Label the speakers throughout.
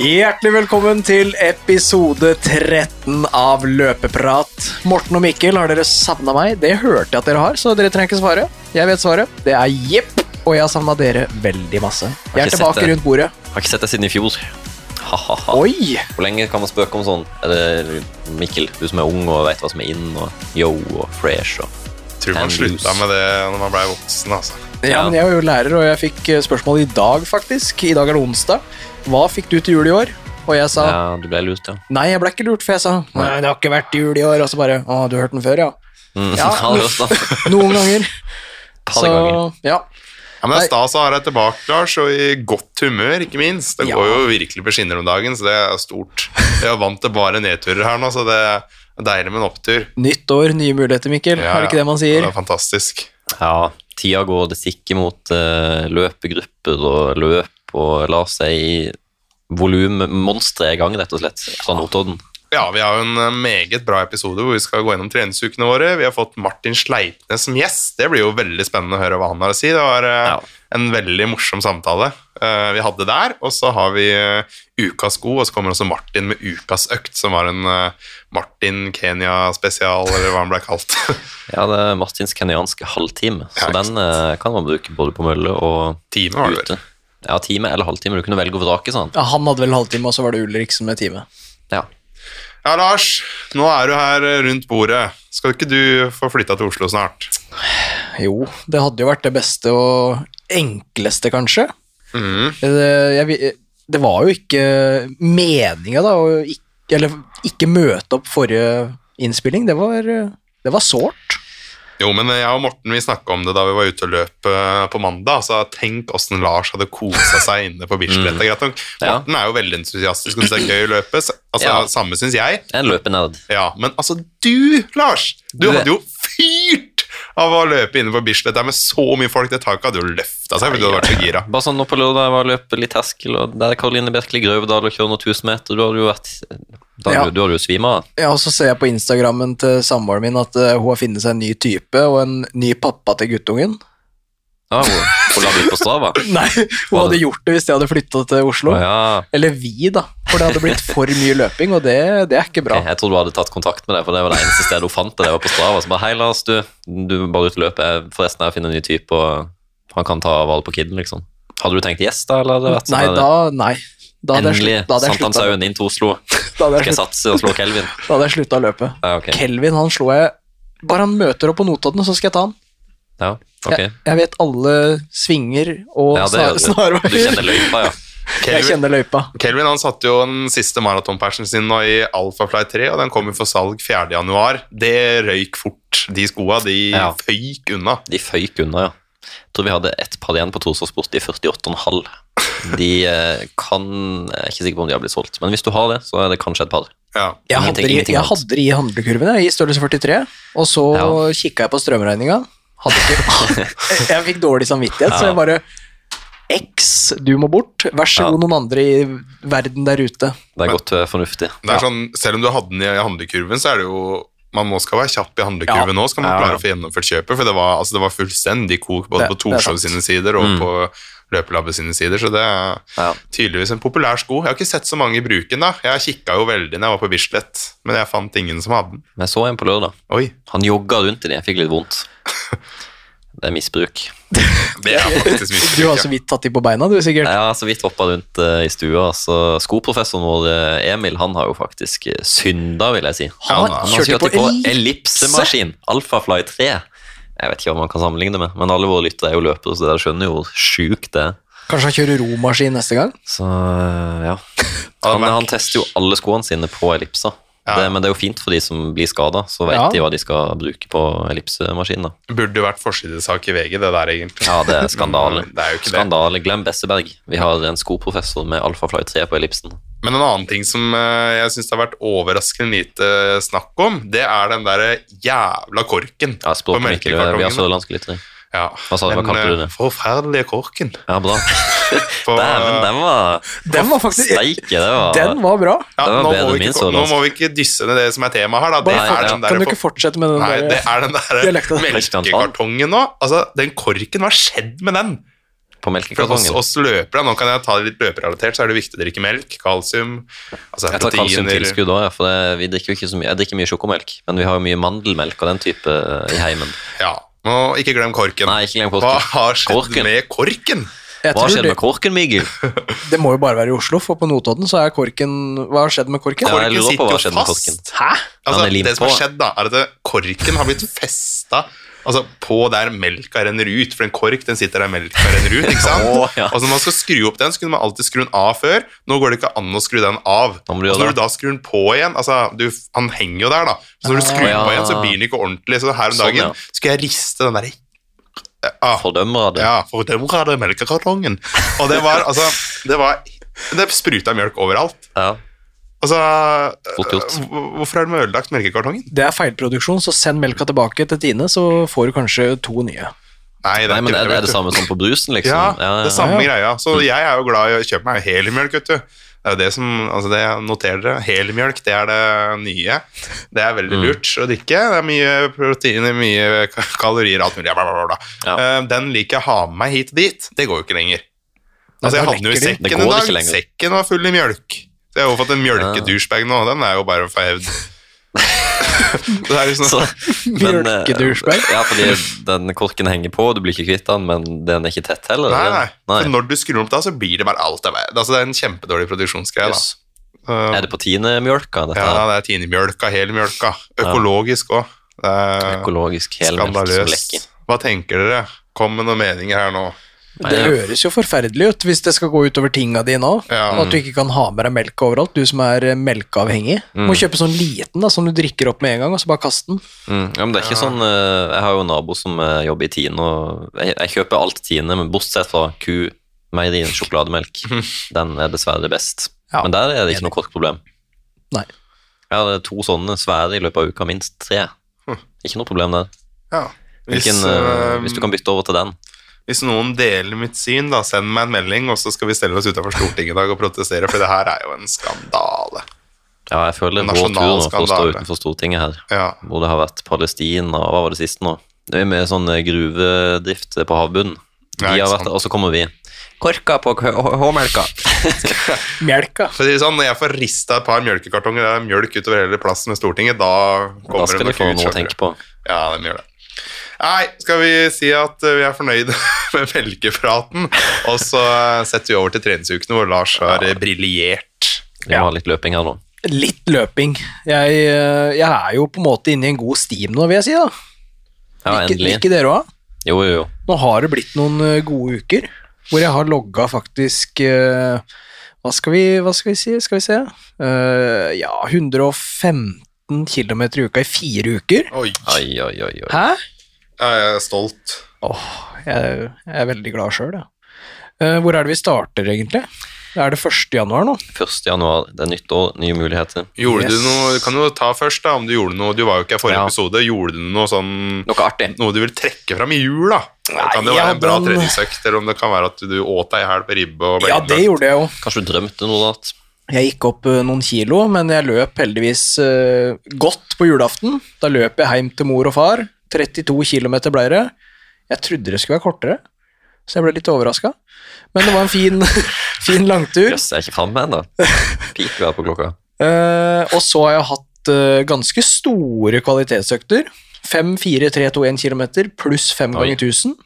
Speaker 1: Hjertelig velkommen til episode 13 av Løpeprat. Morten og Mikkel, har dere savna meg? Det hørte jeg at dere har, så dere trenger ikke svare. Jeg vet svaret. Det er jepp. Og jeg har savna dere veldig masse. Jeg er
Speaker 2: ikke sett
Speaker 1: tilbake
Speaker 2: det.
Speaker 1: rundt bordet.
Speaker 2: Har ikke sett deg siden i fjor. Ha, ha, ha.
Speaker 1: Oi!
Speaker 2: Hvor lenge kan man spøke om sånn? Er det Mikkel, du som er ung og vet hva som er in, og yo og fresh og
Speaker 3: Tror man
Speaker 2: And
Speaker 3: slutta
Speaker 2: loose.
Speaker 3: med det når man ble voksen, altså.
Speaker 1: Ja,
Speaker 2: Ja.
Speaker 1: men jeg er jo lærer, og jeg fikk eh, spørsmål i dag, faktisk. I dag er det onsdag. Hva fikk du til jul i år? Og jeg sa
Speaker 2: Ja, du ble lurt, ja.
Speaker 1: nei, jeg ble ikke lurt, for jeg sa nei, det har ikke vært jul i år. Og så bare å, du har hørt den før, ja.
Speaker 2: Mm.
Speaker 1: Ja.
Speaker 2: Ha det også.
Speaker 1: Noen ganger.
Speaker 2: Ha
Speaker 1: Så
Speaker 2: det ganger.
Speaker 1: ja.
Speaker 3: Ja, men det er stas å ha deg tilbake, Lars, og i godt humør, ikke minst. Det
Speaker 1: Ja.
Speaker 3: går jo virkelig på skinner om dagen, så det er stort. Jeg er vant til bare nedturer her nå, så det er deilig med en opptur.
Speaker 1: Nytt år, nye muligheter, Mikkel.
Speaker 3: Ja,
Speaker 1: er det ikke det man
Speaker 3: ja,
Speaker 1: sier?
Speaker 3: Det er fantastisk.
Speaker 2: Ja, tida går det stikke mot eh, løpegrupper og løp og la seg i volummonstre i gang, rett og slett, fra Notodden.
Speaker 3: Ja, vi har jo en eh, meget bra episode hvor vi skal gå gjennom treningsukene våre. Vi har fått Martin Sleipnes som gjest. Det blir jo veldig spennende å høre hva han har å si. Det var eh,
Speaker 2: Ja.
Speaker 3: en veldig morsom samtale eh, vi hadde der. Og så har vi eh, ukas sko, og så kommer også Martin med ukas økt, som var en eh, Martin Kenya-spesial, eller hva han ble kalt.
Speaker 2: Ja, det er Martins kenyanske halvtime, så
Speaker 3: Ja, ikke
Speaker 2: den eh, kan man bruke både på mølle og
Speaker 3: Time var det vel.
Speaker 2: ute. Ja, time eller halvtime. Du kunne velge og vrake, sa han.
Speaker 1: Ja, han hadde vel halvtime, og så var det Ulrik som med time.
Speaker 2: Ja.
Speaker 3: Ja, Lars, nå er du her eh, rundt bordet. Skal ikke du få flytta til Oslo snart?
Speaker 1: Jo, det hadde jo vært det beste og enkleste, kanskje.
Speaker 2: Mm.
Speaker 3: Mhm.
Speaker 1: Det, jeg, vi- det var jo ikke meninga, da, å ikke, eller ikke møte opp forrige innspilling. Det var, eh, det var sårt.
Speaker 3: Jo, men jeg og Morten vi snakka om det da vi var ute og løp eh, på mandag. Så tenk åssen Lars hadde kosa seg inne på Bislett. Det er greit nok.
Speaker 2: Mm. Ja.
Speaker 3: Morten er jo veldig entusiastisk og syns det er gøy å løpe. så- Altså,
Speaker 2: Ja.
Speaker 3: Samme syns jeg.
Speaker 2: En løpenerd.
Speaker 3: Ja, Men altså, du, Lars! Du,
Speaker 2: Du er-
Speaker 3: hadde jo fyrt av å løpe inne på Bislett der med så mye folk. Det taket hadde jo løfta seg fordi du hadde vært så gira.
Speaker 2: Bare sånn nå på lørdag jeg var og løp litt terskel, og der er Karoline Birkeli Grøvedal og kjører noen tusen meter. Du har jo vært da
Speaker 1: Ja.
Speaker 2: har du, du har jo svima av.
Speaker 1: Ja, og så ser jeg på Instagrammen til samboeren min at eh, hun har funnet seg en ny type og en ny pappa til guttungen.
Speaker 2: Ja, hun, hun la det ut på Strava.
Speaker 1: Nei, hun hadde gjort det hvis jeg hadde flytta til Oslo.
Speaker 2: Å ja.
Speaker 1: Eller vi, da. For det hadde blitt for mye løping, og det, det er ikke bra.
Speaker 2: Jeg, jeg trodde du hadde tatt kontakt med deg, for det var det eneste stedet hun fant deg. Det var på Strava. Så bare hei, Lars, du, du er bare ute og løper. Jeg- Forresten, jeg finner en ny type, og han kan ta vare på kiden, liksom. Hadde du tenkt yes, da? Eller hadde det vært sånn
Speaker 1: Nei,
Speaker 2: der,
Speaker 1: da, nei. Da hadde jeg
Speaker 2: Endelig,
Speaker 1: slutt- da hadde jeg slutta
Speaker 2: Sankthanshaugen inn til Oslo.
Speaker 1: da hadde
Speaker 2: Skal
Speaker 1: jeg
Speaker 2: jeg
Speaker 1: slutt-
Speaker 2: satse og slå Kelvin?
Speaker 1: da hadde jeg slutta å løpe.
Speaker 2: Ja, ok.
Speaker 1: Kelvin, han slo jeg Bare han møter opp på Notodden, så skal jeg ta han.
Speaker 2: Ja, ok.
Speaker 1: Jeg, jeg vet alle svinger og
Speaker 2: Ja, det
Speaker 1: snar-
Speaker 2: gjør du. Du
Speaker 1: snarveier.
Speaker 2: kjenner løypa, ja.
Speaker 1: Jeg kjenner løypa.
Speaker 3: Kelvin han satte jo den siste maratonpersen sin nå i Alphafly 3, og den kom jo for salg 4. januar. Det røyk fort. De skoa, de
Speaker 2: Ja.
Speaker 3: føyk unna.
Speaker 2: De føyk unna, ja. Jeg tror vi hadde ett par igjen på Torsås Sport i 48,5. De eh, kan Jeg er ikke sikker på om de har blitt solgt, men hvis du har det, så er det kanskje et par.
Speaker 3: Ja.
Speaker 1: Jeg hadde,
Speaker 2: Ingenting-
Speaker 1: de-
Speaker 2: ingenting
Speaker 1: jeg
Speaker 2: annet.
Speaker 1: hadde de i handlekurven jeg, i størrelse 43, og så
Speaker 2: Ja.
Speaker 1: kikka jeg på strømregninga. Hadde ikke Jeg fikk dårlig samvittighet, så jeg bare X, du må bort. Vær så
Speaker 2: Ja.
Speaker 1: god, noen andre i verden der ute.
Speaker 2: Det er godt eh, fornuftig.
Speaker 3: Det er sånn, selv om du hadde den i handlekurven, så er det jo man må skal være kjapp i handlekurven nå, skal man
Speaker 2: Ja, ja.
Speaker 3: klare å få gjennomført kjøpet. For det var, altså, det var fullstendig kok både
Speaker 1: Det-
Speaker 3: på
Speaker 1: det
Speaker 3: Torshov
Speaker 1: er sant.
Speaker 3: sine sider og på Løpelabbet sine sider, så det er
Speaker 2: Mm. Ja.
Speaker 3: tydeligvis en populær sko. Jeg har ikke sett så mange i bruken, da. Jeg kikka jo veldig når jeg var på Bislett, men jeg fant ingen som hadde den.
Speaker 2: Men jeg så en på lørdag.
Speaker 3: Oi.
Speaker 2: Han jogga rundt i det. Jeg fikk litt vondt. Det er misbruk.
Speaker 3: Det er faktisk mye.
Speaker 1: Du har så vidt tatt de på beina, du, sikkert.
Speaker 2: Jeg har så vidt hoppa altså, rundt eh, i stua. Så skoprofessoren vår, eh, Emil, han har jo faktisk eh, synda, vil jeg si.
Speaker 3: Han
Speaker 2: Han
Speaker 1: kjørte
Speaker 2: har kjørt
Speaker 1: på
Speaker 2: på
Speaker 1: ellipse.
Speaker 2: ellipsemaskin. Alphafly 3. Jeg vet ikke hva man kan sammenligne det med, men alle våre lyttere er jo løpere, så dere skjønner jo hvor sjukt det er.
Speaker 1: Kanskje han kjører romaskin neste gang?
Speaker 2: Så øh, ja. Han, han tester jo alle skoene sine på ellipser.
Speaker 3: Ja.
Speaker 2: Det, men det er jo fint for de som blir skada, så vet
Speaker 1: Ja.
Speaker 2: de hva de skal bruke på ellipsemaskinen. da.
Speaker 3: Burde jo vært forsidesak i VG, det der egentlig.
Speaker 2: Ja, det er skandale.
Speaker 3: Men det er jo ikke det.
Speaker 2: skandale. Glem Besseberg. Vi har en skoprofessor med alfafly 3 på ellipsen.
Speaker 3: Men en annen ting som eh, jeg syns det har vært overraskende lite eh, snakk om, det er den derre jævla korken
Speaker 2: Ja, språket mitt, vi har sørlandske lyttere.
Speaker 3: Ja.
Speaker 2: Hva sa du, hva
Speaker 3: Den,
Speaker 2: kalte du
Speaker 3: eh,
Speaker 2: det?
Speaker 3: Forferdelige korken.
Speaker 2: Ja, bra.
Speaker 3: For,
Speaker 2: Dæven,
Speaker 3: eh,
Speaker 2: den var
Speaker 1: Den var faktisk
Speaker 2: Steike, det var
Speaker 1: Den var bra.
Speaker 3: ja,
Speaker 2: den var
Speaker 3: nå,
Speaker 2: bedre enn
Speaker 3: må vi
Speaker 2: min
Speaker 3: ikke, nå
Speaker 2: sørlandsk.
Speaker 3: må vi ikke dysse ned det som er temaet her, da. Det
Speaker 2: Nei,
Speaker 3: er
Speaker 2: ja.
Speaker 3: den
Speaker 1: Kan
Speaker 3: der
Speaker 1: du ikke fortsette med den
Speaker 3: Nei, det
Speaker 1: der? eh,
Speaker 3: er den der eh,
Speaker 1: Dialekten.
Speaker 3: melkekartongen nå. Altså, den korken, hva har skjedd med den?
Speaker 2: på
Speaker 3: For oss,
Speaker 2: melkekartongen.
Speaker 3: oss løpere, nå kan jeg ta det litt løperelatert, så er det viktig å drikke melk, kalsium altså
Speaker 2: Jeg tar
Speaker 3: proteiner.
Speaker 2: kalsiumtilskudd òg, ja, for det, vi drikker jo ikke så mye. Jeg drikker mye sjokomelk, men vi har jo mye mandelmelk og den type eh, i heimen.
Speaker 3: Ja. Nå, ikke glem korken.
Speaker 2: Nei, ikke glem
Speaker 3: Hva
Speaker 2: korken.
Speaker 3: har skjedd
Speaker 2: Korken.
Speaker 3: med korken?
Speaker 1: Jeg
Speaker 2: Hva
Speaker 1: tror
Speaker 2: skjedde
Speaker 1: det,
Speaker 2: med korken, Miguel?
Speaker 1: det må jo bare være i Oslo, for på Notodden så er korken Hva har skjedd med korken?
Speaker 2: Ja, jeg
Speaker 3: Korken
Speaker 2: lurer på hva
Speaker 3: sitter jo
Speaker 2: skjedde med
Speaker 3: fast.
Speaker 2: korken.
Speaker 1: Hæ?
Speaker 3: Altså,
Speaker 2: er limt
Speaker 3: det som har
Speaker 2: på.
Speaker 3: skjedd, da, er at det- korken har blitt festa altså, på der melka renner ut. For en kork den sitter der melka renner ut. ikke sant?
Speaker 2: Å, ja.
Speaker 3: Og så Når man skal skru opp den, så kunne man alltid skru den av før. Nå går det ikke an å skru den av.
Speaker 2: Da må du
Speaker 3: Og så
Speaker 2: gjøre
Speaker 3: når du
Speaker 2: det.
Speaker 3: da skrur den på igjen altså, du, Han henger jo der, da. Så når du skrur den
Speaker 2: ja.
Speaker 3: på igjen, så blir den ikke ordentlig. Så her om
Speaker 2: Sånn,
Speaker 3: dagen
Speaker 2: ja.
Speaker 3: skulle jeg riste den der ah,
Speaker 2: Fordømmer av det.
Speaker 3: ja, for dem var det melkekartongen. Og det var altså Det, var, det spruta mjølk overalt.
Speaker 2: Ja.
Speaker 3: Altså,
Speaker 2: Fort gjort.
Speaker 3: øh, hvor- Hvorfor har de ødelagt melkekartongen?
Speaker 1: Det er feilproduksjon, så send melka tilbake til Tine, så får du kanskje to nye.
Speaker 3: Nei, det
Speaker 2: Nei,
Speaker 3: er,
Speaker 2: men
Speaker 3: ikke
Speaker 2: er det, er
Speaker 3: vet
Speaker 2: det
Speaker 3: du.
Speaker 2: samme som på brusen, liksom?
Speaker 3: Ja, det er samme
Speaker 1: ja.
Speaker 3: greia. Så jeg er jo glad i å kjøpe meg helmjølk, vet du. Det er jo det som, altså det noterer dere. Helmjølk, det er det nye. Det er
Speaker 2: Mm.
Speaker 3: veldig lurt å drikke. Det er mye proteiner, mye ka- kalorier, alt mulig. Bla, bla, bla, bla.
Speaker 2: Ja.
Speaker 3: Eh, Den liker jeg å ha med meg hit og dit. Det går jo ikke lenger. Altså,
Speaker 1: da
Speaker 3: jeg hadde den jo i
Speaker 1: rekker de.
Speaker 2: Det
Speaker 3: sekken
Speaker 2: går ikke
Speaker 3: en dag.
Speaker 2: lenger.
Speaker 3: Sekken var full i mjølk. Så jeg har jo fått en mjølkedusjbag nå, og den er jo bare forhevd. det er liksom,
Speaker 2: Så, men, eh,
Speaker 1: Bjørkedusjbag.
Speaker 2: Ja, fordi den korken henger på, du blir ikke kvitt den, men den er ikke tett heller.
Speaker 3: nei,
Speaker 2: eller?
Speaker 3: nei. For når du skrur opp da, så blir det bare alt av verden. Altså, det er en kjempedårlig produksjonsgreie, da.
Speaker 2: Jøss.
Speaker 3: Eh,
Speaker 2: Er det på tiendemjølka, dette?
Speaker 3: Ja,
Speaker 2: her?
Speaker 3: det er tinemjølka, helmjølka. Økologisk òg. Det er
Speaker 2: Økologisk helmelk som lekker.
Speaker 3: skandaløst. Hva tenker dere? Kom med noen meninger her nå.
Speaker 1: Det høres jo forferdelig ut hvis det skal gå utover tinga dine òg.
Speaker 3: Ja.
Speaker 1: At du ikke kan ha med deg melk overalt, du som er eh, melkeavhengig. Må kjøpe sånn liten da, som du drikker opp med en gang, og så bare kaste den.
Speaker 2: Mm. Ja, men det er ikke sånn eh, Jeg har jo en nabo som eh, jobber i Tine, og jeg, jeg kjøper alt Tine, men bortsett fra ku, meierien, sjokolademelk. Den er dessverre best.
Speaker 1: Ja.
Speaker 2: Men der er det ikke noe korkproblem.
Speaker 1: Nei.
Speaker 2: Jeg hadde to sånne svære i løpet av uka, minst tre. Ikke noe problem der.
Speaker 3: Ja. Hvis,
Speaker 2: Hvilken, eh, hvis du
Speaker 3: eh,
Speaker 2: kan bytte over til den.
Speaker 3: hvis noen deler mitt syn, da send meg en melding, og så skal vi stelle oss utenfor Stortinget i dag og protestere, for det her er jo en skandale.
Speaker 2: Ja, jeg føler
Speaker 3: En
Speaker 2: vår tur nå for å stå
Speaker 3: nasjonalskandale.
Speaker 2: utenfor Stortinget her,
Speaker 3: Ja.
Speaker 2: hvor det har vært Palestina, og hva var det siste nå? Det er med sånn eh, gruvedrift på havbunnen. De
Speaker 3: Ja, ikke
Speaker 2: har vært,
Speaker 3: sant.
Speaker 2: og så kommer vi. Korka på k- h- håmelka.
Speaker 1: Melka.
Speaker 3: For å si det sånn, Når jeg får rista et par mjølkekartonger det er mjølk utover hele plassen ved Stortinget, da
Speaker 2: Da
Speaker 3: kommer
Speaker 2: skal de
Speaker 3: det
Speaker 2: få noe
Speaker 3: noe
Speaker 2: å
Speaker 3: kutskjøttere.
Speaker 2: tenke på.
Speaker 3: Ja, de gjør det. Nei, skal vi si at eh, vi er fornøyde med melkepraten, og så eh, setter vi over til treningsukene hvor Lars har eh, briljert.
Speaker 2: Vi må ha litt løping her nå.
Speaker 1: Litt løping. Jeg, eh, jeg er jo på en måte inne i en god steam nå, vil jeg si. da.
Speaker 2: Ja,
Speaker 1: Ikke,
Speaker 2: endelig.
Speaker 1: ikke dere òg?
Speaker 2: Jo, jo, jo.
Speaker 1: Nå har det blitt noen eh, gode uker hvor jeg har logga faktisk eh, hva, skal vi, hva skal vi si? Skal vi se Eh, Ja, 115 km i uka i fire uker.
Speaker 3: Oi,
Speaker 2: Oi, oi, oi. oi.
Speaker 1: Hæ?
Speaker 3: jeg er stolt.
Speaker 1: Åh, jeg, jeg er veldig glad sjøl, jeg. Eh, Hvor er det vi starter, egentlig? Er det 1. januar nå?
Speaker 2: 1. januar, det er nytt år, nye muligheter.
Speaker 3: Gjorde
Speaker 1: Yes.
Speaker 3: du noe, du kan jo ta først da, om du gjorde noe, du var jo ikke i forrige
Speaker 2: Ja.
Speaker 3: episode, gjorde du noe sånn,
Speaker 2: Noe artig.
Speaker 3: noe du vil trekke frem i jul da? Det kan jo
Speaker 1: Nei,
Speaker 3: være
Speaker 1: ja,
Speaker 3: en bra
Speaker 1: den-
Speaker 3: treningsøkt, eller om det kan være at du åt deg i help ribbe og
Speaker 1: Ja,
Speaker 3: beinløft.
Speaker 1: det gjorde jeg jo.
Speaker 2: Kanskje du drømte noe annet?
Speaker 1: Jeg gikk opp eh, noen kilo, men jeg løp heldigvis eh, godt på julaften. Da løp jeg hjem til mor og far. 32 km ble det. Jeg trodde det skulle være kortere, så jeg ble litt overraska. Men det var en fin, fin langtur.
Speaker 2: Jøss, jeg er ikke framme ennå. Piker her på klokka.
Speaker 1: Eh, og så har jeg hatt eh, ganske store kvalitetsøkter. 5, 4, 3, 2, 1 km pluss 5
Speaker 2: Oi.
Speaker 1: ganger 1000.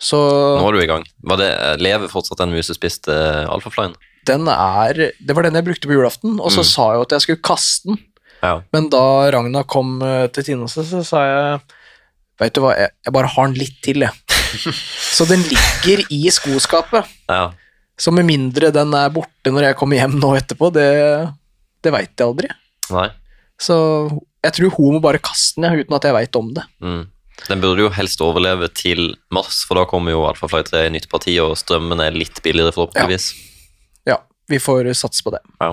Speaker 1: Så
Speaker 2: Nå er du i gang. Var det, eh, lever fortsatt den eh, musespiste alfaflyen?
Speaker 1: den er Det var den jeg brukte på julaften, og
Speaker 2: Mm.
Speaker 1: så sa jeg jo at jeg skulle kaste den.
Speaker 2: Ja.
Speaker 1: Men da Ragna kom eh, til Tine, så så sa jeg Veit du hva, jeg, jeg bare har den litt til, jeg. så den ligger i skoskapet.
Speaker 2: ja.
Speaker 1: Så med mindre den er borte når jeg kommer hjem nå etterpå, det, det veit jeg aldri.
Speaker 2: Nei.
Speaker 1: Så jeg tror hun må bare kaste den, jeg, uten at jeg veit om det.
Speaker 2: Mm. Den burde jo helst overleve til mars, for da kommer jo Alfafly 3 i nytt parti, og strømmen er litt billigere, forhåpentligvis.
Speaker 1: Ja, vi får satse på det.
Speaker 2: Ja.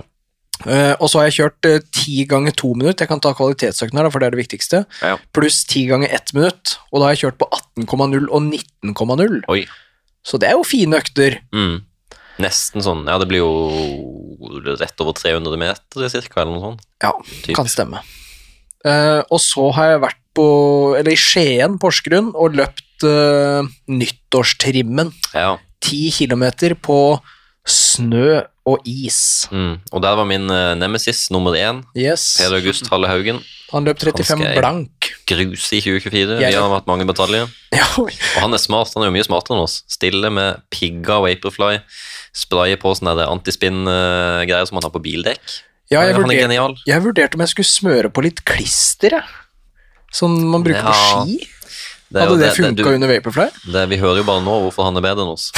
Speaker 1: Eh, og så har jeg kjørt eh, ti ganger to minutter, jeg kan ta kvalitetsøkten her, da, for det er det viktigste,
Speaker 2: Ja.
Speaker 1: pluss ti ganger ett minutt, og da har jeg kjørt på 18,0 og 19,0.
Speaker 2: Oi.
Speaker 1: Så det er jo fine økter.
Speaker 2: Mm. Nesten sånn. Ja, det blir jo rett over 300 meter, cirka, eller noe sånt.
Speaker 1: Ja,
Speaker 2: Typ.
Speaker 1: kan stemme. Eh, og så har jeg vært på, eller i Skien, Porsgrunn, og løpt eh, nyttårstrimmen.
Speaker 2: Ja.
Speaker 1: ti kilometer på snø og is.
Speaker 2: Mm. Og der var min eh, nemesis nummer én,
Speaker 1: Yes.
Speaker 2: Peder August Halle Haugen.
Speaker 1: Han løp
Speaker 2: Han
Speaker 1: 35
Speaker 2: skal jeg-
Speaker 1: blank.
Speaker 2: Grus i 2024.
Speaker 1: Jeg-
Speaker 2: Vi har hatt mange bataljer.
Speaker 1: Ja, oi.
Speaker 2: Og han er smart, han er jo mye smartere enn oss. Stille med pigga Vaporfly, sprayer på sånne der antispinn-greier som han har på bildekk.
Speaker 1: ja jeg,
Speaker 2: han er
Speaker 1: vurderte,
Speaker 2: genial.
Speaker 1: jeg vurderte om jeg skulle smøre på litt klister, jeg. Som man bruker
Speaker 2: Ja,
Speaker 1: på ski.
Speaker 2: er jo
Speaker 1: Hadde det
Speaker 2: du-
Speaker 1: funka under Vaporfly?
Speaker 2: det, vi hører jo bare nå hvorfor han er bedre enn oss.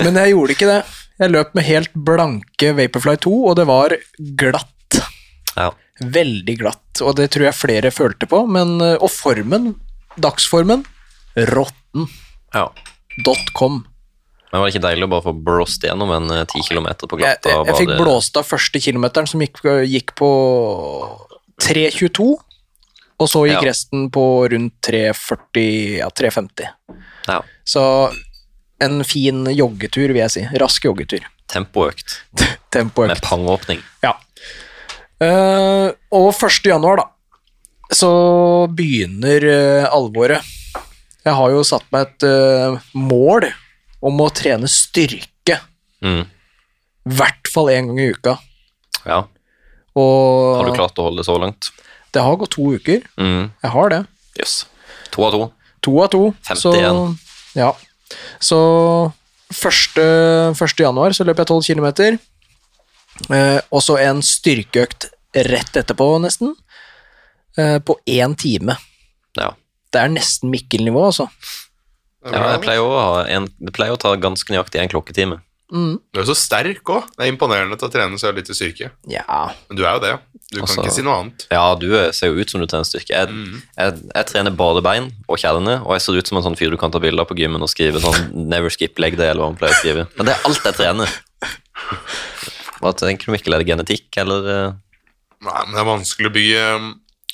Speaker 1: Men jeg gjorde ikke det. Jeg løp med helt blanke Vaporfly 2, og det var glatt.
Speaker 2: Ja.
Speaker 1: Veldig glatt. Og det tror jeg flere følte på. Men, eh, og formen, dagsformen, rotten.com.
Speaker 2: ja. Men var det ikke deilig å bare få blåst gjennom en eh, 10 km på
Speaker 1: Jeg,
Speaker 2: glatta?
Speaker 1: jeg, jeg fikk
Speaker 2: bare-
Speaker 1: blåst av første kilometeren, som gikk, gikk på 3.22. Og så gikk
Speaker 2: Ja.
Speaker 1: resten på rundt 3.40, ja 3.50.
Speaker 2: Ja.
Speaker 1: Så en fin joggetur, vil jeg si. Rask joggetur.
Speaker 2: Tempoøkt
Speaker 1: Tempoøkt.
Speaker 2: med pangåpning.
Speaker 1: Ja. Eh, og 1. januar, da, så begynner eh, alvoret. Jeg har jo satt meg et eh, mål om å trene styrke
Speaker 2: Mm.
Speaker 1: i hvert fall én gang i uka.
Speaker 2: Ja. Har du
Speaker 1: Og
Speaker 2: klart å holde det så langt?
Speaker 1: det har gått to uker.
Speaker 2: Mm.
Speaker 1: Jeg har det.
Speaker 2: Yes. To av to.
Speaker 1: To av to.
Speaker 2: 51.
Speaker 1: Så, ja. så første, første januar så løp jeg 12 km. Eh, og så en styrkeøkt rett etterpå, nesten. Eh, på én time.
Speaker 2: Ja.
Speaker 1: Det er nesten Mikkel-nivå, altså.
Speaker 2: ja jeg pleier å, ha en, det pleier å ta ganske nøyaktig en klokketime.
Speaker 1: Mm.
Speaker 3: Du er jo så sterk òg. Det er imponerende til å trene så lite styrke.
Speaker 1: Ja.
Speaker 3: Men du er jo det. Du
Speaker 2: Altså-
Speaker 3: kan ikke si noe annet.
Speaker 2: Ja, du eh, ser jo ut som du trener styrke. Jeg,
Speaker 1: Mm.
Speaker 2: jeg, jeg trener bare bein og kjerne, og jeg ser ut som en sånn fyr du kan ta bilder av på gymmen og skrive sånn 'never skip leg day', eller hva man pleier å skrive. Men det er alt jeg trener. Hva tenker du, Mikkel? Er det genetikk, eller eh,
Speaker 3: Nei, men det er vanskelig å bygge um,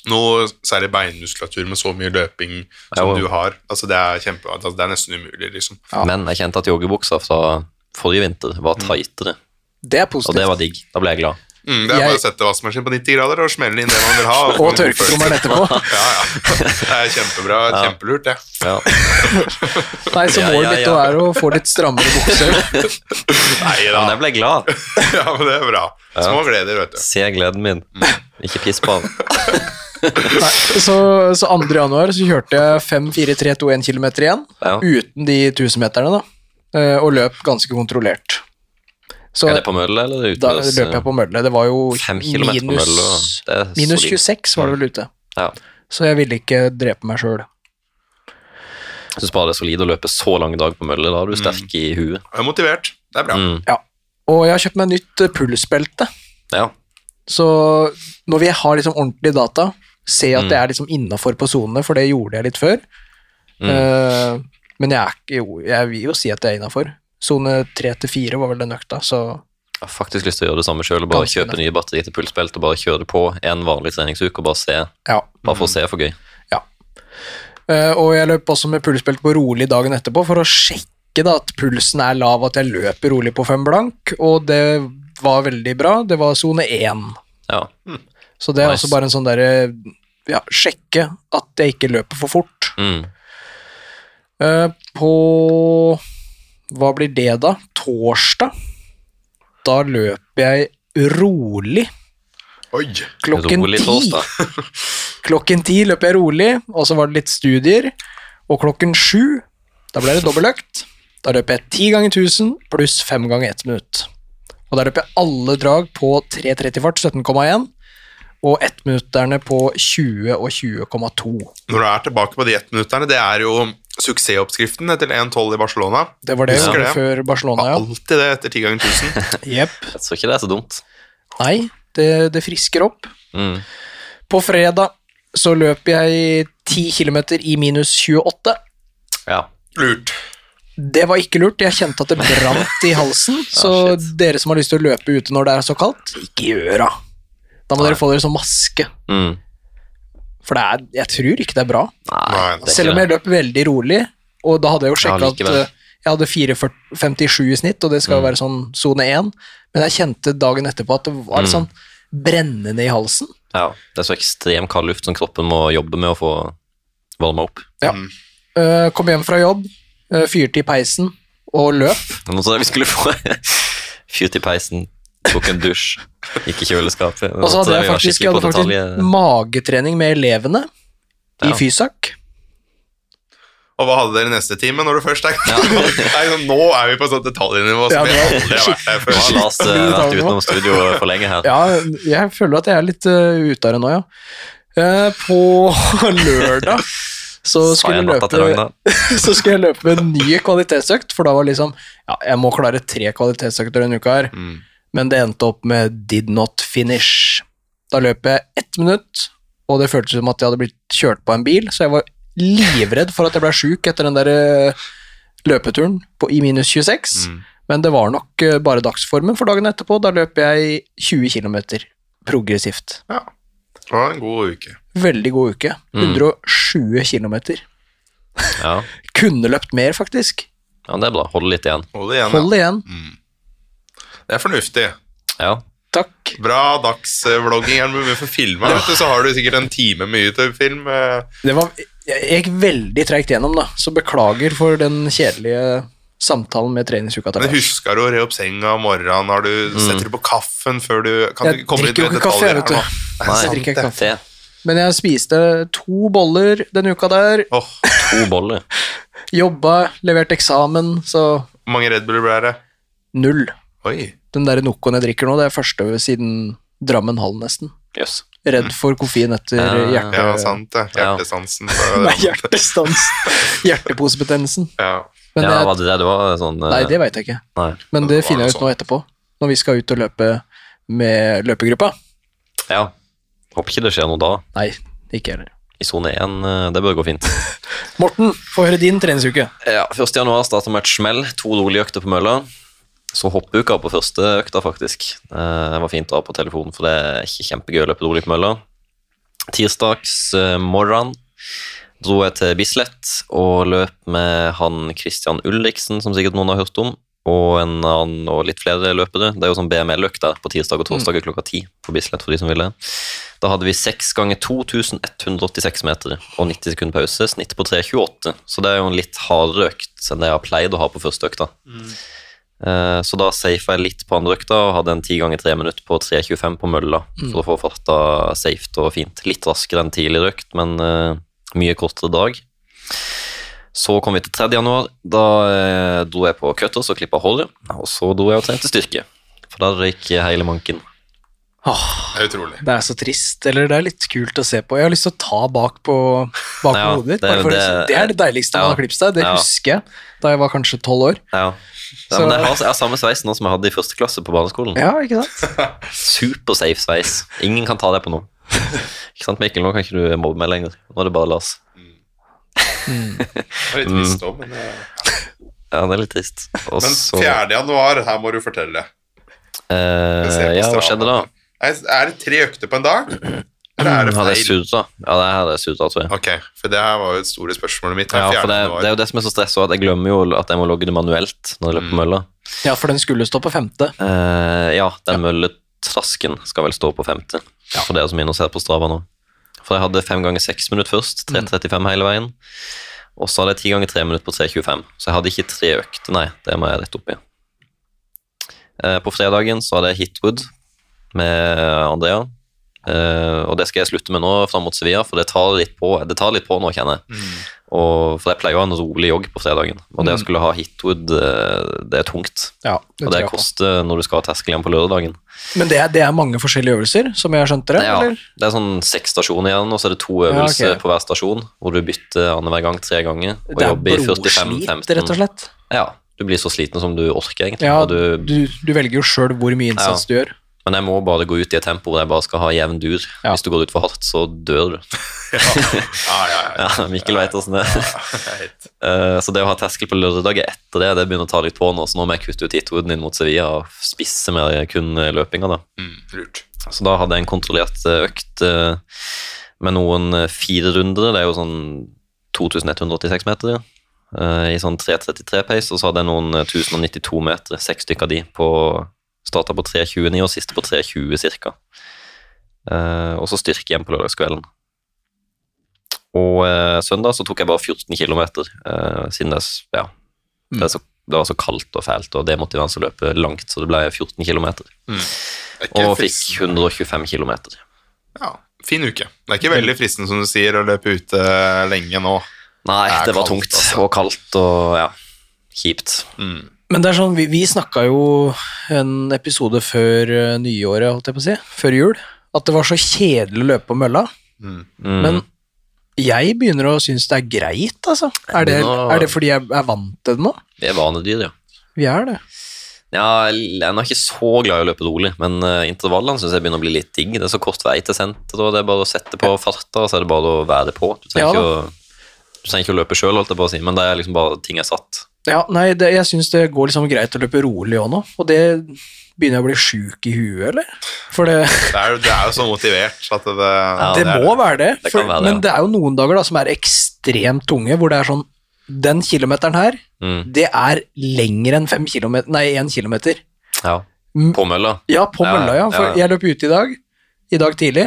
Speaker 3: noe særlig beinmuskulatur med så mye løping som
Speaker 2: Ja, jo.
Speaker 3: du har. Altså, det, er kjempe, altså, det er nesten umulig, liksom.
Speaker 1: Ja. Mm.
Speaker 2: Men jeg kjente at joggebuksa fra forrige vinter var tightere,
Speaker 1: Det er
Speaker 2: og det
Speaker 1: positivt.
Speaker 2: var digg. Da ble jeg glad.
Speaker 3: Mm, det er bare
Speaker 1: Jeg-
Speaker 3: å sette vaskemaskinen på 90 grader og smelle inn det man vil ha.
Speaker 1: Og tørketrommelen etterpå.
Speaker 3: Ja, ja. Det er kjempebra.
Speaker 2: Ja.
Speaker 3: Kjempelurt, det.
Speaker 2: Ja.
Speaker 1: Nei, så
Speaker 2: Ja,
Speaker 1: målet
Speaker 2: ja,
Speaker 1: mitt
Speaker 2: ja.
Speaker 1: er å få litt strammere bukser.
Speaker 3: Nei da.
Speaker 2: Men jeg ble glad.
Speaker 3: Ja, men det er bra. Små gleder, vet du.
Speaker 2: Se gleden min.
Speaker 1: Mm.
Speaker 2: Ikke piss på den.
Speaker 1: Nei, så, så 2. januar så kjørte jeg 5-4-3-2-1 km igjen,
Speaker 2: Ja.
Speaker 1: uten de 1000-meterne, da. Eh, Og løp ganske kontrollert. Så
Speaker 2: Er det på mølla eller
Speaker 1: da
Speaker 2: utløs?
Speaker 1: løp jeg på mølle. Det var jo
Speaker 2: eh, Fem kilometer på
Speaker 1: minus,
Speaker 2: mølle, det er
Speaker 1: minus
Speaker 2: solid.
Speaker 1: 26 var det vel ute.
Speaker 2: Ja.
Speaker 1: Så jeg ville ikke drepe meg sjøl.
Speaker 2: Jeg syns bare det er solid å løpe så lang dag på mølle. Da er du
Speaker 1: Mm.
Speaker 2: sterk i huet.
Speaker 3: Jeg er motivert. Det er bra.
Speaker 2: Mm.
Speaker 1: Ja. Og jeg har kjøpt meg nytt eh, pulsbelte.
Speaker 2: Ja.
Speaker 1: Så når vi har liksom ordentlig data, se at det
Speaker 2: Mm.
Speaker 1: er liksom innafor på sonene, for det gjorde jeg litt før.
Speaker 2: Mm.
Speaker 1: Eh, men jeg, er, ikke- jo, jeg vil jo si at det er innafor. Sone tre til fire var vel den økta, så
Speaker 2: Jeg har faktisk lyst til å gjøre det samme sjøl. Bare
Speaker 1: Ganske
Speaker 2: kjøpe nye batteri til pulsbelt og bare kjøre det på en vanlig treningsuke og bare se.
Speaker 1: ja.
Speaker 2: Bare for å se for gøy.
Speaker 1: Eh, og jeg løp også med pulsbelte på rolig dagen etterpå for å sjekke da, at pulsen er lav, at jeg løper rolig på fem blank, og det var veldig bra. Det var sone én.
Speaker 2: Ja.
Speaker 1: Så det er
Speaker 2: Nice.
Speaker 1: også bare en sånn derre ja, sjekke at jeg ikke løper for fort.
Speaker 2: Mm.
Speaker 1: Eh, På Hva blir det, da? Torsdag. Da løper jeg rolig
Speaker 3: Oi.
Speaker 1: klokken
Speaker 2: Rolig
Speaker 1: ti.
Speaker 2: torsdag.
Speaker 1: Klokken ti løper jeg rolig, og så var det litt studier. Og klokken sju, da ble det dobbeltøkt. Da løper jeg ti ganger 1000 pluss fem ganger ett minutt. Og da løper jeg alle drag på 3.30 fart, 17,1, og ettminutterne på 20 og 20,2.
Speaker 3: Når du er tilbake på de ettminutterne, det er jo suksessoppskriften etter 1-12 i Barcelona.
Speaker 1: Det var det vi
Speaker 3: Husker
Speaker 1: gjorde
Speaker 3: det.
Speaker 1: før
Speaker 3: Det
Speaker 1: Barcelona,
Speaker 3: var
Speaker 1: ja.
Speaker 3: alltid det etter 10 ganger 1000.
Speaker 1: Jepp.
Speaker 2: Jeg tror ikke det er så dumt.
Speaker 1: Nei, det, det frisker opp.
Speaker 2: Mm.
Speaker 1: På fredag så løp jeg 10 km i minus 28.
Speaker 2: Ja.
Speaker 3: Lurt.
Speaker 1: Det var ikke lurt, jeg kjente at det brant i halsen. Så
Speaker 2: Ah, shit.
Speaker 1: dere som har lyst til å løpe ute når det er så kaldt, ikke gjør det. Da må
Speaker 2: Nei.
Speaker 1: dere få dere sånn maske,
Speaker 2: Mm.
Speaker 1: for det er, jeg tror ikke det er bra.
Speaker 2: Nei,
Speaker 3: Nei,
Speaker 2: det er
Speaker 1: Selv
Speaker 2: ikke
Speaker 1: om
Speaker 2: det.
Speaker 1: jeg løp veldig rolig, og da hadde jeg jo sjekka
Speaker 2: Ja,
Speaker 1: at
Speaker 2: likevel.
Speaker 1: eh, jeg hadde 4,57 i snitt, og det
Speaker 2: Mm.
Speaker 1: skal jo være sånn sone 1, men jeg kjente dagen etterpå at det var
Speaker 2: Mm.
Speaker 1: sånn brennende i halsen.
Speaker 2: Ja. Det er så ekstrem kald luft som kroppen må jobbe med å få varma opp.
Speaker 1: Ja.
Speaker 3: Mm.
Speaker 1: Eh, kom hjem fra jobb, eh, fyrte i peisen og løp.
Speaker 2: Nå trodde jeg vi skulle få fyrt i peisen, tok en dusj, gikk i kjøleskapet.
Speaker 1: Og så hadde
Speaker 2: Nå trodde
Speaker 1: jeg
Speaker 2: vi var
Speaker 1: faktisk, jeg
Speaker 2: skikkelig
Speaker 1: hadde
Speaker 2: på
Speaker 1: faktisk
Speaker 2: detalj. eh.
Speaker 1: magetrening med elevene i
Speaker 2: Ja.
Speaker 1: Fysak.
Speaker 3: Og hva hadde dere neste time når du først er
Speaker 2: Ja.
Speaker 3: Nei, sånn, Nå er vi på sånt detaljnivå
Speaker 1: Ja,
Speaker 3: som vi
Speaker 1: det var-
Speaker 3: aldri har vært der før.
Speaker 2: Nå har Lars eh, vært
Speaker 1: Detalj nå.
Speaker 2: utenom studio for lenge her.
Speaker 1: Ja, jeg føler at jeg er litt uh, ute av det nå, ja. Eh, på lørdag så
Speaker 2: Sa
Speaker 1: skulle
Speaker 2: jeg
Speaker 1: jeg
Speaker 2: natta til
Speaker 1: løpe
Speaker 2: Ragna.
Speaker 1: så skulle jeg løpe med en ny kvalitetsøkt, for da var liksom Ja, jeg må klare tre kvalitetsøkter denne uka her,
Speaker 3: Mm.
Speaker 1: men det endte opp med did not finish. Da løp jeg ett minutt, og det føltes som at jeg hadde blitt kjørt på en bil, så jeg var livredd for at jeg ble sjuk etter den der eh, løpeturen på, i minus 26,
Speaker 3: Mm.
Speaker 1: men det var nok eh, bare dagsformen for dagen etterpå. Da løp jeg 20 km progressivt.
Speaker 3: Ja. Det var en god uke.
Speaker 1: Veldig god uke.
Speaker 2: Mm.
Speaker 1: 120 km.
Speaker 2: Ja.
Speaker 1: Kunne løpt mer, faktisk.
Speaker 2: ja, det er bra. Hold litt igjen.
Speaker 3: Hold igjen. ja. Mm.
Speaker 1: Hold igjen.
Speaker 3: Det er fornuftig.
Speaker 2: Ja.
Speaker 1: Takk.
Speaker 3: Bra dagsvlogging. Er det mulig for filma, vet du, så har du sikkert en time med YouTube-film. eh,
Speaker 1: Det var, jeg jeg gikk veldig treigt gjennom, da, så beklager for den kjedelige samtalen med treningsuka. til
Speaker 3: Men
Speaker 1: Lars.
Speaker 3: husker du å re opp senga om morgenen? Har du,
Speaker 2: Mm.
Speaker 3: Setter du på kaffen før du Kan du
Speaker 1: Jeg
Speaker 3: ikke komme litt
Speaker 1: drikker jo
Speaker 3: med
Speaker 1: ikke kaffe,
Speaker 3: detaljer
Speaker 1: vet du.
Speaker 3: her nå?
Speaker 2: Nei.
Speaker 1: Jeg drikker ikke kaffe.
Speaker 2: Te.
Speaker 1: Men jeg spiste to boller denne uka der.
Speaker 3: Åh,
Speaker 2: To boller.
Speaker 1: Jobba, levert eksamen, så
Speaker 3: Hvor mange Red Buller ble det?
Speaker 1: null.
Speaker 3: Oi.
Speaker 1: Den der Nocoen jeg drikker nå, det er første siden Drammen Hall, nesten.
Speaker 2: Jøss.
Speaker 1: Redd for koffein etter
Speaker 2: Ja,
Speaker 1: hjerte...
Speaker 3: Mm. Ja, sant det.
Speaker 2: Ja.
Speaker 3: Hjertesansen.
Speaker 1: Nei, hjertestans. Hjerteposebetennelsen.
Speaker 3: Ja.
Speaker 1: Men
Speaker 2: Ja,
Speaker 1: jeg,
Speaker 2: var det det det var? Sånn, eh,
Speaker 1: nei, det veit jeg ikke.
Speaker 2: nei.
Speaker 1: Men
Speaker 3: Det
Speaker 1: det
Speaker 3: var
Speaker 1: finner jeg
Speaker 3: noe
Speaker 1: ut nå etterpå, når vi skal ut og løpe med løpegruppa.
Speaker 2: Ja. Håper ikke det skjer noe da.
Speaker 1: Nei, ikke heller.
Speaker 2: I sone 1, eh, det bør gå fint.
Speaker 1: Morten, få høre din treningsuke.
Speaker 2: Ja, 1. januar startet med et smell. To rolige økter på mølla. Så hoppuka på første økta, faktisk. Eh, Det var fint å ha på telefonen, for det er ikke kjempegøy å løpe rolig på mølla. Tirsdags eh, morgen dro jeg til Bislett og løp med han Christian Ulriksen, som sikkert noen har hørt om, og en annen og litt flere løpere. Det er jo sånn BML-økt der på tirsdag og torsdag klokka ti på Bislett, for de som vil det. Da hadde vi 6 ganger 2186 meter og 90 sekunder pause, snitt på 3,28. Så det er jo en litt hardere økt enn det jeg har pleid å ha på første økta. Eh, Så da safa jeg litt på andre økta og hadde en 10 ganger 3 minutter på 3,25 på mølla for å få farta safe og fint. Litt raskere enn tidligere økt, men eh, mye kortere dag. Så kom vi til 3. januar. Da eh, dro jeg på cutters og klippa håret. Og så dro jeg og trente styrke, for der røyk hele manken.
Speaker 1: Åh,
Speaker 3: Det er utrolig.
Speaker 1: det er så trist. Eller det er litt kult å se på. Jeg har lyst til å ta bak på, bak på
Speaker 2: Ja,
Speaker 1: hodet ditt.
Speaker 2: det er
Speaker 1: bare
Speaker 2: jo
Speaker 1: for å-
Speaker 2: det-
Speaker 1: det er det deiligste man
Speaker 2: Ja.
Speaker 1: har klippet seg. Det
Speaker 2: Ja.
Speaker 1: husker jeg da jeg var kanskje tolv år.
Speaker 2: Ja. Ja,
Speaker 1: Så-
Speaker 2: men jeg har, jeg har samme sveis nå som jeg hadde i første klasse på barneskolen.
Speaker 1: Ja, ikke sant?
Speaker 2: Supersafe sveis. Ingen kan ta det på noe. Ikke sant, Mikkel? Nå kan ikke du mobbe meg lenger. Nå er det bare Lars.
Speaker 1: Mm.
Speaker 3: Det er litt trist også, men, eh,
Speaker 2: Ja, det er litt trist. Mm. Og
Speaker 3: men
Speaker 2: så-
Speaker 3: 4. januar, her må du fortelle. Jeg ser
Speaker 2: Eh,
Speaker 3: på
Speaker 2: ja, hva
Speaker 3: Strava.
Speaker 2: skjedde da?
Speaker 3: Er er det tre økter på en dag? Eller er det
Speaker 2: Hadde jeg
Speaker 3: feil?
Speaker 2: surra? Ja, det hadde jeg surra, tror jeg.
Speaker 3: Ok, for det her var jo et store spørsmålet mitt.
Speaker 2: Ja, for det,
Speaker 3: januar.
Speaker 2: det er jo det som er så stress, også, at jeg glemmer jo at jeg må logge det manuelt når jeg løper
Speaker 3: Mm.
Speaker 2: på mølla.
Speaker 1: Ja, for den skulle stå på femte.
Speaker 2: Eh, ja, den mølletrasken skal vel stå på femte, for dere som er inne og ser på Strava nå. For jeg hadde fem ganger seks minutter først, 3.35 hele veien. Og så hadde jeg ti ganger tre minutter på 3.25, så jeg hadde ikke tre økter, nei. Det må jeg rette opp i. Eh, på fredagen så hadde jeg Hitwood med Andrea. Eh, og det skal jeg slutte med nå fram mot Sevilla, for det tar litt på, det tar litt på nå, kjenner jeg. Og, for jeg pleier å ha en rolig jogg på fredagen, og det å skulle ha Hitwood, eh, det er tungt.
Speaker 1: Ja,
Speaker 2: Og det koster når du skal ha terskel igjen på lørdagen.
Speaker 1: Men det er, det er mange forskjellige øvelser, som jeg skjønte det?
Speaker 2: Ja,
Speaker 1: eller?
Speaker 2: det er sånn seks stasjoner igjen, og så er det to øvelser
Speaker 1: Ja, ok.
Speaker 2: på hver stasjon, hvor du bytter annenhver gang tre ganger. Og
Speaker 1: Det er
Speaker 2: jobber i 45,
Speaker 1: blodslit,
Speaker 2: 15.
Speaker 1: rett og slett.
Speaker 2: Ja, du blir så sliten som du orker, egentlig.
Speaker 1: Ja,
Speaker 2: og du,
Speaker 1: du, du velger jo sjøl hvor mye innsats du gjør.
Speaker 2: men jeg må bare gå ut i et tempo hvor jeg bare skal ha jevn dur.
Speaker 1: Ja.
Speaker 2: Hvis du går ut for hardt, så dør du.
Speaker 3: Ja, ja, ja.
Speaker 2: Ja, Mikkel vet åssen det er.
Speaker 3: Greit.
Speaker 2: Eh, Så det å ha terskel på lørdager etter det, det begynner å ta litt på nå, så nå må jeg kutte ut hitwooden inn mot Sevilla og spisse med kun løpinga, da.
Speaker 3: Mm, lurt.
Speaker 2: Så da hadde jeg en kontrollert eh, økt eh, med noen eh, fire runder. Det er jo sånn 2186 meter ja. Eh, i sånn 3.33 pace. Og så hadde jeg noen eh, 1092 meter, seks stykker av de, på starta på 3.29 og siste på 3.20 cirka. Eh, og så styrke igjen på lørdagskvelden. Og eh, søndag så tok jeg bare 14 km, eh, siden det er s- ja, Det, er så, det var så kaldt og fælt og demotiverende å løpe langt, så det ble 14 km.
Speaker 3: Det er ikke
Speaker 2: Og fikk
Speaker 3: frist-
Speaker 2: 125 km.
Speaker 3: Ja, fin uke. Det er ikke veldig fristende, som du sier, å løpe ute eh, lenge nå.
Speaker 2: Nei,
Speaker 3: Det er
Speaker 2: det var
Speaker 3: kaldt,
Speaker 2: tungt
Speaker 3: altså.
Speaker 2: og kaldt og ja, kjipt.
Speaker 3: Mm.
Speaker 1: Men det er sånn, vi, vi snakka jo en episode før eh, nyåret, holdt jeg på å si, før jul, at det var så kjedelig å løpe på mølla.
Speaker 2: Mm.
Speaker 1: Men jeg begynner å synes det er greit, altså. Er det,
Speaker 2: begynner å-
Speaker 1: er det fordi jeg er vant til det nå?
Speaker 2: vi er vanedyr, ja.
Speaker 1: Vi er det.
Speaker 2: Ja, jeg er ikke så glad i å løpe rolig, men eh, intervallene syns jeg begner å bli litt digg. Det er så kort vei til senteret, og det er bare å sette på farta, og så er det bare å være på. Du trenger,
Speaker 1: Ja
Speaker 2: ikke, å, du trenger ikke å løpe sjøl, holdt jeg på å si, men det er liksom bare ting er satt.
Speaker 1: Ja, nei, det, jeg syns det går liksom greit å løpe rolig òg nå, og det begynner jeg å bli sjuk i huet, eller? For det,
Speaker 3: Det er, jo- det er jo så motivert at det,
Speaker 1: det
Speaker 3: er-
Speaker 1: må være det.
Speaker 2: Det
Speaker 1: For,
Speaker 2: kan være det, ja.
Speaker 1: men det er jo noen dager da som er ekstremt tunge, hvor det er sånn Den kilometeren her,
Speaker 2: Mm,
Speaker 1: det er lenger enn fem kilometer Nei, én kilometer.
Speaker 2: ja.
Speaker 1: Mm.
Speaker 2: På mølla.
Speaker 1: Ja, på
Speaker 2: Ja,
Speaker 1: mølla, ja. For
Speaker 2: ja, ja.
Speaker 1: jeg løp ute i dag, i dag tidlig.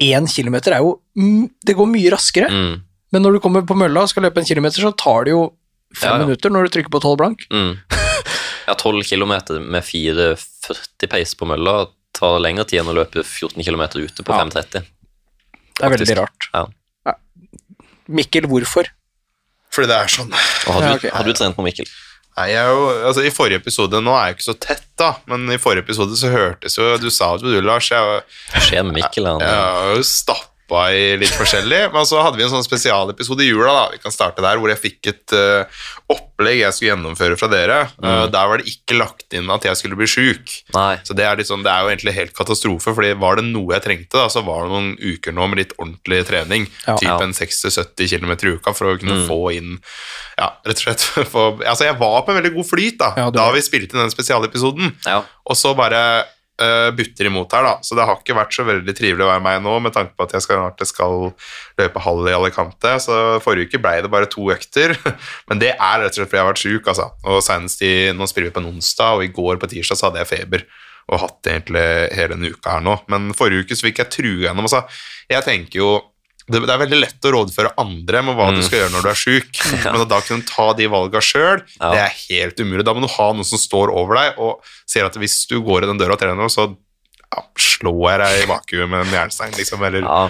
Speaker 1: Én kilometer er jo mm, Det går mye raskere.
Speaker 2: Mm,
Speaker 1: Men når du kommer på mølla og skal løpe en kilometer, så tar det jo fem
Speaker 2: Ja, ja.
Speaker 1: minutter når du trykker på tolv blank.
Speaker 2: mm. Ja, 12 km med 4,40 pace på mølla tar lengre tid enn å løpe 14 km ute på
Speaker 1: Ja. Det
Speaker 2: 5,30.
Speaker 1: er
Speaker 2: Faktisk.
Speaker 1: veldig rart.
Speaker 2: Ja.
Speaker 1: Mikkel, hvorfor?
Speaker 3: Fordi det er sånn.
Speaker 2: Og har, du,
Speaker 1: Ja, ok.
Speaker 2: har du trent på Mikkel?
Speaker 3: Nei, jeg er jo, altså I forrige episode Nå er jeg jo ikke så tett, da, men i forrige episode så hørtes jo Du sa jo du, Lars, jeg, var-
Speaker 2: Hva skjer med Mikkel? er Han,
Speaker 3: jeg var jo stappa i litt forskjellig. Men så hadde vi en sånn spesialepisode i jula, da vi kan starte der, hvor jeg fikk et eh, opplegg jeg skulle gjennomføre fra dere. Eh,
Speaker 1: Mm.
Speaker 3: der var det ikke lagt inn at jeg skulle bli sjuk.
Speaker 2: Nei.
Speaker 3: Så det er, litt sånn, det er jo egentlig helt katastrofe, fordi var det noe jeg trengte, da, så var det noen uker nå med litt ordentlig trening.
Speaker 1: Ja. Mm.
Speaker 3: typ
Speaker 2: Ja.
Speaker 3: en 60-70 km i uka for å kunne få inn Ja, rett og slett få Altså, jeg var på en veldig god flyt da,
Speaker 1: Ja, du
Speaker 3: da
Speaker 1: var.
Speaker 3: vi spilte inn den spesialepisoden,
Speaker 2: Ja.
Speaker 3: og så bare eh, butter imot her, da. Så det har ikke vært så veldig trivelig å være meg nå, med tanke på at jeg skal, snart skal løpe halv i Alicante. Så forrige uke ble det bare to økter, men det er rett og slett fordi jeg har vært sjuk, altså. Og senest i Nå spiller vi på en onsdag, og i går på tirsdag så hadde jeg feber. Og hatt det egentlig hele denne uka her nå. Men forrige uke så fikk jeg true gjennom og sa Jeg tenker jo det, det er veldig lett å rådføre andre med hva du skal gjøre når du er sjuk, men at da kunne du ta de valga sjøl,
Speaker 2: Ja.
Speaker 3: det er helt umulig. Da må du ha noen som står over deg og sier at hvis du går i den døra og trener nå, så ja, slår jeg deg i vakuum med en jernstein, liksom, eller
Speaker 2: Ja.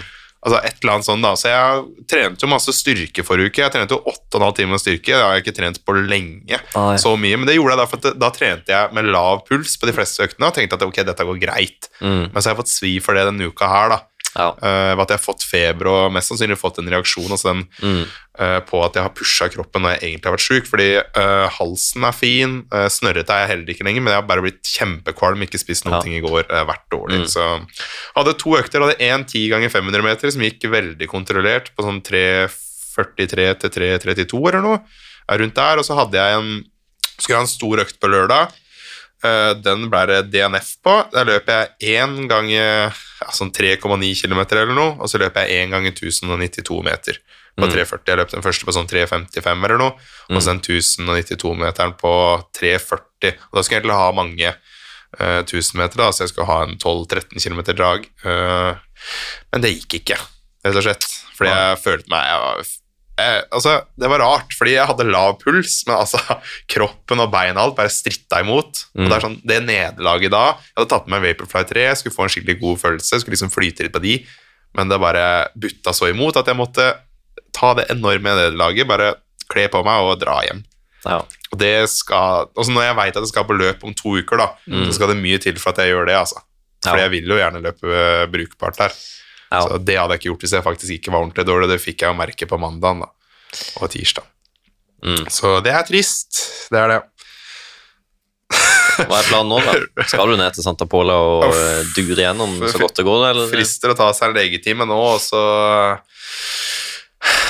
Speaker 3: altså et eller annet sånt, da. Så jeg trente jo masse styrke forrige uke. Jeg trente jo 8,5 timer styrke, det har jeg ikke trent på lenge.
Speaker 2: Nei.
Speaker 3: så mye, Men det gjorde jeg da, for at da trente jeg med lav puls på de fleste øktene og tenkte at ok, dette går greit.
Speaker 2: Mm,
Speaker 3: Men så har jeg fått svi for det denne uka her, da.
Speaker 2: ja.
Speaker 3: Eh, ved at jeg har fått feber og mest sannsynlig fått en reaksjon altså den,
Speaker 2: Mm.
Speaker 3: eh, på at jeg har pusha kroppen når jeg egentlig har vært sjuk. Fordi eh, halsen er fin, uh, snørrete er jeg heller ikke lenger, men jeg har bare blitt kjempekvalm, ikke spist noen
Speaker 2: Ja.
Speaker 3: ting i går, eh, vært dårlig. Så hadde to økter, hadde én 10 ganger 500 meter som gikk veldig kontrollert på sånn 3.43 til 3.32 eller noe, eh, rundt der, og så hadde jeg en skulle ha en stor økt på lørdag. Eh, Den ble det DNF på. Der løp jeg én gang eh, ja, sånn 3,9 km eller noe, og så løp jeg én gang i 1092 meter på
Speaker 2: Mm.
Speaker 3: 3,40. Jeg løp den første på sånn 3,55 eller noe, og så den 1092-meteren på 3,40. Og da skulle jeg egentlig ha mange eh, 1000 meter, da, så jeg skulle ha en 12-13 km drag. Eh, men det gikk ikke, rett og slett. Fordi jeg følte meg jeg var, jeg, altså, Det var rart, fordi jeg hadde lav puls, men altså, kroppen og beina og alt bare stritta imot.
Speaker 2: Mm.
Speaker 3: Og Det er sånn, det nederlaget da Jeg hadde tatt med meg Vaporfly 3, jeg skulle få en skikkelig god følelse, skulle liksom flyte litt på de, men det bare butta så imot at jeg måtte ta det enorme nederlaget, bare kle på meg og dra hjem.
Speaker 2: ja.
Speaker 3: Og det skal, altså Når jeg veit at jeg skal på løp om to uker, da, så skal det mye til for at jeg gjør det. altså. For
Speaker 2: Mm. Ja.
Speaker 3: jeg vil jo gjerne løpe eh, brukbart der.
Speaker 2: Ja.
Speaker 3: Så Det hadde jeg ikke gjort hvis jeg faktisk ikke var ordentlig dårlig. Det fikk jeg jo merke på mandagen da, og tirsdag.
Speaker 2: Mm.
Speaker 3: Så det er trist. Det er det.
Speaker 2: Hva er planen nå, da? Skal du ned til Santa Pola og
Speaker 3: Uff.
Speaker 2: eh, dure gjennom så godt det går, eller
Speaker 3: Frister å ta seg en legetime nå, og så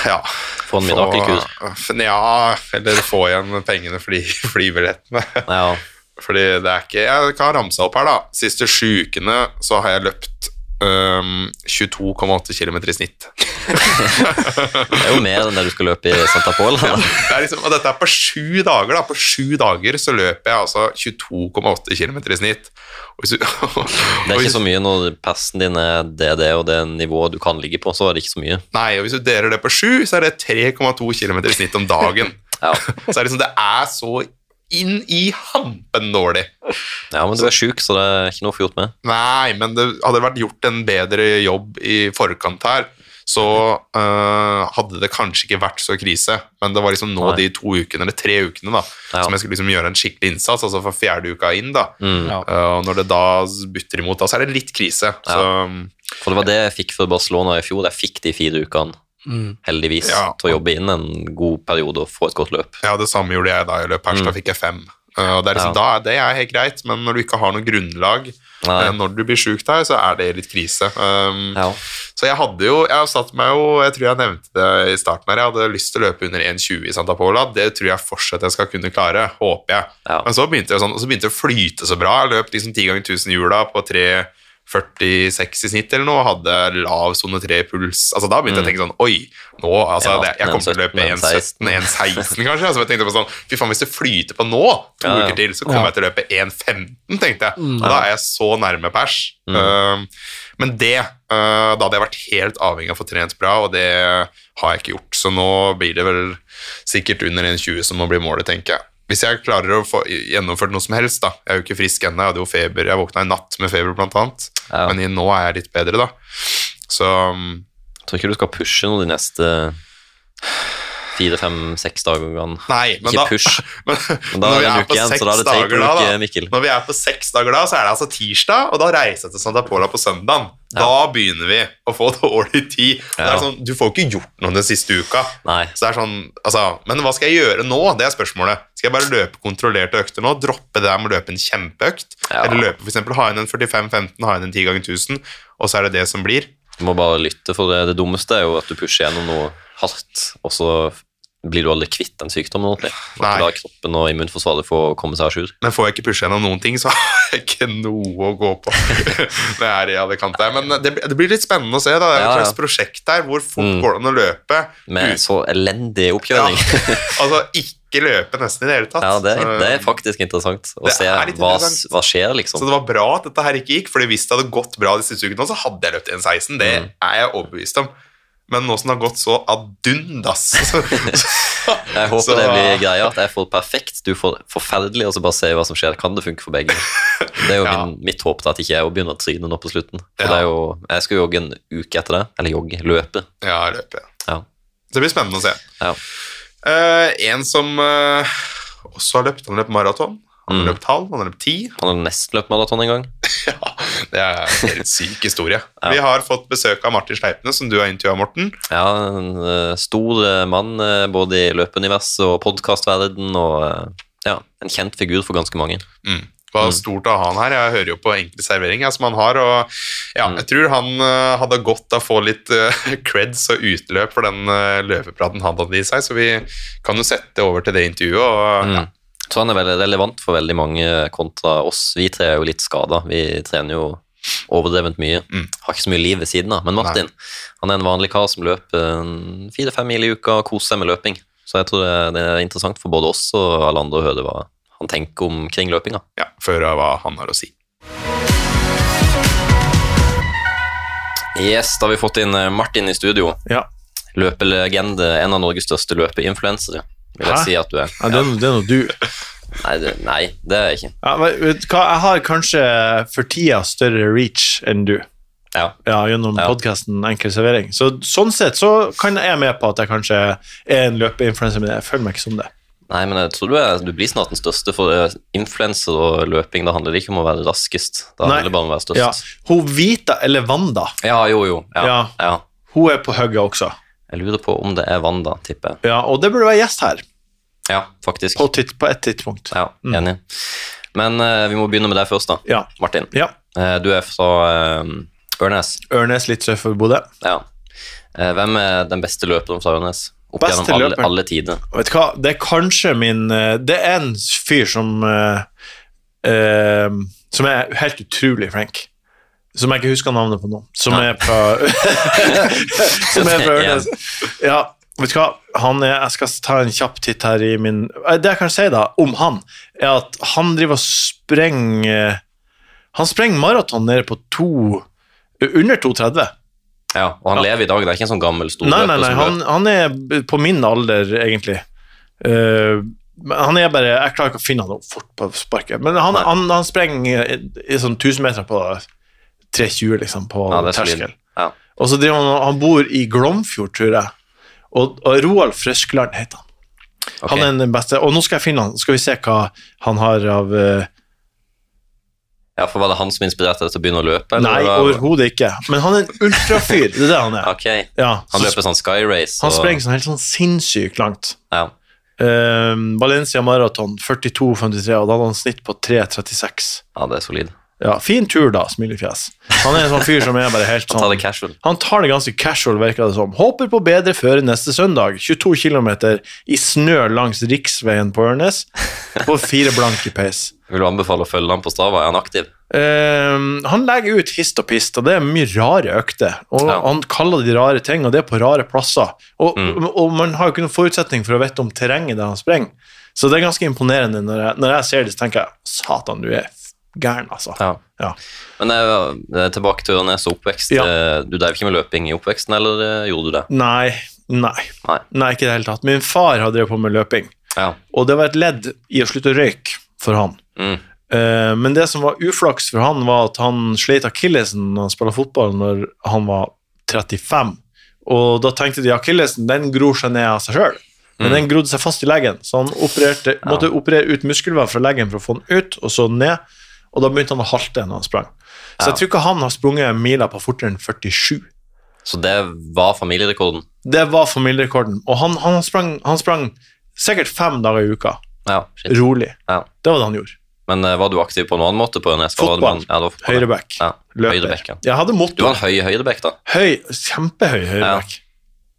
Speaker 3: Ja.
Speaker 2: få en mirakelkur?
Speaker 3: Få- Ja, eller få igjen pengene for de flybillettene.
Speaker 2: Ja.
Speaker 3: Fordi det er ikke Jeg kan ramse opp her, da. Siste sju ukene så har jeg løpt øhm, 22,8 km i snitt.
Speaker 2: Det er jo mer enn det du skal løpe i Santa Pola. Da.
Speaker 3: Det er liksom, og dette er på sju dager, da. På sju dager så løper jeg altså 22,8 km i snitt. Og hvis,
Speaker 2: Det er ikke så mye når persen din er det, det og det nivået sånn. du kan ligge på, så er det ikke så mye.
Speaker 3: Nei, og hvis du deler det på sju, så er det 3,2 km i snitt om dagen.
Speaker 2: Ja.
Speaker 3: Så er det liksom, det er så inn i hampen dårlig.
Speaker 2: ja, men du er sjuk, så det er ikke noe å få gjort med.
Speaker 3: Nei, men det hadde vært gjort en bedre jobb i forkant her, så øh, hadde det kanskje ikke vært så krise. Men det var liksom nå
Speaker 2: Nei.
Speaker 3: de to ukene, eller tre ukene, da,
Speaker 2: Ja.
Speaker 3: som jeg skulle liksom gjøre en skikkelig innsats, altså for fjerde uka inn, da.
Speaker 2: Mm.
Speaker 1: Ja.
Speaker 3: Øh, og når det da butter imot, da, så er det litt krise. Så
Speaker 2: For det var det jeg fikk for Barcelona i fjor. Jeg fikk de fire ukene,
Speaker 1: Mm.
Speaker 2: heldigvis,
Speaker 3: Ja.
Speaker 2: til å jobbe inn en god periode og få et godt løp.
Speaker 3: eh, ja, det samme gjorde jeg da i løpet her, så da fikk jeg fem. Øh, og det er liksom,
Speaker 2: Mm. Ja.
Speaker 3: da er det er helt greit, men når du ikke har noe grunnlag,
Speaker 2: Nei.
Speaker 3: øh, når du blir syk der, så er det litt krise. Um,
Speaker 2: Ja.
Speaker 3: Så jeg hadde jo, jeg satt meg jo, jeg tror jeg nevnte det i starten her, jeg hadde lyst til å løpe under 1,20 i Santa Pola, det tror jeg fortsatt jeg skal kunne klare, håper jeg.
Speaker 2: Ja.
Speaker 3: Men så begynte det sånn, og så begynte det å flyte så bra, jeg løp liksom 10 ganger 1000 hjula på 3,46 i snitt eller noe, og hadde lav zone 3 puls, altså da begynte jeg å tenke sånn, oi, nå, altså,
Speaker 2: Mm. Ja,
Speaker 3: det, jeg kommer til å løpe
Speaker 2: 1,17,
Speaker 3: 1,17, 1,16 kanskje, altså jeg tenkte på sånn, fy faen, hvis det flyter på nå, to
Speaker 2: Ja, ja.
Speaker 3: uker til, så kommer
Speaker 1: Ja.
Speaker 3: jeg til å løpe 1,15, tenkte jeg, og da er jeg så nærme pers.
Speaker 2: Mm.
Speaker 3: Um, men det eh, Da hadde jeg vært helt avhengig av å få trent bra, og det har jeg ikke gjort. Så nå blir det vel sikkert under 1,20 som må bli målet, tenker jeg. Hvis jeg klarer å få gjennomført noe som helst, da. Jeg er jo ikke frisk ennå, jeg hadde jo feber. Jeg våkna i natt med feber, blant annet.
Speaker 2: Ja.
Speaker 3: Men i, nå er jeg litt bedre, da. Så mm,
Speaker 2: Jeg tror ikke du skal pushe noe de neste fire, fem, seks dagene.
Speaker 3: Nei, men
Speaker 2: Ikke
Speaker 3: da
Speaker 2: push.
Speaker 3: Men,
Speaker 2: Men da
Speaker 3: når
Speaker 2: er
Speaker 3: vi
Speaker 2: det en
Speaker 3: er
Speaker 2: uke
Speaker 3: på
Speaker 2: igjen,
Speaker 3: seks
Speaker 2: så da er det
Speaker 3: dager
Speaker 2: taper
Speaker 3: da,
Speaker 2: uke,
Speaker 3: da,
Speaker 2: Mikkel.
Speaker 3: når vi er på seks dager da, så er det altså tirsdag, og da reiser jeg til Santa Pola på søndagen. Da begynner vi å få dårlig tid. Og Det
Speaker 2: Ja.
Speaker 3: er sånn, du får ikke gjort noe den siste uka.
Speaker 2: Nei.
Speaker 3: Så det er sånn, altså, men hva skal jeg gjøre nå? Det er spørsmålet. Skal jeg bare løpe kontrollerte økter nå? Droppe det der med å løpe en kjempeøkt?
Speaker 2: Ja.
Speaker 3: Eller løpe for eksempel, ha inn en 45-15, ha inn en 10 ganger 1000, og så er det det som blir?
Speaker 2: Du må bare lytte, for det, det dummeste er jo at du pusher gjennom noe hardt, og så blir du aldri kvitt den sykdommen ordentlig. Og
Speaker 3: Nei.
Speaker 2: ikke lar kroppen og immunforsvaret få komme seg à jour.
Speaker 3: Men får jeg ikke pushe gjennom noen ting, så har jeg ikke noe å gå på. det er i Alicante. Men det, det blir litt spennende å se. Da.
Speaker 2: Ja,
Speaker 3: Det er et
Speaker 2: ja.
Speaker 3: slags prosjekt der. Hvor fort
Speaker 2: Mm.
Speaker 3: går det an å løpe?
Speaker 2: Med
Speaker 3: uten-
Speaker 2: så elendig
Speaker 3: ja,
Speaker 2: oppkjøring. Ja,
Speaker 3: altså, ikke løpe nesten i det hele tatt.
Speaker 2: det,
Speaker 3: Så-
Speaker 2: det er faktisk interessant å
Speaker 3: øh, Det
Speaker 2: se
Speaker 3: er litt
Speaker 2: hva,
Speaker 3: interessant.
Speaker 2: hva skjer,
Speaker 3: så
Speaker 2: liksom.
Speaker 3: det var bra at dette her ikke gikk, Fordi hvis det hadde gått bra de siste ukene, så hadde jeg løpt 1,16. Det
Speaker 2: Mm.
Speaker 3: er jeg overbevist om. Men nå som det har gått så ad undas så,
Speaker 2: Jeg håper
Speaker 3: så-
Speaker 2: det blir greia, at jeg får perfekt, du får forferdelig, og så bare se hva som skjer. Kan det funke for begge? Det er jo
Speaker 3: Ja.
Speaker 2: min, mitt håp da, at ikke jeg også begynner å tryne nå på slutten. For
Speaker 3: Ja.
Speaker 2: det er jo, jeg skal jogge en uke etter det, eller jogge, løpe.
Speaker 3: Ja, løpe.
Speaker 2: Ja.
Speaker 3: Så det blir spennende å se.
Speaker 2: Ja.
Speaker 3: Eh, en som eh, også har løpt, han har løpt maraton. Han har
Speaker 2: Mm.
Speaker 3: løpt halv, han har løpt ti.
Speaker 2: Han hadde nesten løpt maraton en gang.
Speaker 3: Ja, det er en helt syk historie. Vi har fått besøk av Martin Sleipne, som du har intervjua, Morten.
Speaker 2: Ja, en eh, stor eh, mann eh, både i løpeuniverset og podkastverden, og eh, ja, en kjent figur for ganske mange.
Speaker 3: Det
Speaker 2: Mm.
Speaker 3: var Mm. stort å ha han her. Jeg hører jo på enkle serveringer som han har. Og ja,
Speaker 2: Mm.
Speaker 3: jeg tror han eh, hadde godt av å få litt eh, creds og utløp for den eh, løpepraten han hadde i seg, så vi kan jo sette over til det intervjuet. Og,
Speaker 2: Mm. Så han er veldig relevant for veldig mange kontra oss. Vi tre er jo litt skada. Vi trener jo overdrevent mye.
Speaker 3: Mm.
Speaker 2: Har ikke så mye liv ved siden av. Men Martin han er en vanlig kar som løper en fire-fem mil i uka og koser seg med løping. Så jeg tror det det er interessant for både oss og alle andre å høre hva han tenker omkring løpinga.
Speaker 3: ja, Før av hva han har å si.
Speaker 2: Yes, da har vi fått inn eh, Martin i studio.
Speaker 4: Ja.
Speaker 2: Løpelegende, en av Norges største løpeinfluensere, vil jeg
Speaker 4: Hæ?
Speaker 2: si at du er.
Speaker 4: Ja, det, er noe- det er noe du
Speaker 2: Nei, det, nei, det er jeg ikke.
Speaker 4: ja, men vet du hva, Jeg har kanskje for tida større reach enn du
Speaker 2: Ja.
Speaker 4: ja, gjennom
Speaker 2: Ja.
Speaker 4: podkasten Enkel servering. Så Sånn sett så kan jeg være med på at jeg kanskje er en løpeinfluenser, men jeg føler meg ikke som det.
Speaker 2: Nei, men jeg tror du, er, du blir snart den største, for eh, influenser og løping, da handler det ikke om å være raskest. Da
Speaker 4: Nei.
Speaker 2: handler det bare om å være
Speaker 4: Ja.
Speaker 2: størst.
Speaker 4: Hun Vita eller Wanda,
Speaker 2: Ja, jo, jo. Ja. Ja.
Speaker 4: Ja. hun er på hugget også.
Speaker 2: Jeg lurer på om det er Wanda, tipper jeg.
Speaker 4: Ja, Og det burde være gjest her,
Speaker 2: Ja, faktisk.
Speaker 4: på, titt, på et tidspunkt.
Speaker 2: Ja, enig. Men eh, vi må begynne med deg først, da.
Speaker 4: Ja.
Speaker 2: Martin,
Speaker 4: ja.
Speaker 2: Eh, du er fra eh, Ørnes.
Speaker 4: Ørnes litt sør for Bodø.
Speaker 2: Ja. Eh, Hvem er den beste løperen fra Ørnes? Opp
Speaker 4: Beste
Speaker 2: gjennom alle,
Speaker 4: løperen?
Speaker 2: alle tider.
Speaker 4: Vet du hva, det er kanskje min eh, Det er en fyr som eh, eh, Som er helt utrolig flink. Som jeg ikke husker navnet på nå. Som
Speaker 2: Nei.
Speaker 4: er fra Som er fra
Speaker 2: Ja.
Speaker 4: Ørnes. Ja, vet du hva, han er Jeg skal ta en kjapp titt her i min eh, Det jeg kan si da, om han, er at han driver og sprenger eh, Han sprenger maraton nede på to Under 2,30.
Speaker 2: Ja, og han lever i dag, det er ikke en sånn gammel stor
Speaker 4: Nei,
Speaker 2: løper
Speaker 4: nei, nei,
Speaker 2: som
Speaker 4: han, han er på min alder, egentlig. Eh, men han er bare Jeg klarer ikke å finne han opp fort på sparket. Men han,
Speaker 2: Nei.
Speaker 4: han, han sprenger i, i sånn 1000 meter på 320, liksom, på
Speaker 2: Ja, det er solid.
Speaker 4: terskel.
Speaker 2: Ja.
Speaker 4: Og så driver han Han bor i Glomfjord, tror jeg. Og, og Roalf Røskeland heter han.
Speaker 2: Ok.
Speaker 4: Han er den beste. Og nå skal jeg finne han. Skal vi se hva han har av eh,
Speaker 2: ja, for Var det han som inspirerte deg til å begynne å løpe? eller
Speaker 4: Nei,
Speaker 2: var-
Speaker 4: overhodet ikke. Men han er en ultrafyr. Det er det han er.
Speaker 2: Ok,
Speaker 4: Ja.
Speaker 2: Han løper sånn Sky Race.
Speaker 4: Han sprenger sånn helt sånn sinnssykt langt.
Speaker 2: Ja.
Speaker 4: Ehm, Valencia Marathon 42,53, og da hadde han snitt på 3,36.
Speaker 2: ja, det er solid.
Speaker 4: Ja, fin tur, da, smilefjes. Han er en sånn fyr som er bare helt
Speaker 2: Ta det
Speaker 4: sånn
Speaker 2: casual.
Speaker 4: Han tar det ganske casual, virker det som. Håper på bedre føre neste søndag. 22 km i snø langs riksveien på Ørnes på fire blanke pace.
Speaker 2: Vil du anbefale å følge han på Strava? Er han aktiv?
Speaker 4: Ehm, han legger ut hist og pist, og det er mye rare økter. Og
Speaker 2: Ja.
Speaker 4: han kaller de rare ting, og det er på rare plasser. Og,
Speaker 2: Mm.
Speaker 4: og man har jo ikke noen forutsetning for å vite om terrenget der han sprenger. Så det er ganske imponerende når jeg, når jeg ser det, så tenker jeg satan, du er f- gæren, altså.
Speaker 2: Ja.
Speaker 4: Ja.
Speaker 2: Men eh, tilbake til Ørnes og oppvekst.
Speaker 4: Ja.
Speaker 2: Eh, Du drev ikke med løping i oppveksten, eller eh, gjorde du det?
Speaker 4: Nei, nei,
Speaker 2: Nei.
Speaker 4: nei, ikke i det hele tatt. Min far har drevet på med løping,
Speaker 2: Ja.
Speaker 4: og det var et ledd i å slutte å røyke for han.
Speaker 2: Mm.
Speaker 4: Eh, Men det som var uflaks for han, var at han slet akillesen når han spilte fotball når han var 35. Og da tenkte de akillesen den gror seg ned av seg sjøl. Men
Speaker 2: Mm.
Speaker 4: den grodde seg fast i leggen, så han opererte, måtte operere ut muskelvev fra leggen for å få den ut, og så ned. Og da begynte han å halte når han sprang. Så
Speaker 2: Ja.
Speaker 4: jeg tror ikke han har sprunget mila på fortere enn 47.
Speaker 2: Så det var familierekorden?
Speaker 4: Det var familierekorden. Og han, han, sprang, han sprang sikkert fem dager i uka,
Speaker 2: Ja. shit.
Speaker 4: rolig.
Speaker 2: Ja.
Speaker 4: Det var det han gjorde.
Speaker 2: Men eh, var du aktiv på noen annen måte på Ørnes? Hva var det
Speaker 4: Fotball.
Speaker 2: man- Ja, det var fotball.
Speaker 4: Høyrebekk.
Speaker 2: Ja.
Speaker 4: Løper.
Speaker 2: Høyrebekk, ja.
Speaker 4: Jeg hadde motto.
Speaker 2: Du var en høy høyrebekk, da.
Speaker 4: Høy, kjempehøy høyreback.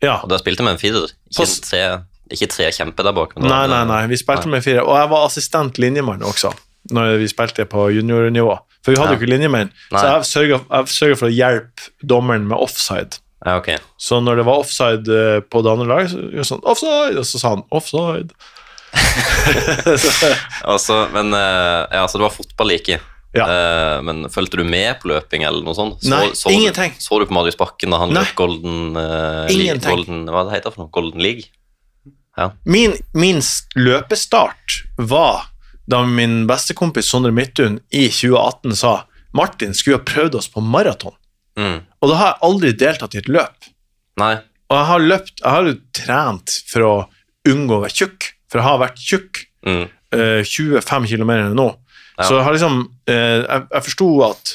Speaker 4: Ja.
Speaker 2: Og der spilte vi en firer. Ikke,
Speaker 4: Pass.
Speaker 2: en tre, ikke tre kjempe der bak. men det
Speaker 4: Nei,
Speaker 2: var-
Speaker 4: nei, nei. Vi spilte med fire. Og jeg var assistent linjemann også, når vi spilte på juniornivå. For vi hadde
Speaker 2: Ja.
Speaker 4: jo ikke linjemenn, så
Speaker 2: Nei.
Speaker 4: jeg sørga jeg sørget for å hjelpe dommeren med offside.
Speaker 2: Ja, ok.
Speaker 4: Så når det var offside eh, på det andre laget, så gjorde jeg sånn Offside! Og så sa han offside.
Speaker 2: Altså, men, eh, ja, så det var fotball like.
Speaker 4: Ja.
Speaker 2: Eh, men fulgte du med på løping eller noe sånt? Så,
Speaker 4: Nei,
Speaker 2: så
Speaker 4: ingenting.
Speaker 2: Du, så du på Marius Bakken da han
Speaker 4: Nei.
Speaker 2: løp Golden eh, League-
Speaker 4: Ingenting.
Speaker 2: Golden, Hva det heter det for noe? Golden League?
Speaker 4: Min, min s- løpestart var da min bestekompis Sondre Midtun i 2018 sa Martin skulle ha prøvd oss på maraton.
Speaker 2: Mm.
Speaker 4: Og da har jeg aldri deltatt i et løp.
Speaker 2: Nei.
Speaker 4: Og jeg har løpt Jeg har jo trent for å unngå å være tjukk, for jeg har vært tjukk
Speaker 2: Mm.
Speaker 4: eh, 25 km nå.
Speaker 2: Ja.
Speaker 4: Så jeg har liksom eh, Jeg, jeg forsto at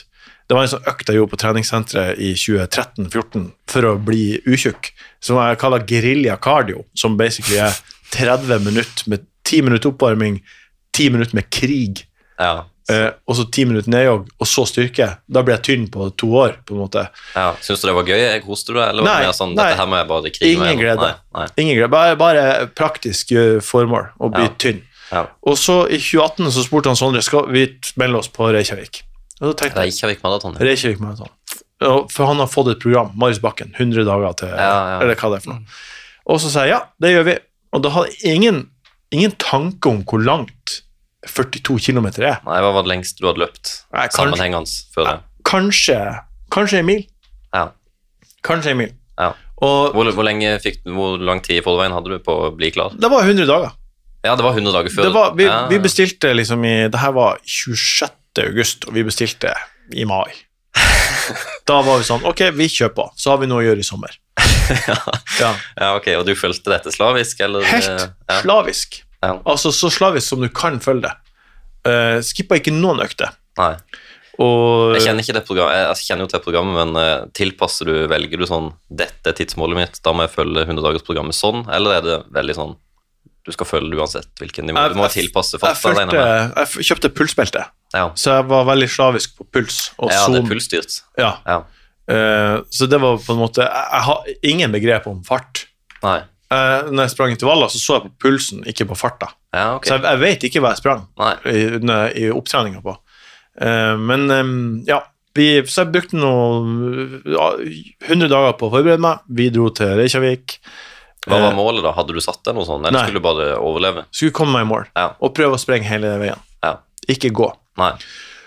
Speaker 4: det var en sånn økt jeg gjorde på treningssenteret i 2013-2014 for å bli utjukk, som jeg kaller gerilja cardio, som basically er 30 minutter med 10 minutter oppvarming, 10 minutter med krig,
Speaker 2: Ja.
Speaker 4: eh, og så 10 minutter nedjogg, og så styrke. Da ble jeg tynn på to år, på en måte.
Speaker 2: ja. Syns du det var gøy? Jeg koste du deg? Eller var
Speaker 4: Nei,
Speaker 2: det mer sånn,
Speaker 4: nei.
Speaker 2: dette her må jeg bare krige
Speaker 4: Ingen
Speaker 2: med?
Speaker 4: glede.
Speaker 2: Nei, nei.
Speaker 4: Ingen greie, bare, bare praktisk eh, formål å bli
Speaker 2: Ja.
Speaker 4: tynn.
Speaker 2: Ja.
Speaker 4: Og så i 2018 så spurte han Sondre skal vi melde oss på Reykjavik. Og da tenkte jeg
Speaker 2: Reykjavik Marathon. ja.
Speaker 4: Reykjavik Marathon. Og- For han har fått et program, Marius Bakken, 100 dager til
Speaker 2: Ja, ja.
Speaker 4: Eller hva det er for noe. Og så sa jeg ja, det gjør vi. Og da hadde jeg ingen, ingen tanke om hvor langt 42 km er.
Speaker 2: Nei, hva var det lengst du hadde løpt
Speaker 4: Nei, kanskje-
Speaker 2: sammenhengende før det?
Speaker 4: Kanskje, kanskje en mil.
Speaker 2: Ja.
Speaker 4: Kanskje en mil.
Speaker 2: Ja.
Speaker 4: Og
Speaker 2: Hvor, hvor, lenge fikk, hvor lang tid i forveien hadde du på å bli klar?
Speaker 4: det var 100 dager.
Speaker 2: Ja, det var 100 dager før.
Speaker 4: Det var, vi,
Speaker 2: ja.
Speaker 4: vi bestilte liksom i Det her var 26. august, og vi bestilte i mai. Da var vi sånn Ok, vi kjøper på. Så har vi noe å gjøre i sommer. Ja.
Speaker 2: ja, ok, Og du fulgte dette slavisk, eller?
Speaker 4: Helt
Speaker 2: ja.
Speaker 4: slavisk.
Speaker 2: Ja.
Speaker 4: Altså så slavisk som du kan følge det. Uh, Skippa ikke noen økter.
Speaker 2: Nei.
Speaker 4: Og
Speaker 2: Jeg kjenner ikke det programmet, jeg, altså, jeg kjenner jo til programmet, men eh, tilpasser du, velger du sånn 'Dette er tidsmålet mitt, da må jeg følge 100-dagersprogrammet sånn', eller er det veldig sånn du skal følge det uansett hvilken nivå? Du må
Speaker 4: Jeg-
Speaker 2: tilpasse
Speaker 4: jeg,
Speaker 2: farta, regner
Speaker 4: følte,
Speaker 2: jeg med.
Speaker 4: jeg f- kjøpte pulsbelte,
Speaker 2: Ja.
Speaker 4: så jeg var veldig slavisk på puls. Og
Speaker 2: ja, det
Speaker 4: zoom.
Speaker 2: er pulsstyrt.
Speaker 4: Ja.
Speaker 2: Ja.
Speaker 4: Eh, så det var på en måte Jeg, jeg har ingen begrep om fart.
Speaker 2: Nei.
Speaker 4: Eh, når jeg sprang intervaller, så så jeg på pulsen, ikke på farta.
Speaker 2: Ja, ok.
Speaker 4: Så jeg, jeg vet ikke hva jeg sprang
Speaker 2: Nei.
Speaker 4: i, når- i opptreninga på. Eh, men eh, ja, vi, så jeg brukte noe ja, 100 dager på å forberede meg. Vi dro til Reykjavik.
Speaker 2: Hva
Speaker 4: Eh,
Speaker 2: var målet, da? Hadde du satt deg noe sånt, eller
Speaker 4: nei.
Speaker 2: skulle du bare overleve?
Speaker 4: Skulle komme meg i mål
Speaker 2: Ja.
Speaker 4: og prøve å sprenge hele veien.
Speaker 2: Ja.
Speaker 4: Ikke gå. Mm.
Speaker 2: Nei.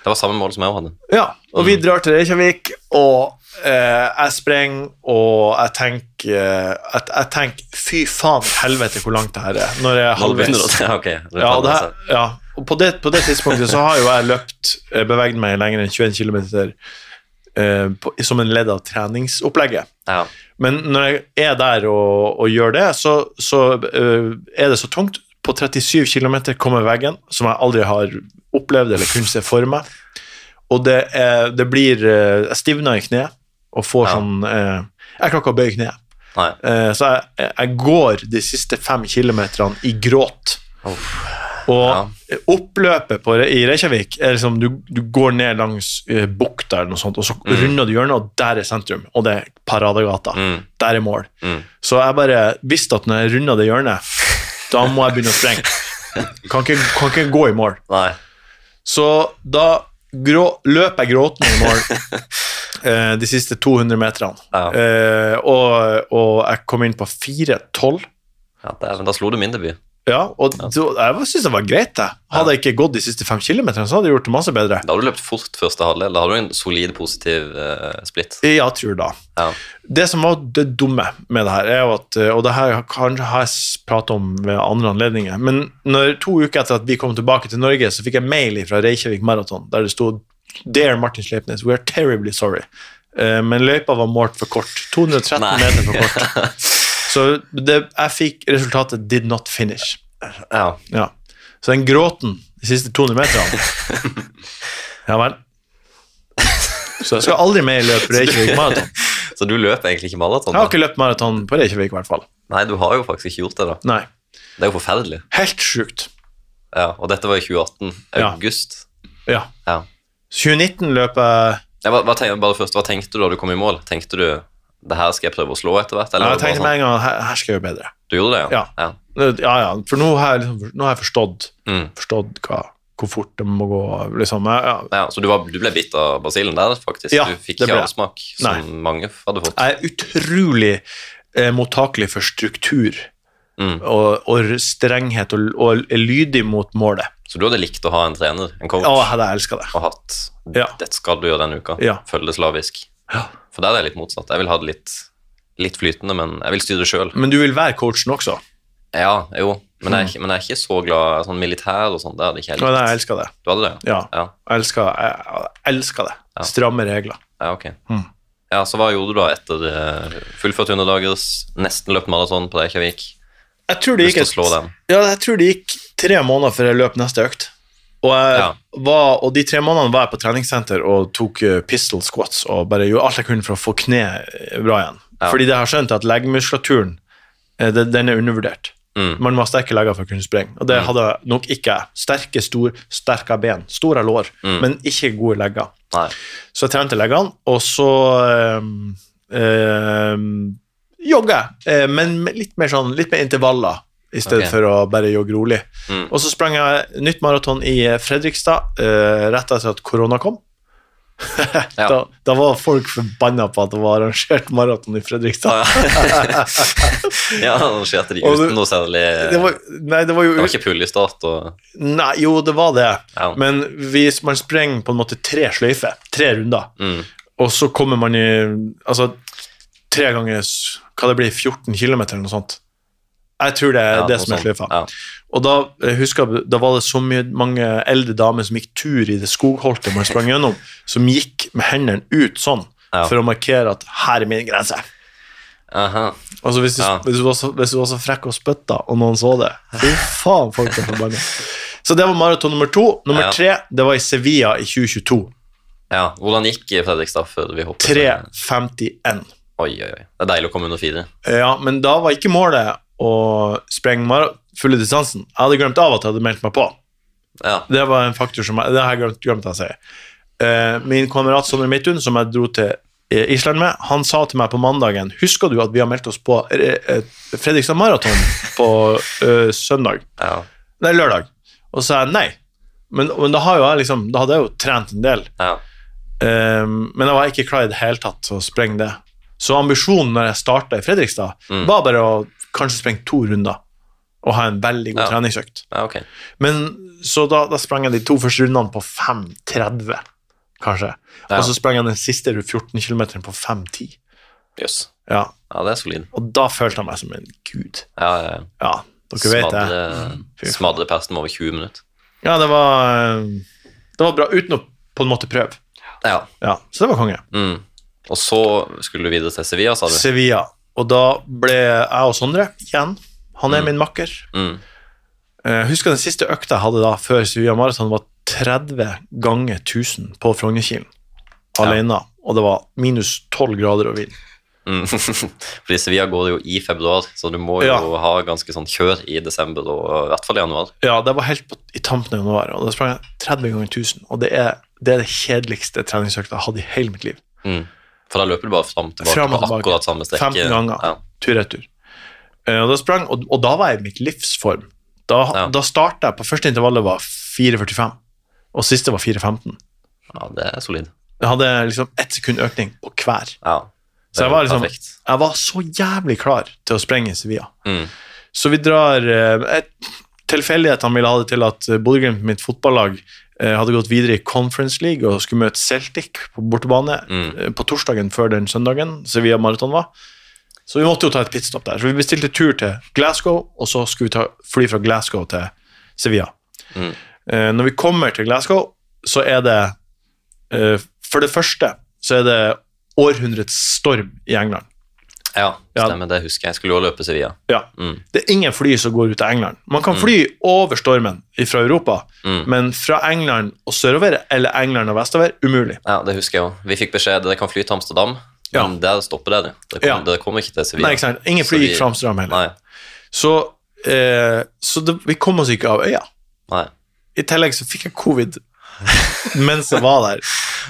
Speaker 2: Det var samme mål som jeg hadde.
Speaker 4: Ja, og vi drar til Reykjavik, og eh, jeg sprenger, og jeg tenker eh, jeg, jeg tenker, fy faen helvete hvor langt det her er, når jeg er
Speaker 2: Nå begynner
Speaker 4: halvveis.
Speaker 2: du å- Ja, ok. Det er
Speaker 4: Ja, og, det her,
Speaker 2: halvveis,
Speaker 4: ja. og på, det, på det tidspunktet så har jo jeg løpt, eh, beveget meg lenger enn 21 km eh, på, som en ledd av treningsopplegget.
Speaker 2: ja. Ja.
Speaker 4: Men når jeg er der og, og gjør det, så, så øh, er det så tungt. På 37 km kommer veggen, som jeg aldri har opplevd eller kunnet se for meg. Og det, er, det blir øh, Jeg stivner i kneet og får
Speaker 2: Ja.
Speaker 4: sånn øh, Jeg klarer ikke å bøye kneet.
Speaker 2: Nei.
Speaker 4: Eh, så jeg, jeg går de siste fem kilometerne i gråt. Og oppløpet på, Re- i Reykjavik er liksom du, du går ned langs eh, bukta eller noe sånt, og så runder du hjørnet, og der er sentrum. Og det er Paradegata.
Speaker 2: Mm.
Speaker 4: Der er mål.
Speaker 2: Mm.
Speaker 4: Så jeg bare visste at når jeg runda det hjørnet, da må jeg begynne å sprenge. Kan ikke, kan ikke gå i mål.
Speaker 2: Nei.
Speaker 4: Så da grå, løp jeg gråtende i mål eh, de siste 200 meterne.
Speaker 2: Ja.
Speaker 4: Eh, og, og jeg kom inn på 4.12.
Speaker 2: Ja, dæven, da slo du min debut.
Speaker 4: Ja, og da- jeg syns det var greit, det. Hadde jeg ikke gått de siste fem kilometerne, så hadde jeg gjort det masse bedre.
Speaker 2: Da har du løpt fort første halvdel. Da har du en solid positiv eh, splitt.
Speaker 4: Ja, tror da.
Speaker 2: Ja.
Speaker 4: Det som var det dumme med det her, er jo at eh, Og det her kan- har jeg pratet om ved andre anledninger, men når, to uker etter at vi kom tilbake til Norge, så fikk jeg mail fra Reykjavik Marathon der det stod Dear Martin Sleipnes, we are terribly sorry. Eh, Men løypa var målt for kort. 213
Speaker 2: Nei.
Speaker 4: meter for kort. Så det, jeg fikk resultatet 'did not finish'.
Speaker 2: Ja.
Speaker 4: Ja. Så den gråten de siste 200 meterne Ja vel. Så jeg skal aldri mer løpe Reykjavik Marathon.
Speaker 2: Så du løp egentlig ikke maraton?
Speaker 4: Jeg har
Speaker 2: da?
Speaker 4: ikke løpt maraton på Reykjavik, i hvert fall.
Speaker 2: Nei, du har jo faktisk ikke gjort det, da.
Speaker 4: Nei.
Speaker 2: Det er jo forferdelig.
Speaker 4: Helt sjukt.
Speaker 2: Ja, Og dette var i 2018.
Speaker 4: Ja.
Speaker 2: August.
Speaker 4: Ja.
Speaker 2: Ja.
Speaker 4: 2019 løp jeg
Speaker 2: Nei, hva, hva, tenkte, bare først, hva tenkte du da du kom i mål? Tenkte du det her skal jeg prøve å slå etter hvert?
Speaker 4: Jeg
Speaker 2: var det
Speaker 4: tenkte
Speaker 2: bare
Speaker 4: med en gang at her, her skal jeg gjøre bedre.
Speaker 2: sånn, Du gjorde det, ja?
Speaker 4: Ja. Ja, ja, for nå har jeg, liksom, nå har jeg forstått,
Speaker 2: Mm.
Speaker 4: forstått hva, hvor fort det må gå. Liksom. Jeg, ja.
Speaker 2: Ja, så du, var, du ble bitt av basillen der, faktisk?
Speaker 4: Ja,
Speaker 2: du fikk
Speaker 4: det
Speaker 2: ikke
Speaker 4: ble jeg.
Speaker 2: avsmak, som mange hadde fått?
Speaker 4: jeg er utrolig eh, mottakelig for struktur
Speaker 2: Mm.
Speaker 4: og, og strenghet, og, og er lydig mot målet.
Speaker 2: Så du hadde likt å ha en trener, en coach,
Speaker 4: Å, jeg hadde elska det.
Speaker 2: og hatt
Speaker 4: Ja.
Speaker 2: Dette skal du gjøre denne uka.
Speaker 4: Ja.
Speaker 2: Følg det slavisk.
Speaker 4: Ja.
Speaker 2: For der er jeg litt motsatt. Jeg vil ha det litt, litt flytende, men jeg vil styre det sjøl.
Speaker 4: Men du vil være coachen også?
Speaker 2: Ja, jo, men jeg, er ikke- men jeg er ikke så glad sånn militær og sånn. Det hadde ikke jeg
Speaker 4: Ja, nei, jeg
Speaker 2: likt.
Speaker 4: elsker det.
Speaker 2: Du hadde det?
Speaker 4: Ja,
Speaker 2: Ja,
Speaker 4: jeg elsker, jeg, jeg elsker det.
Speaker 2: Ja.
Speaker 4: Stramme regler.
Speaker 2: ja ok.
Speaker 4: Mm.
Speaker 2: Ja, Så hva gjorde du da etter eh, fullført 100 dagers, nesten løpt maraton på Reykjavik?
Speaker 4: Jeg tror det
Speaker 2: Lyst
Speaker 4: gikk
Speaker 2: til å
Speaker 4: et-
Speaker 2: slå den.
Speaker 4: Ja, jeg tror det gikk tre måneder før jeg løp neste økt. Og, jeg
Speaker 2: Ja.
Speaker 4: var, og de tre månedene var jeg på treningssenter og tok eh, pistol squats og bare gjorde alt jeg kunne for å få kneet eh, bra igjen.
Speaker 2: Ja.
Speaker 4: Fordi jeg har skjønt at leggmuskulaturen eh, det- den er undervurdert.
Speaker 2: Mm.
Speaker 4: Man må ha sterke legger for å kunne sprenge, og det hadde nok ikke jeg. Sterke, stor, sterke ben, store lår,
Speaker 2: Mm.
Speaker 4: men ikke gode legger.
Speaker 2: Nei.
Speaker 4: Så jeg trente leggene, og så ehm, ehm, jogga jeg, eh, men med litt mer, sånn, litt mer intervaller, i stedet
Speaker 2: Ok.
Speaker 4: for å bare jogge rolig.
Speaker 2: Mm.
Speaker 4: Og så sprang jeg nytt maraton i eh, Fredrikstad eh, rett etter at korona kom. Da, da var folk forbanna på at det var arrangert maraton i Fredrikstad.
Speaker 2: Ja, arrangerte de
Speaker 4: Og det-
Speaker 2: uten noe særlig
Speaker 4: Det var, nei, det var jo
Speaker 2: Det var ikke puljestart og
Speaker 4: Nei, jo, det var det.
Speaker 2: Ja.
Speaker 4: Men hvis man sprenger på en måte tre sløyfer, tre runder,
Speaker 2: mm.
Speaker 4: Og så kommer man i altså, tre ganger s- hva det blir, 14 km eller noe sånt. Jeg tror det er
Speaker 2: Ja,
Speaker 4: det
Speaker 2: noe
Speaker 4: som er
Speaker 2: sånt.
Speaker 4: sløyfa.
Speaker 2: Ja.
Speaker 4: Og da jeg husker jeg, da var det så mye, mange eldre damer som gikk tur i det skogholtet man sprang gjennom, som gikk med hendene ut sånn
Speaker 2: Ja.
Speaker 4: for å markere at her er min grense.
Speaker 2: Aha.
Speaker 4: Altså hvis du,
Speaker 2: Ja.
Speaker 4: hvis, du var så, hvis du var så frekk og spytta, og noen så det Fy faen, folk er forbanna. Så det var maraton nummer to. Nummer
Speaker 2: Ja.
Speaker 4: tre det var i Sevilla i 2022.
Speaker 2: ja. Hvordan gikk Fredrikstad før vi hoppet?
Speaker 4: 3.51.
Speaker 2: Oi, oi, oi. Det er deilig å komme under fire.
Speaker 4: Ja, men da var ikke målet å sprenge mara- fulle distansen. Jeg hadde glemt av at jeg hadde meldt meg på.
Speaker 2: Ja.
Speaker 4: Det var en faktor som jeg, det har jeg glemt, glemt å si. Eh, min kamerat Sondre Midtun, som jeg dro til eh, Island med, han sa til meg på mandagen Husker du at vi har meldt oss på eh, eh, Fredrikstad Maraton på eh, søndag?
Speaker 2: ja.
Speaker 4: Nei, lørdag. Og så sa jeg nei. Men, men da, har jo jeg liksom, da hadde jeg jo trent en del.
Speaker 2: ja.
Speaker 4: Um, men jeg var ikke klar i det hele tatt til å sprenge det. Så ambisjonen når jeg starta i Fredrikstad,
Speaker 2: Mm.
Speaker 4: var bare å kanskje sprenge to runder. og ha en veldig god
Speaker 2: Ja.
Speaker 4: treningsøkt.
Speaker 2: Ja, ok.
Speaker 4: Men så da, da sprang jeg de to første rundene på 5.30, kanskje.
Speaker 2: Ja.
Speaker 4: Og så sprang jeg den siste 14 km på 5.10.
Speaker 2: Jøss.
Speaker 4: Ja.
Speaker 2: Ja, det er solid.
Speaker 4: Og da følte jeg meg som en gud.
Speaker 2: Ja, ja, ja.
Speaker 4: Ja, dere vet det. Mm. Fy
Speaker 2: Smadre,
Speaker 4: faen.
Speaker 2: smadre pesten med over 20 minutter.
Speaker 4: Ja, det var, eh, det var bra, uten å på en måte prøve.
Speaker 2: Ja.
Speaker 4: Ja, så det var konge.
Speaker 2: Mm. Og så skulle du videre til Sevilla, sa du?
Speaker 4: Sevilla. Og da ble jeg og Sondre igjen. Han er
Speaker 2: Mm.
Speaker 4: min makker.
Speaker 2: Mm.
Speaker 4: Eh, Jeg husker den siste økta jeg hadde da før Sevilla Marathon, var 30 ganger 1000 på Frognerkilen alene. Og det var minus 12 grader og vind.
Speaker 2: Mm. Fordi Sevilla går jo i februar, så du må jo
Speaker 4: Ja.
Speaker 2: ha ganske sånn kjør i desember og i hvert fall i januar.
Speaker 4: Ja, det var helt på, i tampen av januar, og da sprang jeg 30 ganger 1000. Og det er det, er det kjedeligste treningsøkta jeg har hatt i hele mitt liv.
Speaker 2: Mm. For da løper du bare fram og tilbake
Speaker 4: Fram og
Speaker 2: på
Speaker 4: tilbake.
Speaker 2: akkurat samme strekke.
Speaker 4: 15 ganger.
Speaker 2: Ja.
Speaker 4: Tur-retur. Eh, Og da sprang, og, og da var jeg i mitt livsform. Da,
Speaker 2: Ja.
Speaker 4: da starta jeg på første intervallet var 4,45, og siste var 4,15.
Speaker 2: ja, det er solid.
Speaker 4: Jeg hadde liksom ett sekund økning på hver.
Speaker 2: Ja.
Speaker 4: Så jeg var liksom-
Speaker 2: Perfekt.
Speaker 4: Jeg var så jævlig klar til å sprenge Sevilla.
Speaker 2: Mm.
Speaker 4: Så vi drar eh, et, Tilfeldighetene ville ha det til at eh, Bodø-Glimt, mitt fotballag, eh, hadde gått videre i Conference League og skulle møte Celtic på bortebane
Speaker 2: Mm.
Speaker 4: eh, på torsdagen før den søndagen Sevilla Marathon var. Så vi måtte jo ta et pitstop der. Så vi bestilte tur til Glasgow, og så skulle vi ta fly fra Glasgow til Sevilla.
Speaker 2: Mm.
Speaker 4: Eh, når vi kommer til Glasgow, så er det eh, For det første så er det århundrets storm i England.
Speaker 2: Ja,
Speaker 4: Ja.
Speaker 2: stemmer, det husker jeg. Jeg skulle jo løpe Sevilla.
Speaker 4: Ja.
Speaker 2: Mm.
Speaker 4: Det er ingen fly som går ut av England. Man kan fly over stormen fra Europa,
Speaker 2: Mm.
Speaker 4: men fra England og sørover, eller England og vestover, umulig.
Speaker 2: Ja, det husker jeg òg. Vi fikk beskjed dere kan fly til Amsterdam,
Speaker 4: Ja.
Speaker 2: men der stopper dere. Dere
Speaker 4: Ja.
Speaker 2: kommer, dere kommer ikke til Sevilla.
Speaker 4: Nei, ikke sant? Ingen
Speaker 2: Så
Speaker 4: fly
Speaker 2: vi-
Speaker 4: gikk fra Amsterdam heller.
Speaker 2: Nei,
Speaker 4: Så, eh, så det, vi kom oss ikke av øya.
Speaker 2: nei.
Speaker 4: I tillegg så fikk jeg covid mens jeg var der.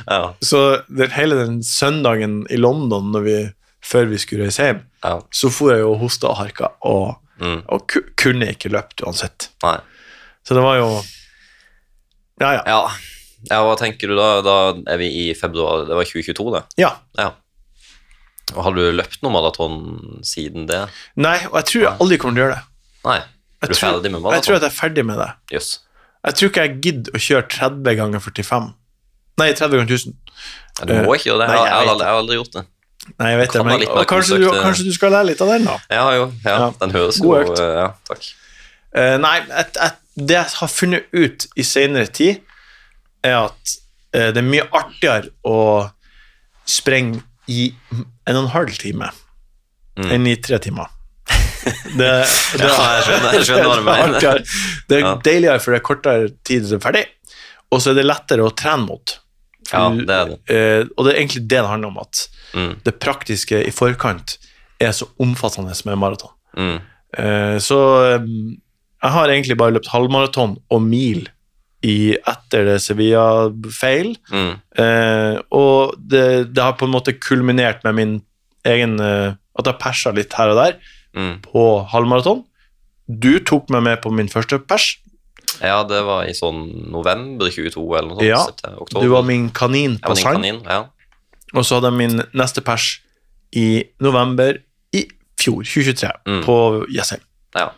Speaker 2: Ja.
Speaker 4: Så den, hele den søndagen i London når vi, før vi skulle reise hjem,
Speaker 2: ja.
Speaker 4: så for jeg jo og hosta og harka, og,
Speaker 2: Mm.
Speaker 4: og ku, kunne ikke løpt uansett.
Speaker 2: Nei.
Speaker 4: Så det var jo Ja, ja.
Speaker 2: Ja. ja, hva tenker du da? Da er vi i februar, det var 2022 det.
Speaker 4: ja.
Speaker 2: Ja. Og har du løpt noen maraton siden det?
Speaker 4: Nei, og jeg tror jeg aldri kommer til å gjøre det.
Speaker 2: Nei.
Speaker 4: Jeg
Speaker 2: Er du
Speaker 4: tror-
Speaker 2: ferdig med
Speaker 4: Jeg tror
Speaker 2: maraton?
Speaker 4: at jeg er ferdig med det.
Speaker 2: Jøss.
Speaker 4: Jeg tror ikke jeg gidder å kjøre 30 ganger 45. Nei, 30 ganger 1000.
Speaker 2: Ja, du må ikke gjøre det.
Speaker 4: Eh, Nei,
Speaker 2: Jeg, har- jeg,
Speaker 4: jeg vet
Speaker 2: har aldri- jeg har aldri gjort det.
Speaker 4: Nei, jeg vet
Speaker 2: Kan
Speaker 4: det,
Speaker 2: være
Speaker 4: men
Speaker 2: litt mer eh.
Speaker 4: kanskje, du,
Speaker 2: konsøkt, det.
Speaker 4: kanskje du skal lære litt av den, da?
Speaker 2: Jeg har jo, ja,
Speaker 4: Ja.
Speaker 2: Den høres
Speaker 4: God
Speaker 2: jo
Speaker 4: økt.
Speaker 2: eh, Ja, takk.
Speaker 4: Eh, nei, et, et, det jeg har funnet ut i senere tid, er at eh, det er mye artigere å sprenge i en og en halv time
Speaker 2: Mm.
Speaker 4: enn i tre timer. Det, det,
Speaker 2: jeg skjønner- jeg skjønner hva du mener.
Speaker 4: Det er, artigere. det er
Speaker 2: Ja.
Speaker 4: deiligere, for det er kortere tid til ferdig, og så er det lettere å trene mot.
Speaker 2: Ja, det er det.
Speaker 4: Eh, og det er egentlig det det handler om, at
Speaker 2: Mm.
Speaker 4: det praktiske i forkant er så omfattende med maraton.
Speaker 2: Mm.
Speaker 4: Eh, Så um, jeg har egentlig bare løpt halvmaraton og mil i etter det Sevilla-feil.
Speaker 2: Mm.
Speaker 4: Eh, og det, det har på en måte kulminert med min egen eh, At jeg persa litt her og der
Speaker 2: Mm.
Speaker 4: på halvmaraton. Du tok meg med på min første pers.
Speaker 2: Ja, det var i sånn november 22 eller noe sånt.
Speaker 4: Ja,
Speaker 2: september, oktober.
Speaker 4: Du var min kanin
Speaker 2: Jeg var
Speaker 4: på
Speaker 2: din
Speaker 4: sang.
Speaker 2: kanin, ja.
Speaker 4: Og så hadde jeg min neste pers i november i fjor, 2023,
Speaker 2: Mm.
Speaker 4: på Jessheim.
Speaker 2: ja.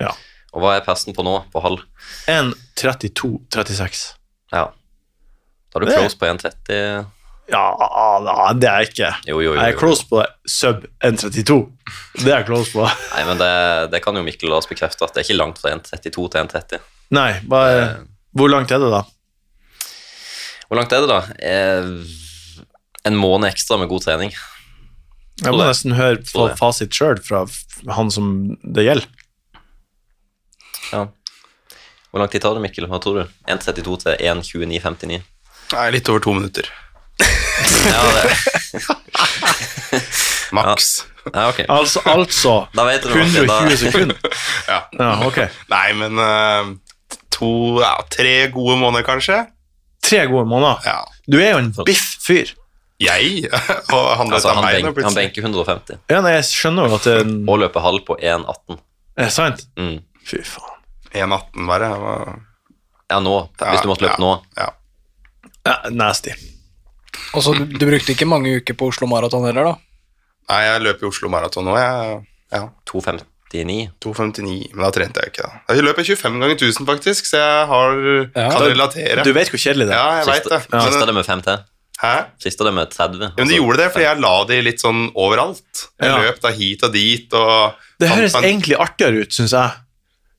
Speaker 4: Ja.
Speaker 2: Og hva er persen på nå, på halv?
Speaker 4: 1.32,36.
Speaker 2: Ja. Da er du
Speaker 4: Det-
Speaker 2: close på 1,30.
Speaker 4: Ja, da, det er jeg ikke.
Speaker 2: Jo, jo, jo.
Speaker 4: Jeg er
Speaker 2: jo.
Speaker 4: close på sub 1.32. Det er jeg close på.
Speaker 2: Nei, men det, det kan jo Mikkel la oss bekrefte, at det er ikke langt fra 1,32 til 1,30.
Speaker 4: Nei, hva,
Speaker 2: Eh,
Speaker 4: hvor langt er det, da?
Speaker 2: Hvor langt er det, da? Eh, en måned ekstra med god trening.
Speaker 4: Jeg må
Speaker 2: det.
Speaker 4: nesten høre
Speaker 2: Tror
Speaker 4: på
Speaker 2: det.
Speaker 4: fasit sjøl fra f- han som det gjelder.
Speaker 2: Ja. Hvor lang tid tar det, Mikkel? Hva tror du? 1,32 til 1,29,59.
Speaker 3: Nei, litt over to minutter.
Speaker 2: Ja, det,
Speaker 3: Maks.
Speaker 2: ja, ok.
Speaker 4: Altså, altså
Speaker 2: Da vet du Martin, da-
Speaker 4: 120 sekunder.
Speaker 3: Ja.
Speaker 4: Ja, ok.
Speaker 3: Nei, men eh, to, ja, tre gode måneder, kanskje.
Speaker 4: Tre gode måneder.
Speaker 3: Ja.
Speaker 4: Du er jo en biff fyr.
Speaker 3: Jeg og han
Speaker 2: Altså,
Speaker 3: altså,
Speaker 2: han,
Speaker 3: meg nå
Speaker 2: benk, han
Speaker 3: plutselig.
Speaker 2: benker 150
Speaker 4: Ja, nei, jeg skjønner jo at det er en
Speaker 2: og løper halv på 1,18.
Speaker 4: Er det sant?
Speaker 2: Mm.
Speaker 4: Fy faen.
Speaker 3: 1,18 bare. det var-
Speaker 2: Ja, nå. Hvis du måtte løpe
Speaker 3: ja,
Speaker 2: nå.
Speaker 3: Ja.
Speaker 4: Ja, nasty.
Speaker 1: Og så du, du brukte ikke mange uker på Oslo Maraton heller, da?
Speaker 3: Nei, jeg løper i Oslo Maraton nå, jeg. Ja.
Speaker 2: 2,50 2,59.
Speaker 3: 2,59, men da trente jeg ikke, da. Altså, Jeg løper 25 ganger 1000, faktisk, så jeg har, kan relatere.
Speaker 4: Du vet hvor kjedelig det
Speaker 3: ja,
Speaker 4: er.
Speaker 3: jeg veit
Speaker 2: Siste,
Speaker 3: det. Men- eh,
Speaker 2: siste det med 5 til.
Speaker 3: hæ?
Speaker 2: Siste det med 30.
Speaker 3: Ja, men de
Speaker 2: altså.
Speaker 3: gjorde det, fordi jeg la de litt sånn overalt. Jeg
Speaker 4: Ja.
Speaker 3: løp da hit og dit og
Speaker 4: Det
Speaker 3: fant
Speaker 4: høres
Speaker 3: meg en-
Speaker 4: egentlig artigere ut, syns jeg.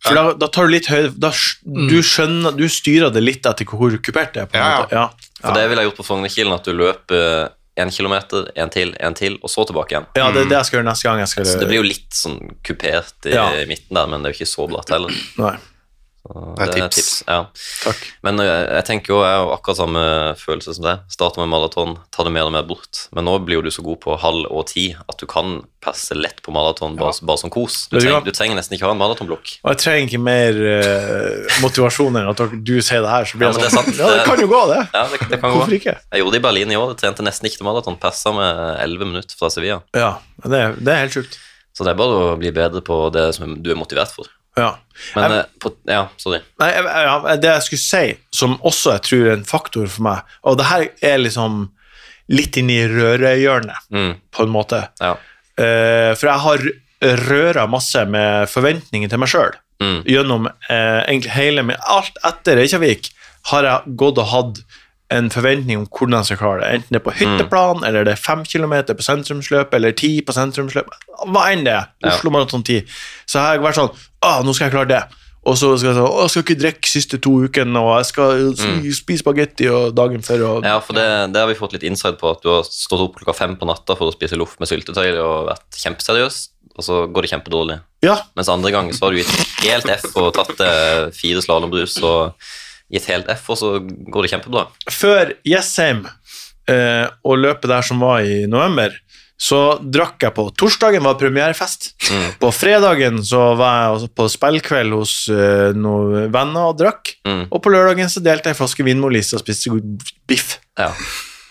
Speaker 4: For da, da tar du litt høyde da, sk- Du skjønner, du styrer det litt etter hvor kupert det er. på en
Speaker 3: Ja, ja.
Speaker 4: måte. Ja.
Speaker 2: For det ville jeg gjort på Frognerkilen, at du løper én kilometer, én til, én til, og så tilbake igjen.
Speaker 4: ja, det er det jeg skal gjøre neste gang. Jeg skal,
Speaker 2: Mm. Så det blir jo litt sånn kupert i
Speaker 4: Ja.
Speaker 2: midten der, men det er jo ikke så blatt heller.
Speaker 4: Nei,
Speaker 2: Så
Speaker 3: Det er
Speaker 2: det er
Speaker 3: tips.
Speaker 2: tips. Ja.
Speaker 4: takk.
Speaker 2: Men jeg, jeg tenker jo, jeg har jo akkurat samme følelse som deg. Starter med maraton, tar det mer og mer bort. Men nå blir jo du så god på halv og ti at du kan passe lett på maraton bare, bare som kos. Du
Speaker 4: Vet du
Speaker 2: trenger,
Speaker 4: hva?
Speaker 2: du trenger nesten ikke ha en maratonblokk.
Speaker 4: Og jeg trenger ikke mer eh, motivasjon enn at dere- du sier det her. Så
Speaker 2: Ja,
Speaker 4: blir jeg
Speaker 2: men det er
Speaker 4: sånn,
Speaker 2: sant.
Speaker 4: ja, det kan jo gå, det.
Speaker 2: Ja, det, det kan gå.
Speaker 4: Hvorfor ikke?
Speaker 2: Jeg gjorde det i Berlin i år. Jeg trente nesten ikke til maraton. Passa med 11 minutter fra Sevilla.
Speaker 4: Ja, det, er- det er helt sjukt.
Speaker 2: Så det er bare å bli bedre på det som du er motivert for.
Speaker 4: Ja.
Speaker 2: Men
Speaker 4: Jeg-
Speaker 2: eh, på, ja, sorry.
Speaker 4: Nei, jeg- ja, det jeg skulle si, som også jeg tror er en faktor for meg, og det her er liksom litt inn i rørehjørnet,
Speaker 2: Mm,
Speaker 4: på en måte.
Speaker 2: ja.
Speaker 4: Eh, for jeg har røra masse med forventninger til meg sjøl.
Speaker 2: Mm.
Speaker 4: Gjennom eh, egentlig hele min Alt etter Reykjavik har jeg gått og hatt en forventning om hvordan jeg skal klare det. Enten det
Speaker 2: Mm.
Speaker 4: er på hytteplan, eller det er fem kilometer på sentrumsløpet, eller ti på sentrumsløpet. Hva enn det er.
Speaker 2: Ja.
Speaker 4: Oslo Maraton 10. Så jeg har vært sånn Å, nå skal jeg klare det. Og så skal jeg sånn Å, jeg skal ikke drikke siste to ukene, og jeg skal spise spagetti og dagen før og
Speaker 2: Mm. ja, for det, det har vi fått litt insight på. At du har stått opp klokka fem på natta for å spise loff med syltetøy og vært kjempeseriøs, og så går det kjempedårlig.
Speaker 4: Ja,
Speaker 2: Mens andre ganger så har du gitt helt F og tatt eh, fire slalåmbrus og gitt helt F, og så går det kjempebra.
Speaker 4: før Jessheim eh, og løpet der som var i november, så drakk jeg på Torsdagen var premierefest.
Speaker 2: Mm.
Speaker 4: På fredagen så var jeg også på spillkveld hos eh, noen venner og drakk.
Speaker 2: Mm.
Speaker 4: Og på lørdagen så delte jeg en flaske vinmolise og spiste god biff.
Speaker 2: Ja.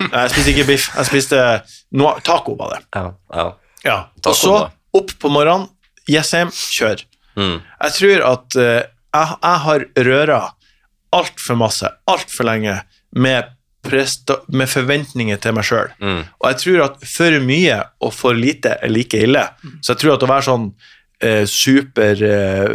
Speaker 4: Nei, jeg spiste ikke biff, jeg spiste noe, taco, var det.
Speaker 2: ja. ja.
Speaker 4: Ja.
Speaker 2: Taco,
Speaker 4: Og så
Speaker 2: da.
Speaker 4: opp på morgenen, Jessheim, kjør.
Speaker 2: Mm.
Speaker 4: Jeg tror at eh, jeg, jeg har røra altfor masse, altfor lenge, med, presta, med forventninger til meg sjøl.
Speaker 2: Mm.
Speaker 4: Og jeg tror at for mye og for lite er like ille.
Speaker 2: Mm.
Speaker 4: Så jeg tror at å være sånn eh,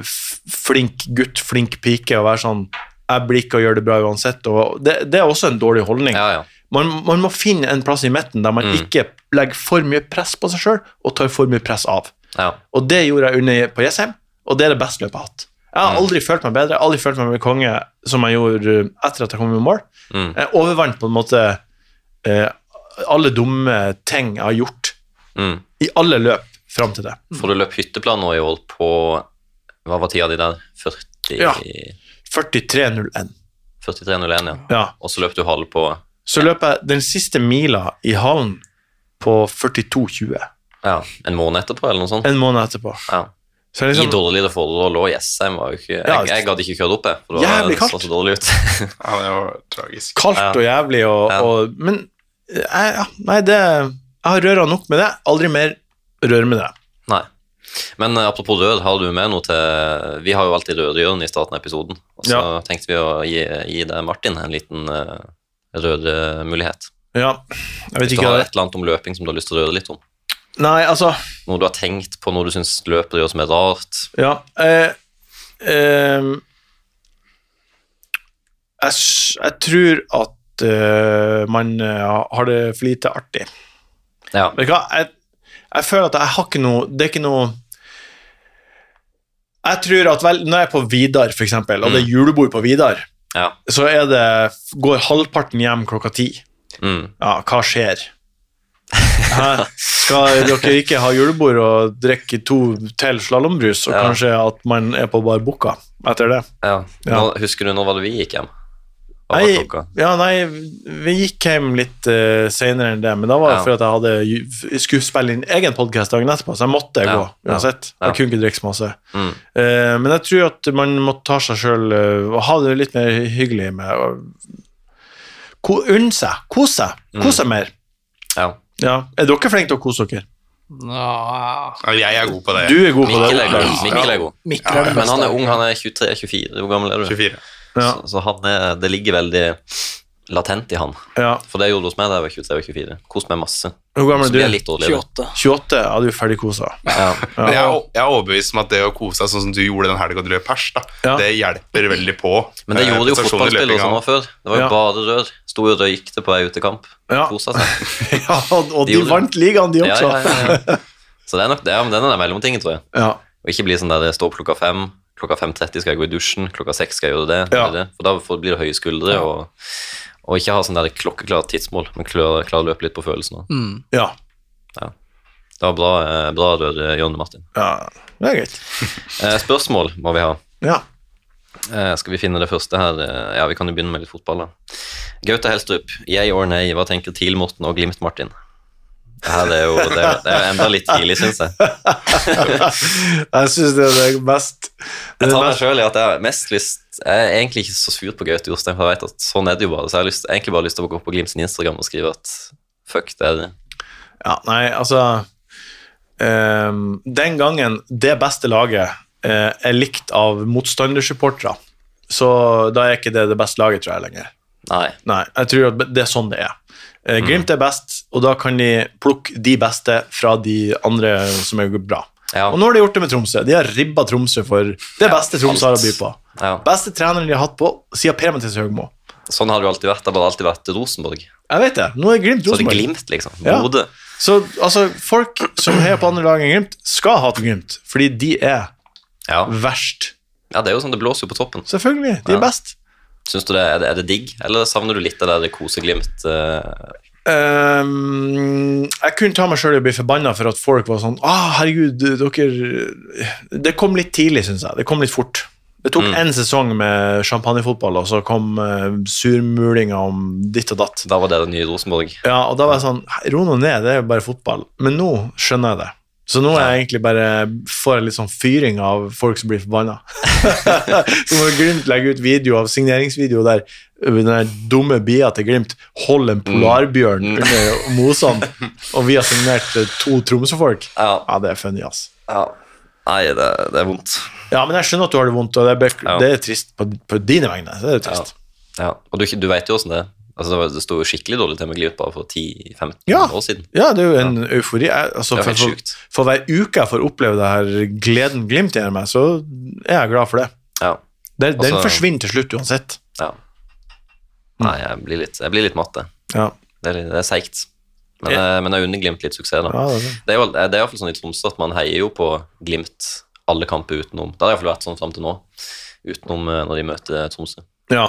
Speaker 4: superflink gutt, flink pike, og være sånn jeg blir ikke å gjøre det bra uansett. Og det, det er også en dårlig holdning.
Speaker 2: ja, ja.
Speaker 4: Man, man må finne en plass i midten der man
Speaker 2: Mm.
Speaker 4: ikke legger for mye press på seg sjøl og tar for mye press av.
Speaker 2: ja.
Speaker 4: Og det gjorde jeg under på Jessheim, og det er det beste løpet jeg har hatt. Jeg har
Speaker 2: Mm.
Speaker 4: aldri følt meg bedre, jeg har aldri følt meg med konge som jeg gjorde uh, etter at jeg kom i mål.
Speaker 2: Mm.
Speaker 4: Jeg overvant på en måte eh, alle dumme ting jeg har gjort
Speaker 2: Mm.
Speaker 4: i alle løp fram til det.
Speaker 2: For du løp hytteplan nå i år på Hva var tida di der? 40
Speaker 4: Ja. 43,01.
Speaker 2: 43,01, ja.
Speaker 4: Ja.
Speaker 2: Og så løp du halv på
Speaker 4: Så løp jeg den siste mila i hallen på 42,20
Speaker 2: ja, en måned etterpå, eller noe sånt.
Speaker 4: en måned etterpå.
Speaker 2: Ja.
Speaker 4: Så jeg
Speaker 2: I
Speaker 4: liksom,
Speaker 2: dårligere forhold og Jessheim var jo ikke
Speaker 4: Ja.
Speaker 2: Jeg, jeg gadd ikke kjøre opp, jeg. For det var
Speaker 4: Jævlig
Speaker 2: det så
Speaker 4: kaldt.
Speaker 2: så dårlig ut.
Speaker 3: Ja, det var tragisk.
Speaker 4: kaldt og jævlig og,
Speaker 2: Ja.
Speaker 4: og Men eh, ja, nei, det Jeg har røra nok med det. Aldri mer røre med det.
Speaker 2: Nei. Men eh, apropos rør, har du med noe til Vi har jo alltid rødhjørne i starten av episoden. Og så
Speaker 4: Ja.
Speaker 2: tenkte vi å gi, gi deg, Martin, en liten uh, røremulighet.
Speaker 4: Ja, jeg vet
Speaker 2: Hvis du
Speaker 4: ikke
Speaker 2: har
Speaker 4: hva det
Speaker 2: et eller annet om løping som du har lyst til å røre litt om.
Speaker 4: Nei, altså
Speaker 2: Noe du har tenkt på, noe du syns løpet gjør som er rart.
Speaker 4: Ja. Eh, ehm, jeg, s- jeg tror at eh, man eh, har det for lite artig.
Speaker 2: Ja.
Speaker 4: Vet du hva? Jeg, jeg føler at jeg har ikke noe Det er ikke noe Jeg tror at vel, når jeg er på Vidar, for eksempel, og det er julebord på Vidar,
Speaker 2: Mm. ja.
Speaker 4: så er det, går halvparten hjem klokka ti.
Speaker 2: Mm.
Speaker 4: Ja, hva skjer? Hæ? Skal dere ikke ha julebord og drikke to til slalåmbrus, og
Speaker 2: Ja.
Speaker 4: kanskje at man er på bar bukka etter det?
Speaker 2: Ja.
Speaker 4: Ja.
Speaker 2: Nå, husker du når var det vi gikk hjem? Hva var
Speaker 4: Nei,
Speaker 2: klokka?
Speaker 4: ja, nei, vi gikk hjem litt uh, seinere enn det, men da var det
Speaker 2: Ja.
Speaker 4: fordi at jeg hadde ju- jeg skulle spille inn egen podkast dagen etterpå, så jeg måtte
Speaker 2: Ja.
Speaker 4: gå uansett.
Speaker 2: Ja.
Speaker 4: Jeg kunne ikke drikke så masse.
Speaker 2: Mm.
Speaker 4: Eh, men jeg tror at man må ta seg sjøl og ha det litt mer hyggelig med å ko- Unne seg, kose seg, kose
Speaker 2: Mm.
Speaker 4: seg mer.
Speaker 2: Ja.
Speaker 4: Ja. Er dere flinke til å kose dere?
Speaker 1: Nå,
Speaker 3: Ja, jeg er god på det.
Speaker 4: Du er god på
Speaker 2: Mikkel
Speaker 4: det.
Speaker 2: er god. Mikkel er god.
Speaker 1: Mikkel er den
Speaker 2: Men
Speaker 1: beste.
Speaker 2: han er ung, han er 23-24. Hvor gammel er du?
Speaker 3: 24.
Speaker 4: Ja.
Speaker 2: Så, så han er, det ligger veldig latent i han.
Speaker 4: Ja.
Speaker 2: For det gjorde det hos meg da jeg var 23 og 24. Koste meg masse.
Speaker 4: Hvor gammel
Speaker 2: Så
Speaker 4: er
Speaker 2: ble jeg
Speaker 4: du?
Speaker 2: litt dårligere.
Speaker 1: 28.
Speaker 4: 28? Ja, du er ferdigkosa.
Speaker 2: Ja.
Speaker 3: Men jeg, er- jeg er overbevist om at det å kose seg sånn som du gjorde den helga du løp pers, da,
Speaker 4: Ja.
Speaker 3: det hjelper veldig på.
Speaker 2: Men det
Speaker 3: eh,
Speaker 2: gjorde jo
Speaker 3: prestasjonen i
Speaker 2: fotballspillere
Speaker 3: løpinga.
Speaker 2: som var før. Det var jo
Speaker 4: Ja.
Speaker 2: bare rør. Sto og røykte på vei ut i kamp.
Speaker 4: Ja.
Speaker 2: Kosa seg.
Speaker 4: Ja, og, og
Speaker 2: De
Speaker 4: de
Speaker 2: gjorde-
Speaker 4: vant ligaen, de
Speaker 2: Ja,
Speaker 4: også.
Speaker 2: ja, ja, ja. Så det er nok det, ja, men den er den mellomtingen, tror jeg.
Speaker 4: Ja.
Speaker 2: Og ikke bli sånn der jeg står opp klokka fem, klokka 5.30 skal jeg gå i dusjen, klokka 6 skal jeg gjøre det.
Speaker 4: Ja.
Speaker 2: eller det. For da får- blir det høye skuldre, og, og ikke ha sånn der klokkeklart tidsmål, men klare klare å løpe litt på følelsene.
Speaker 1: Mm.
Speaker 4: ja.
Speaker 2: Det var bra, eh, bra rør, eh, Jonny Martin.
Speaker 4: ja. Det er greit.
Speaker 2: Eh, Spørsmål må vi ha.
Speaker 4: Ja.
Speaker 2: Eh, Skal vi finne det første her? Eh, Ja, vi kan jo begynne med litt fotball, da. Gaute Helstrup, yay or nay, hva tenker TIL Morten og Glimt Martin? Det her er jo, det er, det er jo enda litt tidlig, syns jeg.
Speaker 4: Jeg syns det er det mest det
Speaker 2: Jeg tar meg
Speaker 4: mest-
Speaker 2: selv i at jeg har mest lyst Jeg er egentlig ikke så sur på Gaute Jostein, for jeg vet at sånn er det jo bare. Så jeg har lyst, egentlig bare lyst til å gå på Glimt sin Instagram og skrive at fuck, det er det.
Speaker 4: Ja, nei, altså ehm, Den gangen det beste laget eh, er likt av motstandersupportere, så da er ikke det det beste laget, tror jeg, lenger.
Speaker 2: Nei.
Speaker 4: Nei, jeg tror at det er sånn det er. Eh,
Speaker 2: Mm.
Speaker 4: Glimt er best, og da kan de plukke de beste fra de andre som er bra.
Speaker 2: Ja.
Speaker 4: Og nå har de gjort det med Tromsø. De har ribba Tromsø for det beste Tromsø har å by på.
Speaker 2: Ja.
Speaker 4: Beste treneren de har hatt på siden Per-Mathias Høgmo.
Speaker 2: Sånn har det jo alltid vært. Det har bare alltid vært Rosenborg.
Speaker 4: Jeg vet det. Nå er
Speaker 2: Så er
Speaker 4: Glimt
Speaker 2: det
Speaker 4: Rosenborg.
Speaker 2: Glimt, liksom.
Speaker 4: Ja.
Speaker 2: Bodø.
Speaker 4: Så altså, folk som heier på andre lag enn Glimt, skal hate Glimt, fordi de er
Speaker 2: Ja.
Speaker 4: verst.
Speaker 2: ja, det er jo sånn det blåser jo på toppen.
Speaker 4: Selvfølgelig. De
Speaker 2: Ja.
Speaker 4: er best.
Speaker 2: Syns du det er, det er det digg, eller savner du litt av det der koseglimt eh,
Speaker 4: Ehm, jeg kunne ta meg sjøl i å bli forbanna for at folk var sånn ah, herregud, dere Det kom litt tidlig, syns jeg. Det kom litt fort. Det tok
Speaker 2: Mm.
Speaker 4: én sesong med champagnefotball, og så kom uh, surmulinga om ditt og datt.
Speaker 2: Da var det det nye Rosenborg.
Speaker 4: Ja, og da var jeg sånn «Hei, Ro nå ned, det er jo bare fotball. Men nå skjønner jeg det. Så nå er jeg egentlig bare får jeg litt sånn fyring av folk som blir forbanna. Så når Glimt legger ut video av signeringsvideo der ø, den der dumme bia til Glimt holder en
Speaker 2: Mm.
Speaker 4: polarbjørn under mosene, og vi har signert ø, to Tromsø-folk,
Speaker 2: Ja.
Speaker 4: ja, det er funny, ass.
Speaker 2: ja. Nei, det, det er vondt.
Speaker 4: Ja, men jeg skjønner at du har det vondt, og det er, bek-
Speaker 2: Ja.
Speaker 4: det er trist på, på dine vegne. Det er trist.
Speaker 2: Ja. Og du, du vet jo åssen det er. Altså, det var- det sto jo skikkelig dårlig til med Glimt bare for 10-15
Speaker 4: Ja.
Speaker 2: år siden.
Speaker 4: Ja, det er jo en eufori. Jeg, altså,
Speaker 2: Det er
Speaker 4: for,
Speaker 2: helt
Speaker 4: for,
Speaker 2: sjukt.
Speaker 4: for hver uke jeg får oppleve det her gleden Glimt gir meg, så er jeg glad for det.
Speaker 2: Ja.
Speaker 4: det den
Speaker 2: Altså-
Speaker 4: forsvinner til slutt uansett.
Speaker 2: Ja. Nei, jeg blir litt, jeg blir litt matt, det.
Speaker 4: Ja,
Speaker 2: Det er, litt- det er seigt. Men, eh, men jeg unner Glimt litt suksess, da.
Speaker 4: ja det er det.
Speaker 2: Det er jo- det er iallfall sånn i Tromsø at man heier jo på Glimt alle kamper utenom. Det har iallfall vært sånn fram til nå, utenom eh, når de møter Tromsø.
Speaker 4: Ja,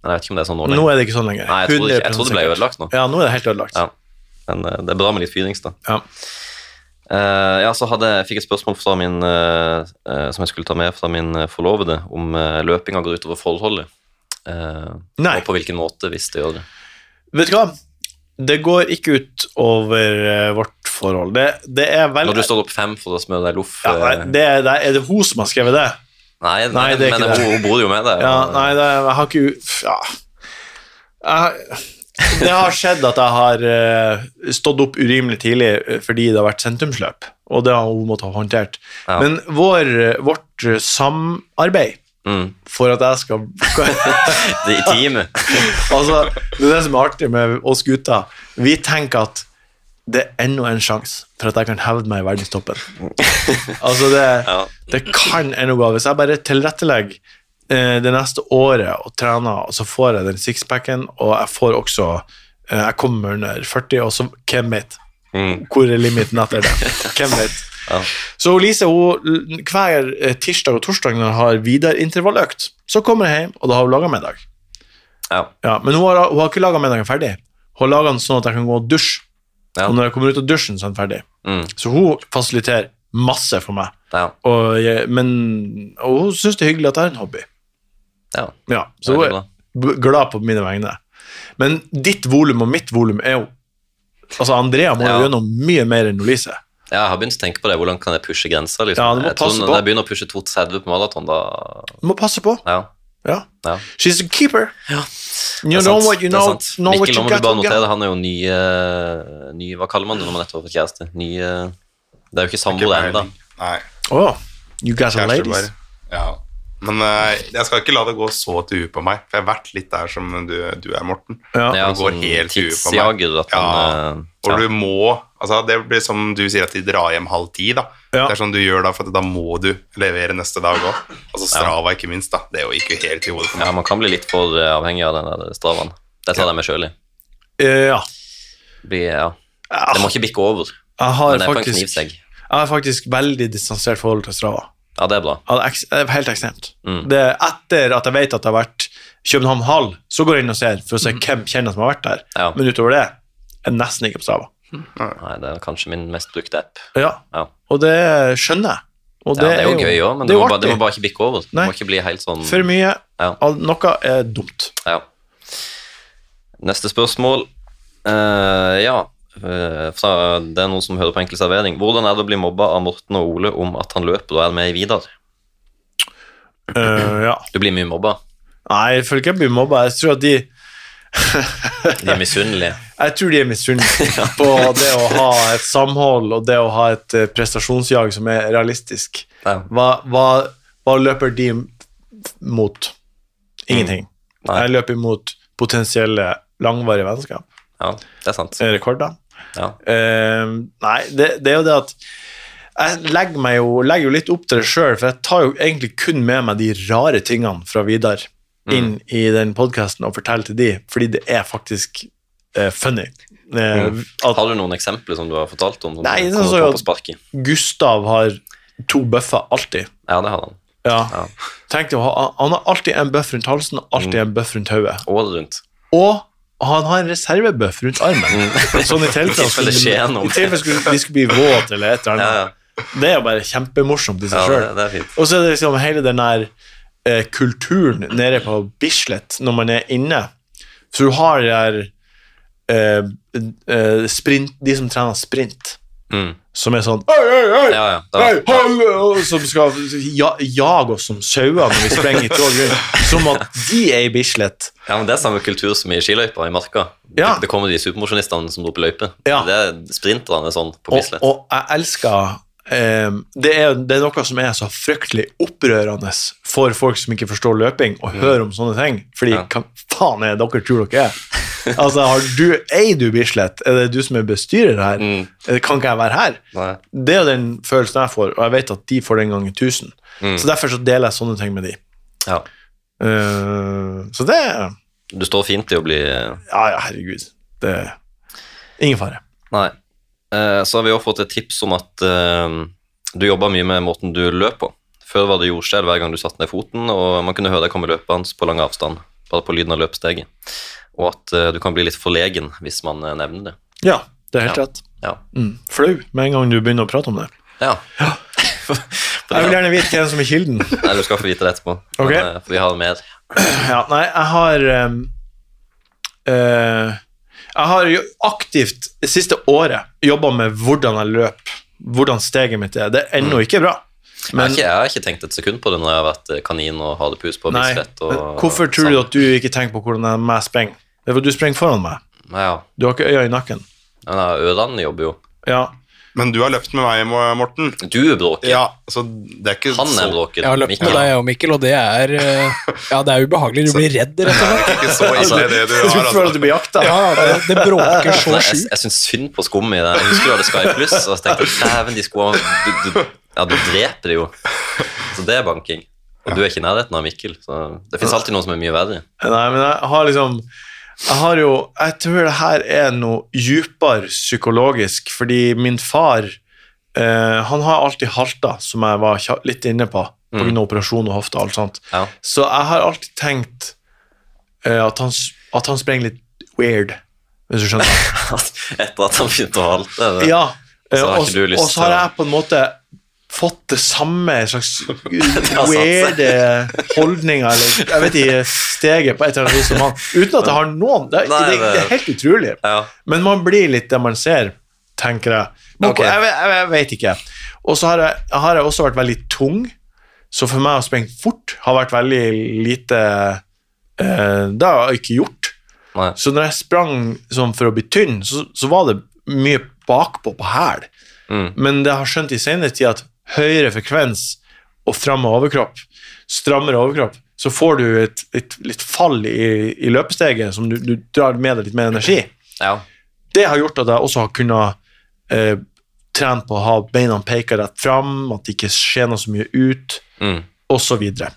Speaker 2: Men jeg vet ikke om det er sånn nå
Speaker 4: nå
Speaker 2: lenger.
Speaker 4: er det ikke sånn lenger.
Speaker 2: Nei, jeg trodde, ikke- jeg trodde det ble
Speaker 4: 100% sikkert.
Speaker 2: ødelagt nå.
Speaker 4: Ja, nå er det helt ødelagt.
Speaker 2: Ja. Men eh, det er bra med litt fyrings, da.
Speaker 4: Ja.
Speaker 2: Eh, ja, så hadde, jeg fikk jeg et spørsmål fra min, eh, eh, som jeg skulle ta med fra min eh, forlovede, om eh, løpinga går utover forholdet. Eh,
Speaker 4: Nei.
Speaker 2: og på hvilken måte, hvis det gjør det.
Speaker 4: Vet du hva? Det går ikke ut over eh, vårt forhold. Det, det er vel...
Speaker 2: Når du står opp fem for å smøre deg loff
Speaker 4: Ja, nei,
Speaker 2: eh,
Speaker 4: det er, det er det hun som har skrevet det?
Speaker 2: Nei, nei,
Speaker 4: Nei, det er
Speaker 2: men
Speaker 4: ikke det.
Speaker 2: Hun, hun bor jo med deg.
Speaker 4: Ja,
Speaker 2: og-
Speaker 4: nei, det, jeg har ikke u- ja. jeg, Det har skjedd at jeg har eh, stått opp urimelig tidlig eh, fordi det har vært sentrumsløp, og det har hun måttet ha håndtert.
Speaker 2: Ja.
Speaker 4: Men vår, eh, vårt eh, samarbeid
Speaker 2: Mm.
Speaker 4: for at jeg skal
Speaker 2: Det er I teamet.
Speaker 4: Altså, det er det som er artig med oss gutter. Vi tenker at det er enda en sjanse for at jeg kan hevde meg i verdenstoppen. Altså, det,
Speaker 2: Ja.
Speaker 4: det kan ennå gå. Hvis jeg bare tilrettelegger eh, det neste året og trener, og så får jeg den sixpacken, og jeg får også eh, Jeg kommer under 40, og så hvem vet?
Speaker 2: Mm.
Speaker 4: Hvor er limiten etter det? Hvem vet?
Speaker 2: Ja.
Speaker 4: Så Lise hun, hver eh, tirsdag og torsdag når hun har videre intervalløkt, så kommer jeg hjem, og da har hun laga middag.
Speaker 2: Ja.
Speaker 4: Ja, men hun har, hun har ikke laga middagen ferdig. Hun har laga den sånn at jeg kan gå og dusje.
Speaker 2: Ja.
Speaker 4: Og når jeg kommer ut av dusjen, så er den ferdig.
Speaker 2: Mm.
Speaker 4: Så hun fasiliterer masse for meg.
Speaker 2: ja.
Speaker 4: Og, jeg, men, og hun syns det er hyggelig at jeg har en hobby.
Speaker 2: ja.
Speaker 4: Ja, så hun
Speaker 2: Veldig
Speaker 4: er
Speaker 2: bra.
Speaker 4: b- glad på mine vegne. Men ditt volum og mitt volum er jo Altså, Andrea må jo
Speaker 2: Ja.
Speaker 4: gjennom mye mer enn Lise.
Speaker 2: Ja, jeg har begynt å tenke på det. Hvordan kan jeg pushe grensa? Liksom?
Speaker 4: Ja, du må
Speaker 2: jeg tror
Speaker 4: passe
Speaker 2: når
Speaker 4: på.
Speaker 2: jeg begynner å pushe 2,30 på maraton, da
Speaker 4: Du må passe på.
Speaker 2: ja.
Speaker 4: Ja.
Speaker 2: Ja.
Speaker 4: She's a keeper.
Speaker 2: Det er
Speaker 4: You know
Speaker 2: sant,
Speaker 4: what you
Speaker 2: det er
Speaker 4: know,
Speaker 2: sant.
Speaker 4: know what
Speaker 2: Mikkel, nå
Speaker 4: you
Speaker 2: må
Speaker 4: got.
Speaker 2: du bare
Speaker 4: to get.
Speaker 2: notere det. Han er jo ny, eh, ny Hva kaller man det når man nettopp har fått kjæreste? Ny eh, Det er jo ikke samboer ennå.
Speaker 3: Nei,
Speaker 4: Åh, Oh, you got a
Speaker 3: kjæreste
Speaker 4: ladies.
Speaker 3: bare. Ja. Men eh, jeg skal ikke la det gå så til huet på meg, for jeg har vært litt der som du, du er, Morten.
Speaker 4: Ja.
Speaker 2: Ja,
Speaker 3: det går
Speaker 2: sånn
Speaker 3: helt i huet på meg.
Speaker 2: tidsjager, at
Speaker 3: Ja,
Speaker 2: den, eh,
Speaker 3: Og
Speaker 2: ja.
Speaker 3: du må altså Det blir som du sier at de drar hjem halv ti. da
Speaker 4: Ja.
Speaker 3: Det er sånn du gjør da, for da må du levere neste dag òg. Altså Strava, ikke minst. da Det gikk jo helt i hodet på meg.
Speaker 2: ja, man kan bli litt for eh, avhengig av den der stravaen. Det tar jeg meg sjøl i.
Speaker 4: Eh, ja.
Speaker 2: Blir, ja. Det må ikke bikke over,
Speaker 4: Ah, Jeg har,
Speaker 2: men det er på en
Speaker 4: faktisk,
Speaker 2: knivsegg.
Speaker 4: jeg har faktisk veldig distansert forhold til Strava.
Speaker 2: Ja, det er bra.
Speaker 4: Ja, det er eks- det er Helt ekstremt.
Speaker 2: Mm.
Speaker 4: Det er etter at jeg vet at det har vært København Hall, så går jeg inn og ser for å se hvem kjenner som har vært der.
Speaker 2: Mm. Ja.
Speaker 4: Men utover det jeg er nesten ikke på Strava.
Speaker 2: Nei, det er kanskje min mest brukte app.
Speaker 4: Ja,
Speaker 2: Ja.
Speaker 4: Og det skjønner jeg. Og
Speaker 2: Ja, det er jo gøy òg, men det
Speaker 4: det er jo
Speaker 2: må, bare, det
Speaker 4: artig.
Speaker 2: må bare ikke bikke over. Det
Speaker 4: Nei.
Speaker 2: må ikke bli helt sånn
Speaker 4: For mye.
Speaker 2: Ja.
Speaker 4: Al- Noe er dumt.
Speaker 2: Ja. Neste spørsmål. Eh, ja, eh, fra det er noen som hører på Enkel servering. Hvordan er det å bli mobba av Morten og Ole om at han løper og er med i Vidar?
Speaker 4: Eh, ja.
Speaker 2: Du blir mye mobba.
Speaker 4: Nei, jeg føler ikke jeg blir mobba. Jeg tror at de
Speaker 2: De er misunnelige.
Speaker 4: Jeg tror de er misunnelige på det å ha et samhold og det å ha et eh, prestasjonsjag som er realistisk.
Speaker 2: Ja.
Speaker 4: Hva, hva, hva løper de mot? Ingenting.
Speaker 2: Mm. Nei.
Speaker 4: Jeg løper mot potensielle langvarige vennskap,
Speaker 2: ja, det er sant.
Speaker 4: eh, rekorder.
Speaker 2: Ja.
Speaker 4: Eh, nei, det, det er jo det at jeg legger meg jo, legger jo litt opp til det sjøl, for jeg tar jo egentlig kun med meg de rare tingene fra Vidar
Speaker 2: Mm.
Speaker 4: inn i den podkasten og forteller til de, fordi det er faktisk eh, funny. Eh, At
Speaker 2: Har du noen eksempler som du har fortalt om? Som
Speaker 4: Nei,
Speaker 2: du
Speaker 4: det er
Speaker 2: kommer
Speaker 4: så
Speaker 2: på
Speaker 4: jo-
Speaker 2: på sparket?
Speaker 4: Gustav har to bøffer alltid.
Speaker 2: Ja, det har han.
Speaker 4: Ja.
Speaker 2: Ja. Mm.
Speaker 4: Tenk deg, å ha- Han har alltid en bøff rundt halsen og alltid en bøff rundt hodet.
Speaker 2: Året rundt.
Speaker 4: Og han har en reservebøff rundt armen. Sånn i tilfelle
Speaker 2: Mm. I tilfelle skjer noe.
Speaker 4: i tilfelle skulle, de skulle bli våte eller et eller
Speaker 2: Ja,
Speaker 4: annet.
Speaker 2: ja.
Speaker 4: Det er jo bare kjempemorsomt i
Speaker 2: ja
Speaker 4: seg
Speaker 2: det,
Speaker 4: sjøl.
Speaker 2: det er fint.
Speaker 4: Og så er det liksom hele den der eh, kulturen nede på Bislett når man er inne. Så du har de der eh, eh, sprint, De som trener sprint,
Speaker 2: Mm.
Speaker 4: som er sånn Oi, oi, oi!
Speaker 2: Ja, ja. Det
Speaker 4: Hei,
Speaker 2: var,
Speaker 4: hallo! Og Som skal ja, jage oss som sauer når vi sprenger i tog rundt. Som at de er i Bislett.
Speaker 2: ja, men det er samme kultur som i skiløypa i Marka.
Speaker 4: Ja.
Speaker 2: Det, det kommer de supermosjonistene som roper løype.
Speaker 4: Ja.
Speaker 2: Det er sprinterne sånn på
Speaker 4: Og,
Speaker 2: Bislett.
Speaker 4: og jeg elsker eh, det, er, det er noe som er så fryktelig opprørende for folk som ikke forstår løping, å høre om sånne ting. Fordi
Speaker 2: Ja.
Speaker 4: hva faen er det dere tror dere er? Altså, har du, Eier du Bislett? Er det du som er bestyrer her?
Speaker 2: Mm.
Speaker 4: Eh, Kan ikke jeg være her?
Speaker 2: Nei.
Speaker 4: Det er jo den følelsen jeg får, og jeg vet at de får den gangen tusen.
Speaker 2: Mm.
Speaker 4: Så derfor så deler jeg sånne ting med de.
Speaker 2: Ja.
Speaker 4: Eh, så det Ja,
Speaker 2: Du står fint i å bli
Speaker 4: ja, herregud. Det Ingen fare.
Speaker 2: Nei. Eh, Så har vi også fått et tips om at eh, du jobber mye med måten du løp på. Før var det jordskjelv hver gang du satte ned foten, og man kunne høre deg komme løpet hans på lang avstand, bare på lyden av løpsteget. Og at eh, du kan bli litt forlegen hvis man eh, nevner det.
Speaker 4: Ja, det er helt
Speaker 2: Ja.
Speaker 4: rett.
Speaker 2: Ja.
Speaker 4: Mm. Flau med en gang du begynner å prate om det.
Speaker 2: ja.
Speaker 4: Jeg vil gjerne vite hvem som er kilden.
Speaker 2: Nei, du skal få vite det etterpå.
Speaker 4: Ok.
Speaker 2: Men, eh, for vi har mer.
Speaker 4: Ja, nei, jeg har ehm, eh, Jeg har jo aktivt det siste året jobba med hvordan jeg løp, hvordan steget mitt er. Det er
Speaker 2: Mm.
Speaker 4: ennå ikke bra.
Speaker 2: Jeg har
Speaker 4: Men
Speaker 2: ikke, jeg har ikke tenkt et sekund på det når jeg har vært eh, kanin og halepus på
Speaker 4: nei,
Speaker 2: Bislett. Og,
Speaker 4: hvorfor tror du at du ikke tenker på hvordan jeg- meg sprenger? Det er fordi du sprenger foran meg.
Speaker 2: Ja,
Speaker 4: Du har ikke øya i nakken.
Speaker 2: men eh, ørene jobber jo.
Speaker 4: Ja,
Speaker 3: Men du har løpt med meg, Mo- Morten.
Speaker 2: Du bråker.
Speaker 3: Ja, så det er ikke
Speaker 2: Han
Speaker 3: så,
Speaker 2: er bråker.
Speaker 1: Jeg har løpt med
Speaker 2: Mikkel.
Speaker 1: deg og Mikkel, og det er eh, Ja, det er ubehagelig. Du blir redd, rett og slett.
Speaker 3: ikke så ille, det du
Speaker 4: Du
Speaker 3: har.
Speaker 4: føler at
Speaker 3: Altså.
Speaker 4: du blir jakta.
Speaker 1: Ja, det, det bråker så
Speaker 2: Nei, jeg,
Speaker 1: sjukt.
Speaker 2: jeg syns synd på skum i det. Jeg husker du hadde Sky Plus, og så tenkte jeg dæven, de skoene du, du, Ja, du dreper det jo. Så det er banking. Og du er ikke i nærheten av Mikkel, så det fins alltid noen som er mye verre.
Speaker 4: Nei, men jeg har liksom Jeg har jo Jeg tror det her er noe dypere psykologisk, fordi min far eh, Han har alltid halta, som jeg var kja- litt inne på, pga. grunn av operasjon og hofte og alt sånt.
Speaker 2: Ja.
Speaker 4: Så jeg har alltid tenkt eh, at han, s- at han sprenger litt weird, hvis du skjønner.
Speaker 2: Etter at han begynte å halte. det-
Speaker 4: Ja, eh,
Speaker 2: Så har
Speaker 4: og
Speaker 2: ikke du lyst
Speaker 4: og så har
Speaker 2: til å-
Speaker 4: jeg på en måte fått det samme slags
Speaker 2: har satt seg.
Speaker 4: weirde holdninger, eller jeg vet ikke, steget på et eller annet vis som han, uten at jeg har noen. Det, er-
Speaker 2: Nei,
Speaker 4: det, det er helt utrolig.
Speaker 2: Ja.
Speaker 4: Men man blir litt det man ser, tenker jeg. Men
Speaker 2: Ok.
Speaker 4: jeg, jeg, jeg vet ikke. Og så har jeg, har jeg også vært veldig tung, så for meg å sprenge fort har vært veldig lite eh, Det har jeg ikke gjort.
Speaker 2: Nei.
Speaker 4: Så når jeg sprang sånn for å bli tynn, så, så var det mye bakpå på hæl.
Speaker 2: Mm.
Speaker 4: Men det har skjønt i senere tid at høyere frekvens og fram med overkropp, strammere overkropp, så får du et, et litt fall i, i løpesteget som du, du drar med deg litt mer energi.
Speaker 2: Ja.
Speaker 4: Det har gjort at jeg også har kunnet eh, trene på å ha beina peka rett fram, at det ikke skjener så mye ut,
Speaker 2: Mm.
Speaker 4: osv. Så, videre.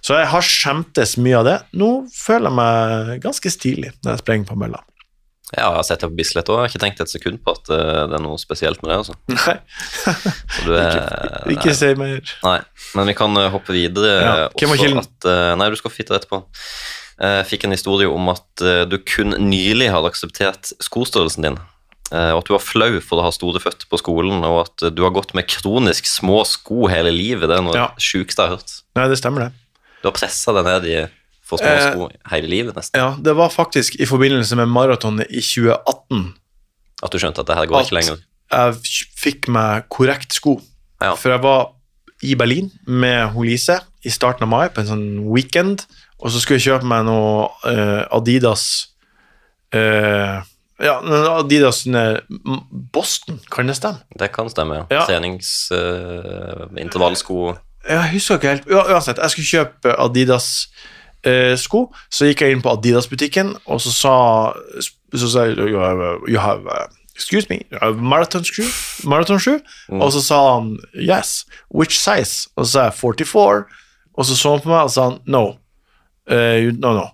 Speaker 4: så jeg har skjemtes mye av det. Nå føler jeg meg ganske stilig når jeg sprenger på mølla.
Speaker 2: ja, jeg har sett deg på Bislett òg. Ikke tenkt et sekund på at eh, det er noe spesielt med det. altså.
Speaker 4: Nei,
Speaker 2: Så du er,
Speaker 4: ikke si mer.
Speaker 2: Nei, men vi kan eh, hoppe videre.
Speaker 4: Ja,
Speaker 2: eh,
Speaker 4: hvem var
Speaker 2: også
Speaker 4: kilden?
Speaker 2: At, eh, nei, du skal få vite det etterpå. Eh, fikk en historie om at eh, du kun nylig hadde akseptert skostørrelsen din, eh, og at du var flau for å ha store føtter på skolen, og at eh, du har gått med kronisk små sko hele livet. Det er noe
Speaker 4: Ja.
Speaker 2: sjukt jeg har hørt.
Speaker 4: Nei, det stemmer, det.
Speaker 2: Du har pressa deg ned i for små
Speaker 4: Eh,
Speaker 2: sko hele livet, nesten.
Speaker 4: Ja, Det var faktisk i forbindelse med maratonet i 2018
Speaker 2: At du skjønte at det her går ikke
Speaker 4: Alt.
Speaker 2: lenger.
Speaker 4: jeg fikk meg korrekt sko.
Speaker 2: Ja.
Speaker 4: For jeg var i Berlin med hun Lise i starten av mai på en sånn weekend, og så skulle jeg kjøpe meg noe eh, Adidas eh, Ja, noen Adidas sine M- Boston, kan det stemme?
Speaker 2: Det kan stemme. eh,
Speaker 4: Ja.
Speaker 2: Ja. Treningsintervallsko
Speaker 4: Jeg husker ikke helt. Ua- Uansett, jeg skulle kjøpe Adidas-sko, så gikk jeg inn på Adidas-butikken, og så sa, så sa jeg, you have, you have, uh, Excuse me, you have marathon shoe? Marathon shoe? Og så sa han yes, which size? Og så sa jeg 44, og så så han på meg og sa han no, uh, you- no, no,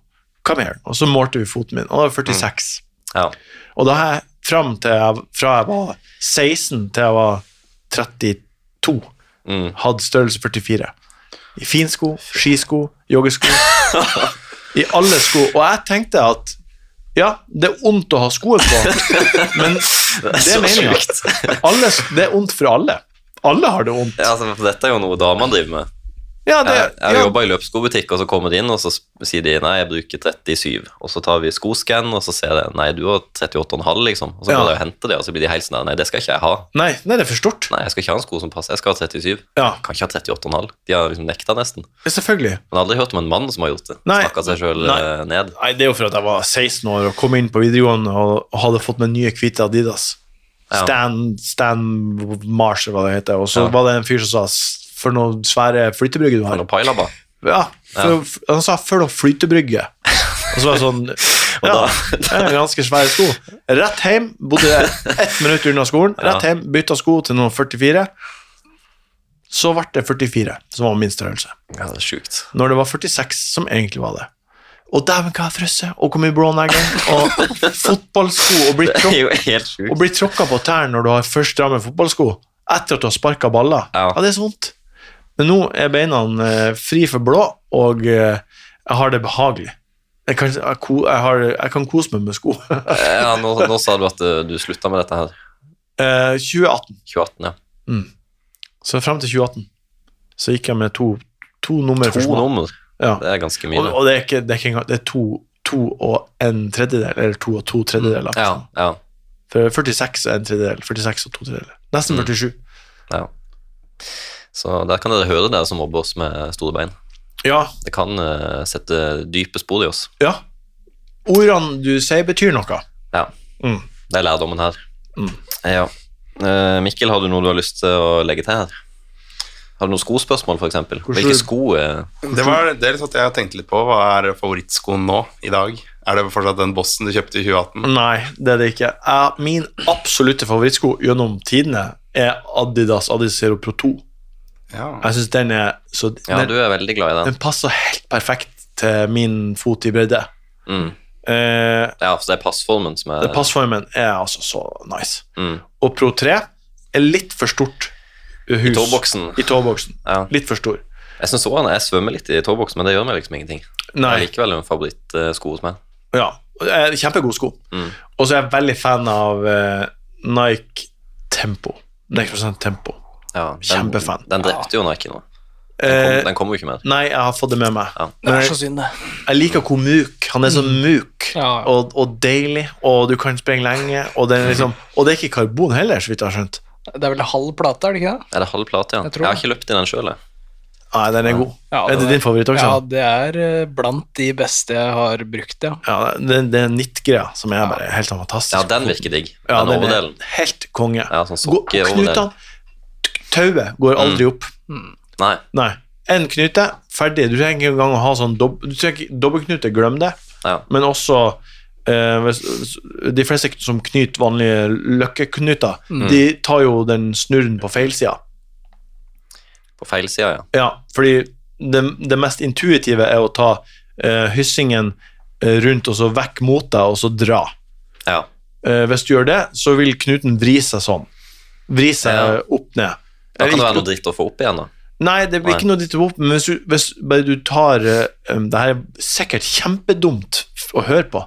Speaker 4: come here. Og så målte vi foten min, og det var 46.
Speaker 2: Ja.
Speaker 4: Og da har jeg fram til jeg, fra jeg var 16 til jeg var 32,
Speaker 2: Mm.
Speaker 4: hadde størrelse 44. I finsko, skisko, joggesko. I alle sko. Og jeg tenkte at ja, det er ondt å ha skoer på, men det
Speaker 2: så
Speaker 4: er meninga.
Speaker 2: sjukt.
Speaker 4: Alle- Det er ondt for alle. Alle har det vondt.
Speaker 2: Ja, altså, for dette er jo noe damene driver med.
Speaker 4: Ja, det,
Speaker 2: Jeg, jeg
Speaker 4: ja,
Speaker 2: jobber i løpsskobutikk, og så kommer de inn, og så sier de nei, jeg bruker 37. Og så tar vi skoskann, og så ser jeg nei, du har 38,5, liksom. Og så
Speaker 4: Ja.
Speaker 2: går jeg og henter det, og så blir de helt sånn nei, det skal ikke jeg ha.
Speaker 4: nei, nei, det er for stort.
Speaker 2: Nei, jeg skal ikke ha en sko som passer, jeg skal ha 37.
Speaker 4: Ja,
Speaker 2: Jeg kan ikke ha 38,5. De har liksom nekta nesten.
Speaker 4: selvfølgelig.
Speaker 2: Men aldri hørt om en mann som har gjort det.
Speaker 4: Nei.
Speaker 2: Snakka seg sjøl
Speaker 4: Nei.
Speaker 2: ned.
Speaker 4: Nei, Det er jo for at jeg var 16 år og kom inn på videregående og, og hadde fått meg nye hvite Adidas.
Speaker 2: Ja.
Speaker 4: Stan, Stan Mars, eller hva det heter. Og så
Speaker 2: Ja.
Speaker 4: var det en fyr som sa "S- For noen svære flytebrygger du
Speaker 2: Han
Speaker 4: har.
Speaker 2: og Pailaba.
Speaker 4: Ja, for, Han sa for noen flytebrygge. Og så var jeg sånn Ja, det er ganske svære sko. Rett hjem. Bodde ett minutt unna skolen. Rett hjem, bytta sko til noen 44. Så ble det 44, som var min størrelse
Speaker 2: Ja, det er sjukt.
Speaker 4: når det var 46 som egentlig var det. Og dæven, hva jeg frøsset, og hvor mye blånegger, og fotballsko, og bli
Speaker 2: Det er
Speaker 4: tråkk-
Speaker 2: jo helt
Speaker 4: og
Speaker 2: sjukt.
Speaker 4: bli tråkka på tærne når du har først stramme fotballsko, etter at du har sparka baller. Ja.
Speaker 2: Ja.
Speaker 4: det er så vondt. Men nå er beina eh, fri for blå, og eh, jeg har det behagelig. Jeg kan, jeg, ko, jeg, har, jeg kan kose meg med sko. Eh,
Speaker 2: Ja, nå, nå sa du at eh, du slutta med dette her.
Speaker 4: 2018.
Speaker 2: 2018, ja.
Speaker 4: Eh, Så fram til 2018 så gikk jeg med to, to nummer
Speaker 2: To
Speaker 4: for små.
Speaker 2: nummer.
Speaker 4: Ja.
Speaker 2: Det er ganske mye.
Speaker 4: Og,
Speaker 2: det.
Speaker 4: og det er ikke, det er ikke engang Det er to, to og en tredjedel, eller to og to tredjedeler.
Speaker 2: Mm, Ja, ja.
Speaker 4: For 46 og en tredjedel. 46 og to tredjedeler. Nesten
Speaker 2: Mm.
Speaker 4: 47.
Speaker 2: Ja. Så der kan dere høre dere som mobber oss med store bein.
Speaker 4: Ja.
Speaker 2: Det kan eh, sette dype spor i oss.
Speaker 4: ja. Ordene du sier, betyr noe.
Speaker 2: Ja,
Speaker 4: Mm.
Speaker 2: det er lærdommen her. Ja. Eh, Mikkel, har du noe du har lyst til å legge til her? Har du noen skospørsmål, f.eks.? Hvilke sko eh,
Speaker 3: Det var det er litt sånn at jeg tenkte litt på. Hva er favorittskoen nå i dag? Er det fortsatt den Boston du kjøpte i 2018?
Speaker 4: Nei, det er det ikke. Jeg- min absolutte favorittsko gjennom tidene er Adidas Adizero Pro 2.
Speaker 3: Ja.
Speaker 4: Jeg syns den er så den,
Speaker 2: Ja, du er veldig glad i den.
Speaker 4: den passer helt perfekt til min fot i bredde.
Speaker 2: Mm.
Speaker 4: Eh,
Speaker 2: Ja, for det er passformen som er
Speaker 4: Det Passformen er altså så nice.
Speaker 2: Mm.
Speaker 4: Og Pro 3 er litt for stort hus. I
Speaker 2: tåboksen.
Speaker 4: I tåboksen.
Speaker 2: Ja.
Speaker 4: Litt for stor.
Speaker 2: Jeg syns også han jeg svømmer litt i tåboks, men det gjør meg liksom ingenting. Det er
Speaker 4: Nei.
Speaker 2: likevel en favorittsko hos meg.
Speaker 4: Ja. Eh, Kjempegod sko.
Speaker 2: Mm.
Speaker 4: Og så er jeg veldig fan av eh, Nike Tempo. Nike Percent Tempo.
Speaker 2: Ja, den,
Speaker 4: Kjempefan.
Speaker 2: Den drepte jo Nike nå. Den kom-
Speaker 4: Eh,
Speaker 2: Den kommer jo ikke mer.
Speaker 4: nei, jeg har fått det med meg.
Speaker 2: Ja.
Speaker 1: Det
Speaker 4: Men
Speaker 1: er så
Speaker 4: jeg,
Speaker 1: synd, det.
Speaker 4: jeg liker hvor mjuk han er. så mjuk
Speaker 1: Mm. Ja, ja.
Speaker 4: Og, og deilig, og du kan sprenge lenge. Og, den er liksom,
Speaker 2: Mm.
Speaker 4: og det er ikke karbon heller, så vidt jeg har skjønt.
Speaker 1: Det er vel halv plate, er det ikke det?
Speaker 2: Er det halv plate, ja?
Speaker 1: Jeg
Speaker 2: Jeg,
Speaker 1: tror
Speaker 2: har
Speaker 1: det.
Speaker 2: ikke løpt i den sjøl, jeg.
Speaker 4: Nei, den er god.
Speaker 1: Ja,
Speaker 4: er det din favoritt også?
Speaker 1: Ja, det er eh, blant de beste jeg har brukt, ja.
Speaker 4: Ja, det, det er nitt-greia som er bare helt sånn fantastisk.
Speaker 2: Ja, den virker digg.
Speaker 4: Ja,
Speaker 2: den,
Speaker 4: den er
Speaker 2: overdelen.
Speaker 4: Helt konge.
Speaker 2: Ja, sånn Mm.
Speaker 4: Gå-
Speaker 2: sokkeoverdel.
Speaker 4: Knutene Tauet går aldri opp.
Speaker 2: Nei.
Speaker 4: Nei. En knute, ferdig. Du trenger ikke engang å ha sånn dob du trenger ikke- dobbeltknute, glem det.
Speaker 2: Ja.
Speaker 4: Men også eh, hvis, hvis- de fleste som knyter vanlige løkkeknuter, de tar jo den snurren på feil side.
Speaker 2: På feil side, ja.
Speaker 4: Ja, fordi det, det mest intuitive er å ta eh, hyssingen eh, rundt og så vekk mot deg, og så dra.
Speaker 2: ja.
Speaker 4: Eh, hvis du gjør det, så vil knuten vri seg sånn. Vri seg
Speaker 2: Ja.
Speaker 4: opp
Speaker 2: Da
Speaker 4: ned.
Speaker 2: kan det
Speaker 4: Eller
Speaker 2: være
Speaker 4: ikke-
Speaker 2: noe dritt å få opp igjen, da.
Speaker 4: Nei, det blir
Speaker 2: Nei.
Speaker 4: ikke noe ditt våpen, men hvis du, hvis bare du tar eh, um, Det her er sikkert kjempedumt f- å høre på.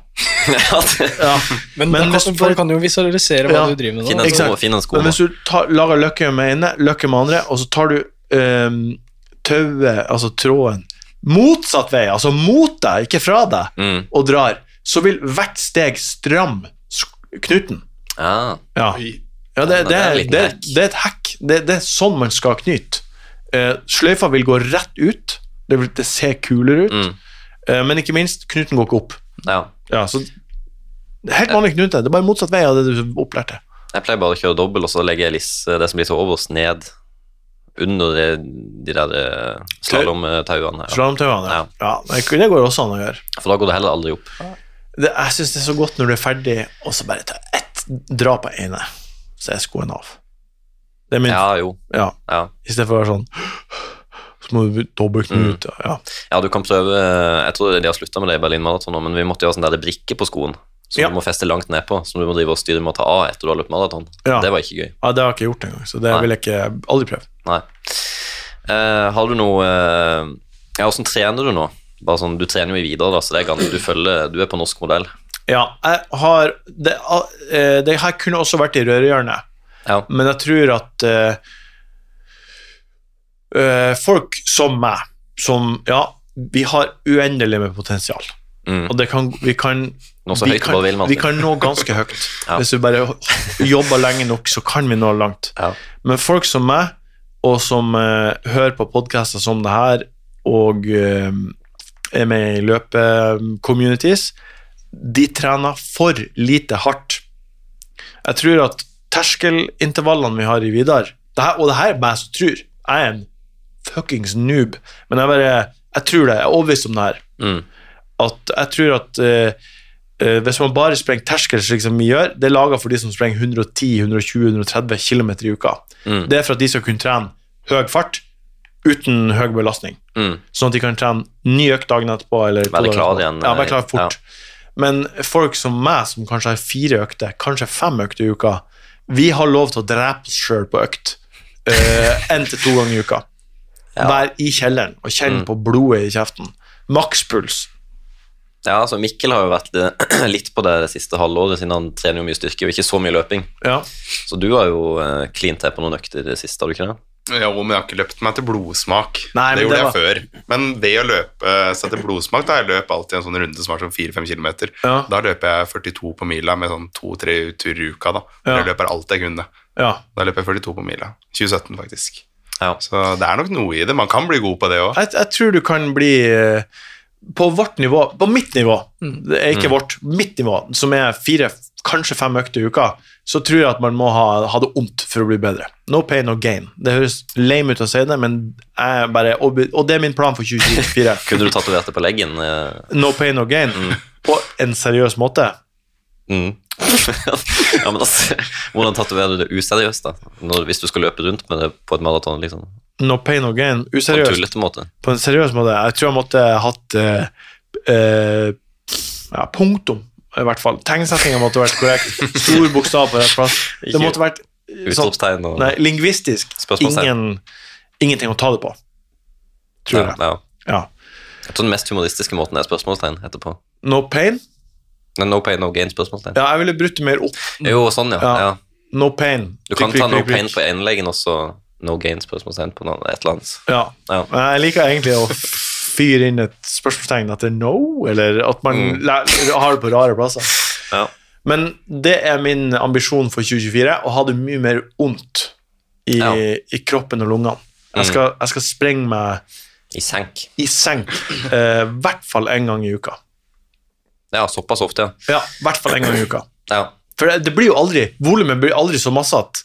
Speaker 2: Ja, det-
Speaker 4: Ja.
Speaker 1: Men,
Speaker 4: Men
Speaker 1: da
Speaker 4: hvis
Speaker 1: kan,
Speaker 4: bare-
Speaker 1: folk kan jo visualisere hva
Speaker 4: Ja.
Speaker 1: du driver med
Speaker 2: Finn
Speaker 1: nå. Altså,
Speaker 2: en
Speaker 4: Ikke
Speaker 2: sko,
Speaker 4: sant.
Speaker 2: finn en sko.
Speaker 4: Men
Speaker 2: nå.
Speaker 4: hvis du tar, lager løkke med ene, løkke med andre, og så tar du um, tauet, altså tråden, motsatt vei, altså mot deg, ikke fra deg,
Speaker 2: Mm.
Speaker 4: og drar, så vil hvert steg stramme sk- knuten.
Speaker 2: Ja.
Speaker 4: Ja, ja det,
Speaker 2: men
Speaker 4: det,
Speaker 2: det er
Speaker 4: er,
Speaker 2: en liten
Speaker 4: det,
Speaker 2: hack.
Speaker 4: det er et hack. Det, det er sånn man skal knyte. Eh, sløyfa vil gå rett ut. Det, vil, det ser kulere ut.
Speaker 2: Mm.
Speaker 4: Eh, men ikke minst, knuten går ikke opp.
Speaker 2: ja.
Speaker 4: Ja, så det er Helt vanlig knute. Det er bare motsatt vei av det du opplærte.
Speaker 2: Jeg pleier bare å kjøre dobbel, og så legger jeg lisse, det som blir så overst, ned under de, de der eh, slalomtauene. her, Ja.
Speaker 4: Slalåmtauene. Ja.
Speaker 2: Ja.
Speaker 4: Ja, det det går også an å gjøre.
Speaker 2: For da går det heller aldri opp.
Speaker 4: Det, jeg syns det er så godt når du er ferdig, og så bare ta ett dra på ene, så er skoen av. Det er min
Speaker 2: Ja, jo.
Speaker 4: ja.
Speaker 2: Ja.
Speaker 4: I stedet for å være sånn Så må du dobbeltknute.
Speaker 2: Mm.
Speaker 4: Ja.
Speaker 2: ja, du kan prøve eh, Jeg tror de har slutta med det i Berlin Maraton nå, men vi måtte jo ha sånn der brikke på skoen som
Speaker 4: Ja.
Speaker 2: du må feste langt nedpå, som du må drive og styre med å ta av etter du har løpt maraton.
Speaker 4: Ja.
Speaker 2: Det var ikke gøy.
Speaker 4: ja, det har jeg ikke gjort engang, så det
Speaker 2: Nei.
Speaker 4: vil jeg ikke aldri prøve.
Speaker 2: Nei. Eh, har du noe eh, Ja, åssen trener du nå? Bare sånn, Du trener jo i videre, da, så det er ganske, du følger Du er på norsk modell.
Speaker 4: Ja, jeg har Det, eh, det her kunne også vært i rørehjørnet,
Speaker 2: Ja.
Speaker 4: men jeg tror at eh, eh, folk som meg, som Ja, vi har uendelig med potensial.
Speaker 2: Mm.
Speaker 4: Og det kan, vi kan
Speaker 2: Nå så
Speaker 4: vi
Speaker 2: høyt du
Speaker 4: kan,
Speaker 2: bare vil, Martin.
Speaker 4: Vi kan nå ganske høyt.
Speaker 2: Ja.
Speaker 4: Hvis vi bare jobber lenge nok, så kan vi nå langt.
Speaker 2: Ja.
Speaker 4: Men folk som meg, og som eh, hører på podkaster som det her, og eh, er med i løpe-communities, de trener for lite hardt. Jeg tror at terskelintervallene vi har i Vidar det her, Og det her er meg som tror. Jeg er en fuckings noob, men jeg bare Jeg tror det. Jeg er overbevist om det her
Speaker 2: Mm.
Speaker 4: at jeg tror at eh, eh, hvis man bare sprenger terskel, slik som vi gjør, det er laga for de som sprenger 110, 120, 130 km i uka.
Speaker 2: Mm.
Speaker 4: Det er for at de skal kunne trene høy fart uten høy belastning.
Speaker 2: Mm.
Speaker 4: Sånn at de kan trene ny økt dagen etterpå. Eller to
Speaker 2: Være
Speaker 4: dager
Speaker 2: klar
Speaker 4: etterpå.
Speaker 2: igjen,
Speaker 4: Ja,
Speaker 2: eh,
Speaker 4: være klar fort. Men folk som meg, som kanskje har fire økter, kanskje fem økter i uka, vi har lov til å drepe oss sjøl på økt én til to ganger i uka. Vær i kjelleren og
Speaker 2: Mm.
Speaker 4: kjenn på blodet i kjeften. Makspuls.
Speaker 2: Ja, altså Mikkel har jo vært eh, litt på det det siste halvåret, siden han trener jo mye styrke og ikke så mye løping.
Speaker 4: Ja.
Speaker 2: Så du har jo eh, klint til på noen økter i det siste, har du ikke det?
Speaker 3: Jo, men jeg har ikke løpt meg til blodsmak.
Speaker 4: Nei,
Speaker 3: det
Speaker 4: men
Speaker 3: gjorde
Speaker 4: det
Speaker 3: jeg før. Men ved å løpe eh, seg til blodsmak, da jeg løp alltid en sånn runde som var sånn 4-5 km.
Speaker 4: Ja.
Speaker 3: Da løper jeg 42 på mila med sånn 2-3 turer i uka, da.
Speaker 4: Ja.
Speaker 3: Jeg løper alt jeg kunne.
Speaker 4: ja.
Speaker 3: Da løper jeg 42 på mila. 2017, faktisk.
Speaker 2: Ja.
Speaker 3: Så det er nok noe i det. Man kan bli god på det òg.
Speaker 4: jeg, jeg tror du kan bli eh, på vårt nivå, på mitt nivå, det er ikke vårt, mitt nivå, som er fire, kanskje fem økter i uka, så tror jeg at man må ha, ha det ondt for å bli bedre. No pain, no gain. Det høres lame ut å si det, men jeg er bare, overbe- og det er min plan for 2024.
Speaker 2: Kunne du tatovert det på leggen? eh?
Speaker 4: No pain, no gain. På en seriøs måte.
Speaker 2: Mm. ja, men altså, Hvordan tatoverer du det useriøst, da? Når, hvis du skal løpe rundt med det på et maraton? liksom.
Speaker 4: No pain, no gain.
Speaker 2: På en
Speaker 4: Useriøst.
Speaker 2: tullete måte.
Speaker 4: På en seriøs måte. Jeg tror jeg måtte hatt eh, eh, ja, punktum, i hvert fall. Tegnsettinga måtte vært korrekt. Stor bokstav på rett plass. Det
Speaker 2: Ikke
Speaker 4: måtte vært eh, sånn,
Speaker 2: Utropstegn og
Speaker 4: nei, lingvistisk
Speaker 2: Spørsmålstegn.
Speaker 4: ingen, ingenting å ta det på. Tror jeg.
Speaker 2: Ja, ja.
Speaker 4: Ja.
Speaker 2: Jeg tror den mest humoristiske måten er spørsmålstegn etterpå.
Speaker 4: No pain?
Speaker 2: Nei, No pain, no gain? spørsmålstegn.
Speaker 4: Ja, jeg ville brutt det mer opp.
Speaker 2: Jo, sånn, ja.
Speaker 4: Ja.
Speaker 2: ja.
Speaker 4: No pain.
Speaker 2: Du kan
Speaker 4: Prikk,
Speaker 2: ta
Speaker 4: prikk,
Speaker 2: no
Speaker 4: prikk,
Speaker 2: pain
Speaker 4: prikk.
Speaker 2: på ene leggen og så no gain? spørsmålstegn på den andre, et eller annet.
Speaker 4: Ja.
Speaker 2: Ja.
Speaker 4: Men Jeg liker egentlig å fyre inn et spørsmålstegn etter no, eller at man læ- har det på rare plasser.
Speaker 2: Mm. Ja.
Speaker 4: Men det er min ambisjon for 2024, å ha det mye mer ondt i,
Speaker 2: Ja. Mm.
Speaker 4: i kroppen og lungene. Jeg skal, jeg skal sprenge meg
Speaker 2: I senk.
Speaker 4: i senk i hvert fall én gang i uka.
Speaker 2: Ja, såpass ofte, ja.
Speaker 4: Ja, i hvert fall en gang i uka.
Speaker 2: ja.
Speaker 4: For det, det blir jo aldri, volumet blir aldri så masse at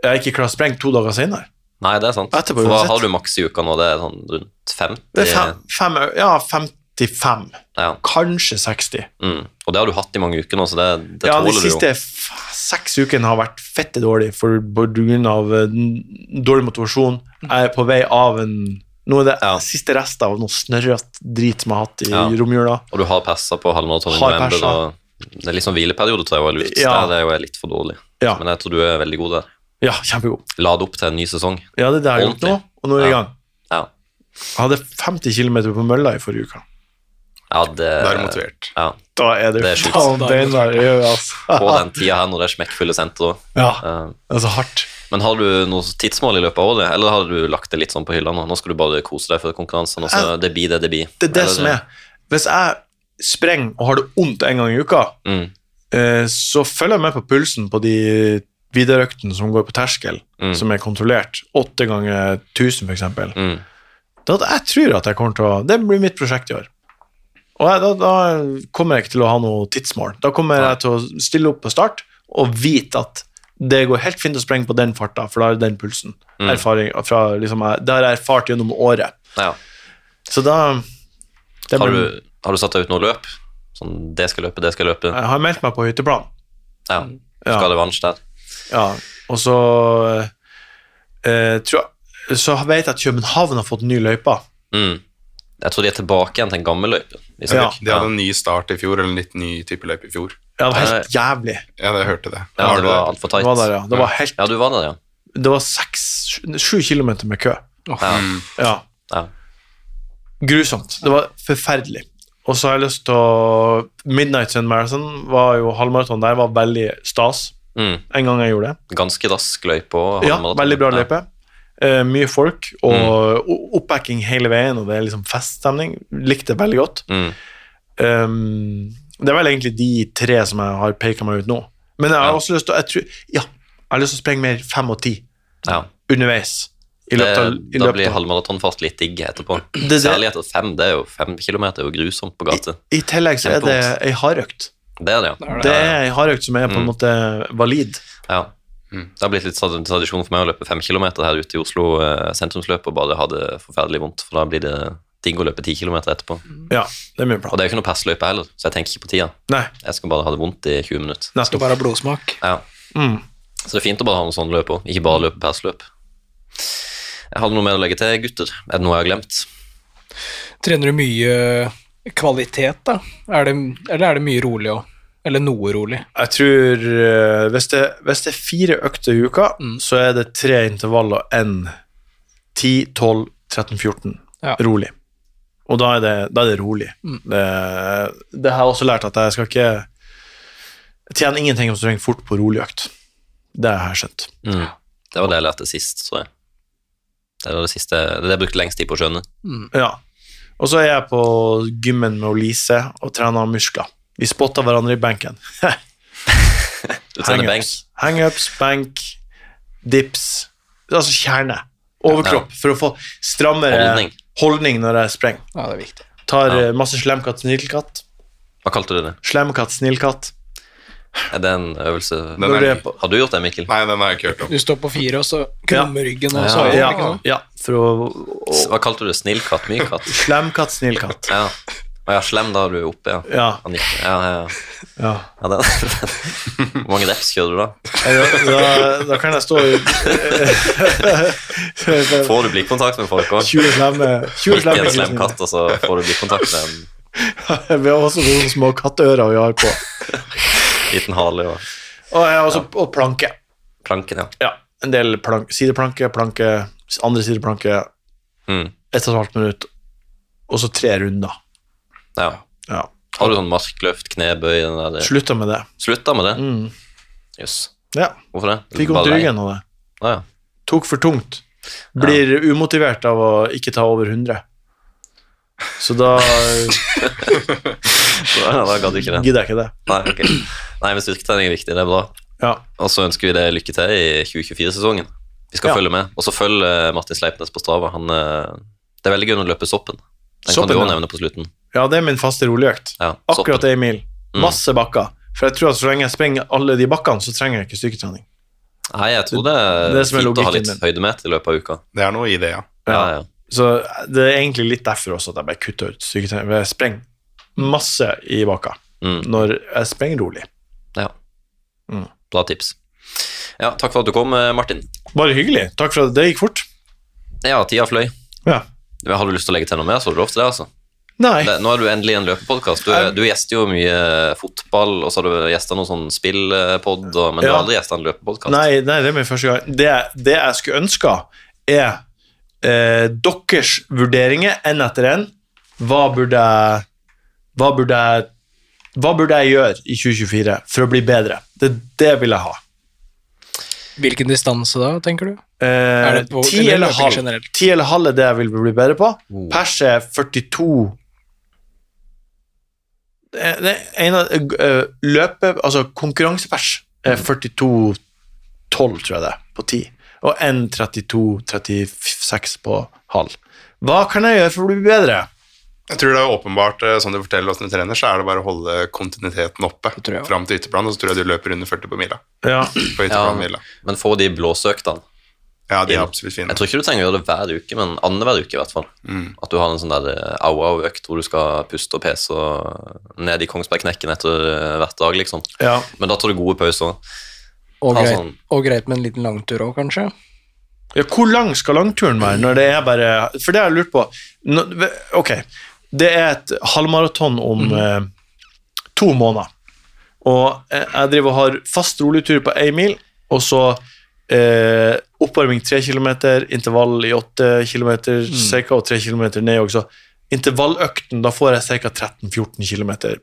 Speaker 4: jeg ikke klarer å sprenge to dager senere.
Speaker 2: Nei, det er sant.
Speaker 4: Etterpå
Speaker 2: For hva
Speaker 4: uansett.
Speaker 2: har du maks i uka nå? Det er sånn rundt 50?
Speaker 4: Det er fem, fem, ja, 55.
Speaker 2: Ja.
Speaker 4: Kanskje 60.
Speaker 2: Mm. Og det har du hatt i mange uker nå, så det, det
Speaker 4: Ja, de
Speaker 2: tåler du jo.
Speaker 4: siste f- seks ukene har vært fette dårlig for på grunn av eh, n- dårlig motivasjon. Jeg er på vei av en Nå er det
Speaker 2: Mm. Ja.
Speaker 4: siste rest av noe snørrete drit som jeg har hatt i
Speaker 2: Ja.
Speaker 4: romjula.
Speaker 2: Og du har persa på halvmaraton i
Speaker 4: Har
Speaker 2: november.
Speaker 4: persa.
Speaker 2: Og det er litt sånn hvileperiode, tror jeg, var lurt.
Speaker 4: Ja.
Speaker 2: Der er jo jeg litt for dårlig.
Speaker 4: Ja.
Speaker 2: Men jeg tror du er veldig god der.
Speaker 4: Ja, kjempegod.
Speaker 2: Lade opp til en ny sesong.
Speaker 4: Ja, det er det jeg har gjort nå,
Speaker 2: Ordentlig.
Speaker 4: og nå er jeg i
Speaker 2: Ja.
Speaker 4: gang.
Speaker 2: Ja,
Speaker 4: Jeg hadde 50 km på mølla i forrige uke.
Speaker 2: ja det
Speaker 3: Da er du motivert.
Speaker 2: Ja,
Speaker 4: Da er det,
Speaker 2: Det er sjukt.
Speaker 4: faen beinar i øret, altså.
Speaker 2: På den tida her når det er smekkfulle sentre. også.
Speaker 4: Ja,
Speaker 2: Eh,
Speaker 4: altså hardt.
Speaker 2: Men har du noe tidsmål i løpet av året, eller har du lagt det litt sånn på hylla nå? Nå skal du bare kose deg før konkurransen, og så det blir det det blir.
Speaker 4: Eh, Det er det
Speaker 2: Eller-
Speaker 4: som er. Hvis jeg sprenger og har det vondt en gang i uka,
Speaker 2: Mm,
Speaker 4: eh, så følger jeg med på pulsen på de videreøktene som går på terskel,
Speaker 2: Mm.
Speaker 4: som er kontrollert. Åtte ganger 1000, f.eks.
Speaker 2: mm.
Speaker 4: Da, jeg tror at jeg kommer til å Det blir mitt prosjekt i år. Og jeg, da, da kommer jeg ikke til å ha noe tidsmål. Da kommer jeg til å stille opp på start og vite at det går helt fint å sprenge på den farta, for da er det den pulsen.
Speaker 2: Mm.
Speaker 4: Erfaring fra, liksom, jeg, det har jeg erfart gjennom året.
Speaker 2: Ja.
Speaker 4: Så da det
Speaker 2: Har,
Speaker 4: blir-
Speaker 2: du, har du satt deg ut noe løp? Sånn det skal løpe, det skal løpe.
Speaker 4: Jeg har meldt meg på hytteplan.
Speaker 2: Ja.
Speaker 4: Ja.
Speaker 2: Skal det vans der?
Speaker 4: Ja, og så eh, tror jeg, Så vet jeg at København har fått ny løype.
Speaker 2: Mm. Jeg tror de er tilbake igjen til en gammel løype. hvis jeg
Speaker 4: Ja.
Speaker 2: husker.
Speaker 3: De hadde en ny start i fjor, eller en litt ny type løype i fjor.
Speaker 4: Ja, det var helt jævlig.
Speaker 3: Ja, jeg hørte det.
Speaker 2: ja,
Speaker 3: Har
Speaker 2: det
Speaker 3: du
Speaker 2: var altfor
Speaker 4: Det
Speaker 2: tight.
Speaker 4: var der, ja. Det var helt
Speaker 2: Ja, du var der, ja.
Speaker 4: Det var seks sju- Sju kilometer med kø.
Speaker 2: Ja.
Speaker 3: Mm.
Speaker 4: Ja.
Speaker 2: Ja.
Speaker 4: Grusomt. Det var forferdelig. Og så har jeg lyst til å Midnight Sun Marathon var jo halvmaraton der, var veldig stas.
Speaker 2: Mm.
Speaker 4: En gang jeg gjorde det.
Speaker 2: Ganske rask løype. og
Speaker 4: Ja,
Speaker 2: halvmaraton.
Speaker 4: veldig bra
Speaker 2: Ja.
Speaker 4: løype. Eh, mye folk og o- oppbacking hele veien, og det er liksom feststemning. Likte det veldig godt.
Speaker 2: Mm.
Speaker 4: Um, det er vel egentlig de tre som jeg har peka meg ut nå. Men jeg
Speaker 2: Ja.
Speaker 4: har også lyst til å jeg tror, ja, jeg har lyst til å sprenge mer fem og ti
Speaker 2: Ja.
Speaker 4: underveis. I løpet av,
Speaker 2: Det-
Speaker 4: i
Speaker 2: da
Speaker 4: løpet
Speaker 2: blir
Speaker 4: av.
Speaker 2: halvmaratonfart litt digg etterpå.
Speaker 4: det.
Speaker 2: Særlig etter fem. Det er jo fem kilometer, det er jo grusomt på gata.
Speaker 4: I tillegg så er det
Speaker 2: Kjempevondt.
Speaker 4: ei hardøkt.
Speaker 2: Det er det, ja. Mm.
Speaker 4: Det er ei hardøkt som er på en måte valid.
Speaker 2: ja. Det har blitt litt trad- tradisjon for meg å løpe fem kilometer her ute i Oslo eh, sentrumsløp og bare ha det forferdelig vondt, for da blir det digg å løpe ti kilometer etterpå.
Speaker 4: Ja, det er mye
Speaker 2: Og
Speaker 4: bra.
Speaker 2: det er jo ikke noe passløype heller, så jeg tenker ikke på tida.
Speaker 4: Nei,
Speaker 2: Jeg skal bare ha det vondt i 20 minutter.
Speaker 1: Skal
Speaker 4: nettopp.
Speaker 1: bare ha blodsmak.
Speaker 2: Ja.
Speaker 4: Mm.
Speaker 2: Så det er fint å bare ha noen sånne løp òg, ikke bare løpe passløp. Jeg hadde noe mer å legge til, gutter. Er det noe jeg har glemt?
Speaker 1: Trener du mye eh, kvalitet, da? Er det, eller er det mye rolig òg? Eller noe rolig?
Speaker 4: Jeg tror eh, hvis, det, hvis det er fire økter i uka, så er det tre intervaller enn 10, 12, 13, 14.
Speaker 1: Ja.
Speaker 4: Rolig. Og da er det, da er det rolig. Det, det har jeg også lært at jeg skal ikke jeg tjener ingenting om du trenger fort på rolig økt. Det har jeg skjønt.
Speaker 2: Mm. Det var det jeg lærte sist, tror jeg. Det var det siste Det er det jeg brukte lengst tid på å skjønne.
Speaker 4: Ja. Og så er jeg på gymmen med Lise og trener muskler. Vi spotter hverandre i benken.
Speaker 2: Du trener benk.
Speaker 4: Hangups, hangups, benk, dips. Altså kjerne. Overkropp, for å få strammere holdning,
Speaker 2: Holdning.
Speaker 4: når jeg sprenger.
Speaker 1: Ja, det er viktig.
Speaker 4: Tar
Speaker 2: Ja.
Speaker 4: eh, masse slemkatt, snillkatt.
Speaker 2: Hva kalte du det?
Speaker 4: Slemkatt, snillkatt.
Speaker 2: Er det en øvelse
Speaker 3: Den
Speaker 4: Når
Speaker 3: er
Speaker 4: du er
Speaker 3: ny.
Speaker 4: på
Speaker 2: Har du gjort det, Mikkel?
Speaker 3: Nei, den har jeg ikke hørt om.
Speaker 1: Du står på fire, og så krummer ryggen og så
Speaker 2: Ja.
Speaker 1: over,
Speaker 4: ja,
Speaker 1: ikke sant?
Speaker 4: ja, for å
Speaker 2: Hva kalte du det? Snill katt? Myk katt?
Speaker 4: Slemkatt, snillkatt.
Speaker 2: Ja. Å ja, slem, da er du oppe, ja.
Speaker 4: Ja.
Speaker 2: Han gikk, ja, ja, ja.
Speaker 4: ja.
Speaker 2: ja den. Hvor mange reps kjører du da?
Speaker 4: Da, da, da kan jeg stå i
Speaker 2: Får du blikkontakt med folk òg?
Speaker 4: 20 slemme, 20
Speaker 2: Ikke en slem
Speaker 4: slemme
Speaker 2: katt, og så får du blikkontakt med en
Speaker 4: Vi har også noen små katteører vi har på.
Speaker 2: liten hale og
Speaker 4: Og, jeg har også, og planke.
Speaker 2: planken, ja.
Speaker 4: Ja, en del plank, sideplanke, planke, andre sideplanke,
Speaker 2: Mm.
Speaker 4: ett og et halvt minutt, og så tre runder.
Speaker 2: ja.
Speaker 4: Ja.
Speaker 2: Har du sånn markløft, knebøy den der?
Speaker 4: Slutta med det.
Speaker 2: Slutta med det?
Speaker 4: Mm.
Speaker 2: Jøss.
Speaker 4: Ja.
Speaker 2: Hvorfor det?
Speaker 4: Fikk
Speaker 2: Bare
Speaker 4: vondt i
Speaker 2: lei?
Speaker 4: ryggen av det.
Speaker 2: Ah, ja.
Speaker 4: Tok for tungt. Blir umotivert av å ikke ta over 100. Så da eh,
Speaker 2: Da, da gadd du ikke det.
Speaker 4: gidder jeg ikke det.
Speaker 2: Nei, ok. Nei, men styrketrening er viktig, det er bra.
Speaker 4: Ja.
Speaker 2: Og så ønsker vi deg lykke til i 2024-sesongen. Vi skal
Speaker 4: Ja.
Speaker 2: følge med. Og så følg eh, Martin Sleipnes på Strava. Han, eh, det er veldig gøy å løpe soppen. Den kan
Speaker 4: Soppen,
Speaker 2: du òg
Speaker 4: ja.
Speaker 2: nevne på slutten.
Speaker 4: ja, det er min faste roligøkt.
Speaker 2: Ja,
Speaker 4: Akkurat
Speaker 2: soppen.
Speaker 4: ei mil. Masse bakker. For jeg tror at så lenge jeg springer alle de bakkene, så trenger jeg ikke styrketrening.
Speaker 2: Nei, jeg tror det er,
Speaker 4: Det som er
Speaker 2: fint å ha
Speaker 4: logikken
Speaker 2: litt
Speaker 4: min.
Speaker 2: høydemeter i løpet av uka.
Speaker 3: Det er noe i det, ja.
Speaker 2: Ja,
Speaker 4: Ja.
Speaker 2: ja.
Speaker 4: Så det er egentlig litt derfor også at jeg bare kutter ut syketrening. Jeg sprenger masse i baka
Speaker 2: Mm.
Speaker 4: når jeg sprenger rolig.
Speaker 2: ja.
Speaker 4: Mm.
Speaker 2: Bra tips. Ja, takk for at du kom, eh, Martin.
Speaker 4: Bare hyggelig. Takk for at det gikk fort.
Speaker 2: Ja, tida fløy.
Speaker 4: Ja.
Speaker 2: Har du lyst til å legge til noe mer, så har du lov til det, altså.
Speaker 4: Nei.
Speaker 2: Det, nå er du endelig i en løpepodkast. Du, er- du gjester jo mye fotball, og så har du gjesta noen sånn spillpod, og- men du har
Speaker 4: Ja.
Speaker 2: aldri gjesta en løpepodkast.
Speaker 4: Nei, nei, det er min første gang. Det, det jeg skulle ønska, er eh, deres vurderinger én etter én. Hva burde jeg hva burde jeg, hva burde jeg gjøre i 2024 for å bli bedre? Det, det vil jeg ha.
Speaker 1: Hvilken distanse da, tenker du?
Speaker 4: Eh,
Speaker 1: det på-
Speaker 4: 10
Speaker 1: eller
Speaker 4: eller
Speaker 1: løping
Speaker 4: halv.
Speaker 1: generelt?
Speaker 4: 10 eller halv er det jeg vil bli bedre på. Pers er 42 det er- det er en av, eh, løpe, altså konkurransepers er 42-12, tror jeg det, er, på 10. Og 1.32-36 på halv. Hva kan jeg gjøre for å bli bedre?
Speaker 3: Jeg tror det er åpenbart, eh, som du forteller hvordan du trener, så er det bare å holde kontinuiteten oppe
Speaker 1: tror jeg også.
Speaker 3: fram til ytterplan, og så tror jeg du løper under 40 på mila.
Speaker 4: Ja.
Speaker 3: På ytterplanmila.
Speaker 2: Men få de blåsøktene.
Speaker 3: Ja, de er
Speaker 2: Ja.
Speaker 3: absolutt fine.
Speaker 2: Jeg tror ikke du trenger å gjøre det hver uke, men annenhver uke i hvert fall.
Speaker 4: Mm.
Speaker 2: At du har en sånn der eh, au-au-økt hvor du skal puste og pese og ned i Kongsbergknekken etter eh, hvert dag, liksom.
Speaker 4: ja.
Speaker 2: Men da tar du gode pauser.
Speaker 1: Og
Speaker 2: Ta
Speaker 1: greit,
Speaker 2: sånn.
Speaker 1: og greit med en liten langtur òg, kanskje?
Speaker 4: Ja, hvor lang skal langturen være når det er bare For det har jeg lurt på. Nå, ve- ok, det er et halvmaraton om eh, to måneder. Og eh, jeg driver og har fast rolig tur på én mil, og så eh, oppvarming tre kilometer, intervall i åtte kilometer cirka, og tre kilometer ned også. Intervalløkten, da får jeg ca. 13-14 kilometer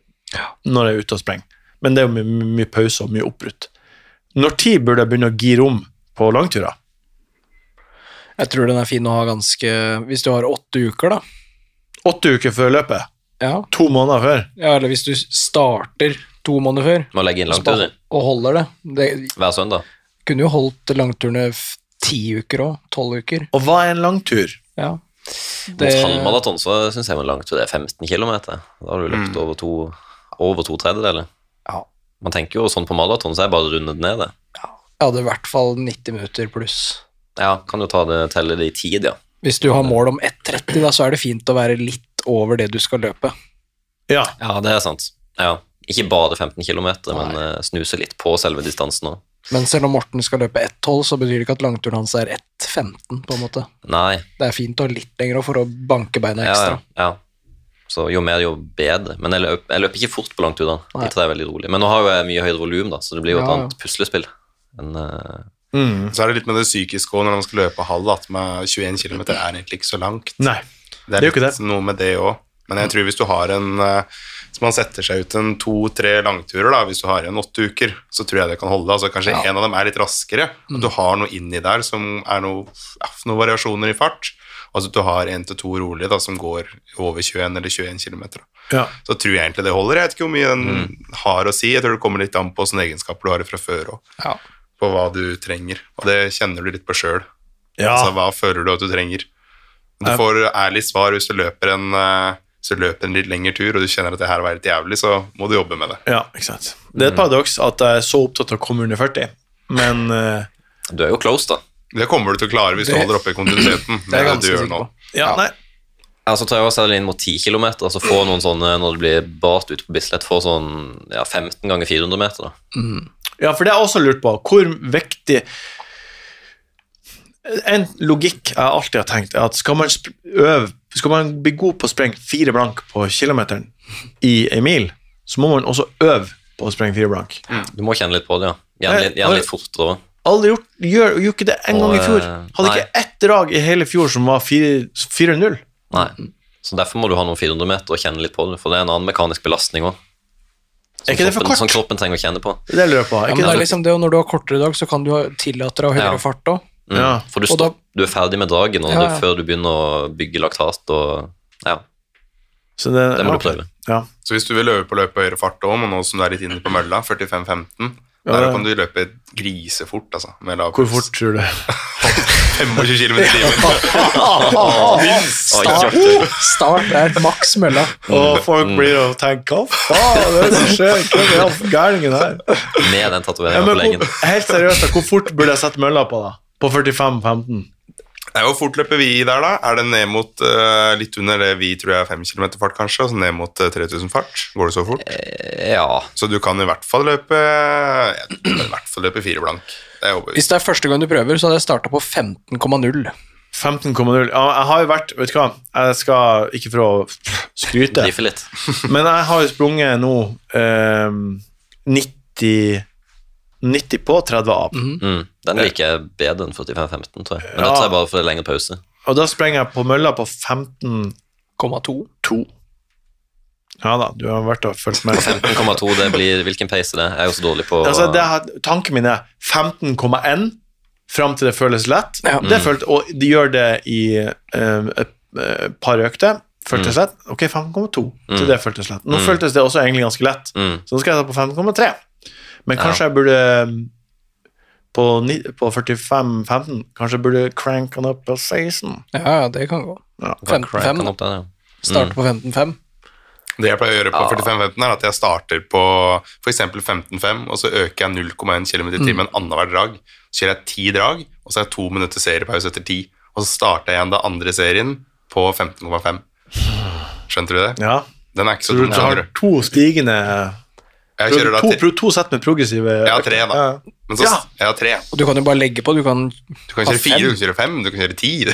Speaker 4: når jeg er ute og sprenger. Men det er jo my- my- mye pause og mye oppbrutt. Når tid burde jeg begynne å gire om på langturer?
Speaker 1: Jeg tror den er fin å ha ganske Hvis du har åtte uker, da.
Speaker 4: Åtte uker før løpet.
Speaker 1: Ja,
Speaker 4: To måneder før.
Speaker 1: ja eller hvis du starter to måneder før
Speaker 2: Med å legge inn
Speaker 1: og spa-
Speaker 2: langturer
Speaker 1: og holder det. Det
Speaker 2: hver søndag.
Speaker 1: kunne jo holdt langturene f- ti uker òg. Tolv uker.
Speaker 4: Og hva er en langtur?
Speaker 1: Ja.
Speaker 2: Mot halvmaraton så syns jeg en langtur det er 15 km. Da har du
Speaker 4: Mm.
Speaker 2: løpt over to, over to tredjedeler.
Speaker 1: Ja.
Speaker 2: Man tenker jo sånn på maraton, så er jeg bare rundet ned det.
Speaker 1: Jeg hadde i hvert fall 90 minutter pluss.
Speaker 2: Ja, kan jo ta det, telle det i tid, ja.
Speaker 1: Hvis du har mål om 1,30, da, så er det fint å være litt over det du skal løpe.
Speaker 4: Ja,
Speaker 2: Ja, det er sant. Ja. Ikke bare 15 km, men eh, snuse litt på selve distansen òg.
Speaker 1: Men selv om Morten skal løpe 1,12, så betyr det ikke at langturen hans er 1,15, på en måte.
Speaker 2: Nei,
Speaker 1: Det er fint å ha litt lenger også for å banke beina
Speaker 2: ja,
Speaker 1: ekstra.
Speaker 2: ja, ja. Så jo mer, jo bedre. Men jeg løper, jeg løper ikke fort på langturene.
Speaker 1: Nei.
Speaker 2: Jeg tar det veldig rolig. Men nå har jo jeg mye høyere volum, da, så det blir jo et
Speaker 1: Ja, ja.
Speaker 2: annet puslespill. enn, eh,
Speaker 4: Mm.
Speaker 3: Så er det litt med det psykiske òg, når man skal løpe halv, at med 21 km er egentlig ikke så langt.
Speaker 4: nei.
Speaker 3: Det
Speaker 4: Det
Speaker 3: er
Speaker 4: er jo ikke
Speaker 3: litt noe med det òg. Men jeg tror hvis du har en eh, Hvis man setter seg ut en to-tre langturer, da, hvis du har en åtte uker, så tror jeg det kan holde. Altså, kanskje en av dem er litt raskere. At
Speaker 4: Mm.
Speaker 3: du har noe inni der som er noe, ja, noen variasjoner i fart. Altså at du har en til to rolige da, som går over 21 eller 21 km.
Speaker 4: Ja.
Speaker 3: Så tror jeg egentlig det holder. Jeg vet ikke hvor mye den
Speaker 4: Mm.
Speaker 3: har å si. Jeg tror det kommer litt an på hvilke egenskaper du har fra før òg.
Speaker 1: Ja.
Speaker 3: På hva du trenger. Og det kjenner du litt på sjøl.
Speaker 4: Ja.
Speaker 3: Altså, hva føler du at du trenger? Du
Speaker 4: Ja.
Speaker 3: får ærlig svar hvis du løper en, eh, hvis du løper en litt lengre tur, og du kjenner at det her var helt jævlig, så må du jobbe med det.
Speaker 4: ja, ikke sant. Det er et paradoks at jeg er så opptatt av å komme under 40, men eh,
Speaker 2: Du er jo close, da.
Speaker 3: Det kommer du til å klare hvis du
Speaker 1: Det-
Speaker 3: holder oppe kontinuiteten.
Speaker 1: Det er jeg
Speaker 3: med det
Speaker 1: ganske
Speaker 3: du gjør
Speaker 1: sikker
Speaker 3: nå.
Speaker 1: på.
Speaker 4: ja,
Speaker 1: Ja.
Speaker 4: nei.
Speaker 2: Ja, så tar jeg også selv inn mot 10 km, og så får noen sånne når det blir bart ute på Bislett, får sånn ja, 15 ganger 400 meter, da.
Speaker 4: Ja, for det har jeg også lurt på. Hvor viktig En logikk jeg alltid har tenkt, er at skal man sp- øve Skal man bli god på å sprenge fire blank på kilometeren i ei mil, så må man også øve på å sprenge fire blank.
Speaker 2: Du må kjenne litt på det, ja. Gjerne litt, gjerne litt fortere.
Speaker 4: Aldri gjort, gjør, gjorde ikke det en
Speaker 2: Og,
Speaker 4: gang i fjor.
Speaker 2: eh,
Speaker 4: Hadde
Speaker 2: nei.
Speaker 4: ikke ett drag i hele fjor som var fire- 4-0.
Speaker 2: Nei. Så derfor må du ha noen 400 meter og kjenne litt på det, for det er en annen mekanisk belastning òg.
Speaker 4: Er ikke det for
Speaker 2: Som
Speaker 4: kort?
Speaker 2: kroppen trenger å kjenne på.
Speaker 4: Det er det jeg lurer på. Er
Speaker 1: Ja, men
Speaker 4: ikke
Speaker 1: det er
Speaker 4: det?
Speaker 1: liksom det, og når du har kortere dag, så kan du ha- tillate deg å ha høyere
Speaker 2: Ja.
Speaker 1: fart òg.
Speaker 2: Mm.
Speaker 4: Ja.
Speaker 2: For du,
Speaker 1: Og da-
Speaker 2: stopp, du er ferdig med dragen og
Speaker 1: Ja,
Speaker 2: du,
Speaker 1: ja.
Speaker 2: før du begynner å bygge laktat og Ja,
Speaker 4: Så det,
Speaker 2: det må
Speaker 4: ja,
Speaker 2: du prøve.
Speaker 4: Ja.
Speaker 3: Så hvis du vil øve på å løpe høyere fart òg, men nå som du er litt inne på mølla, 45-15, Der
Speaker 4: ja.
Speaker 3: kan du løpe grisefort, altså. Med lav
Speaker 4: Hvor
Speaker 3: puls.
Speaker 4: fort tror du?
Speaker 3: 25 km i timen.
Speaker 2: Oi,
Speaker 1: Start,
Speaker 2: kjørte.
Speaker 1: start er maks mølla.
Speaker 4: Og folk
Speaker 2: Mm.
Speaker 4: blir og tenker Hva faen er det som skjer? Hvem er han gærningen her?
Speaker 2: Med den
Speaker 4: Ja,
Speaker 2: tatoveringen
Speaker 4: men
Speaker 2: på leggen.
Speaker 4: hvor, helt seriøst, da, hvor fort burde jeg sette mølla på, da? På 45-15?
Speaker 3: Det er jo fort løper vi der, da. Er det ned mot eh, litt under det vi tror er 5 km fart, kanskje? Altså ned mot eh, 3000 fart? Går det så fort?
Speaker 2: Eh, Ja.
Speaker 3: Så du kan i hvert fall løpe jeg tror i hvert fall løpe fire blank. Det er jeg overbevist.
Speaker 1: Hvis det er første gang du prøver, så hadde jeg starta på 15,0.
Speaker 4: 15,0. Ja, jeg har jo vært Vet du hva, jeg skal ikke for å skryte,
Speaker 2: Drife litt.
Speaker 4: men jeg har jo sprunget nå eh, 90 90 på 30 av.
Speaker 1: Mhm.
Speaker 2: Mm. Den liker jeg bedre enn 45-15, tror jeg. Men
Speaker 4: Ja.
Speaker 2: dette er bare for en lengre pause.
Speaker 4: Og da sprenger jeg på mølla på 15,2.
Speaker 1: 2.
Speaker 4: Ja da, du har vært og fulgt med.
Speaker 2: 15,2, det blir Hvilken pace det er? Jeg er jo så dårlig på
Speaker 4: Altså, det har, tanken min er 15,1 fram til det føles lett.
Speaker 1: Ja.
Speaker 4: Det følt, og de gjør det i eh, et eh, par økter. Føltes lett. Ok, 5,2 til
Speaker 2: Mm.
Speaker 4: det føltes lett. Nå
Speaker 2: Mm.
Speaker 4: føltes det også egentlig ganske lett,
Speaker 2: mm.
Speaker 4: så nå skal jeg ta på 5,3. Men kanskje jeg burde mm, på, ni- på 45-15 Kanskje jeg burde crank den opp på 16.
Speaker 1: Ja, ja, det kan gå.
Speaker 4: Ja.
Speaker 1: 15,5.
Speaker 2: Kan
Speaker 1: da.
Speaker 2: opp den, ja.
Speaker 1: Starte på 15,5.
Speaker 3: Det jeg pleier å gjøre på
Speaker 2: Ja.
Speaker 3: 45-15, er at jeg starter på f.eks. 15-5, og så øker jeg 0,1 km i timen annenhver drag. Så kjører jeg ti drag, og så har jeg to minutter seriepause etter ti. Og så starter jeg igjen den andre serien på 15,5. Skjønte du det?
Speaker 4: ja.
Speaker 3: Den er ikke så
Speaker 4: Så du
Speaker 3: dum.
Speaker 4: har
Speaker 3: skjønner du.
Speaker 4: to stigende
Speaker 3: Jeg kjører da
Speaker 4: to,
Speaker 3: tre,
Speaker 4: pro- to sett med progressive
Speaker 3: Jeg har tre, da.
Speaker 4: Ja.
Speaker 3: men så,
Speaker 4: Ja. Ah,
Speaker 3: jeg har tre.
Speaker 1: Og du kan jo bare legge på. Du kan
Speaker 3: Du kan
Speaker 1: Ha
Speaker 3: kjøre fire,
Speaker 1: fem.
Speaker 3: du kan kjøre fem, du kan kjøre ti. Det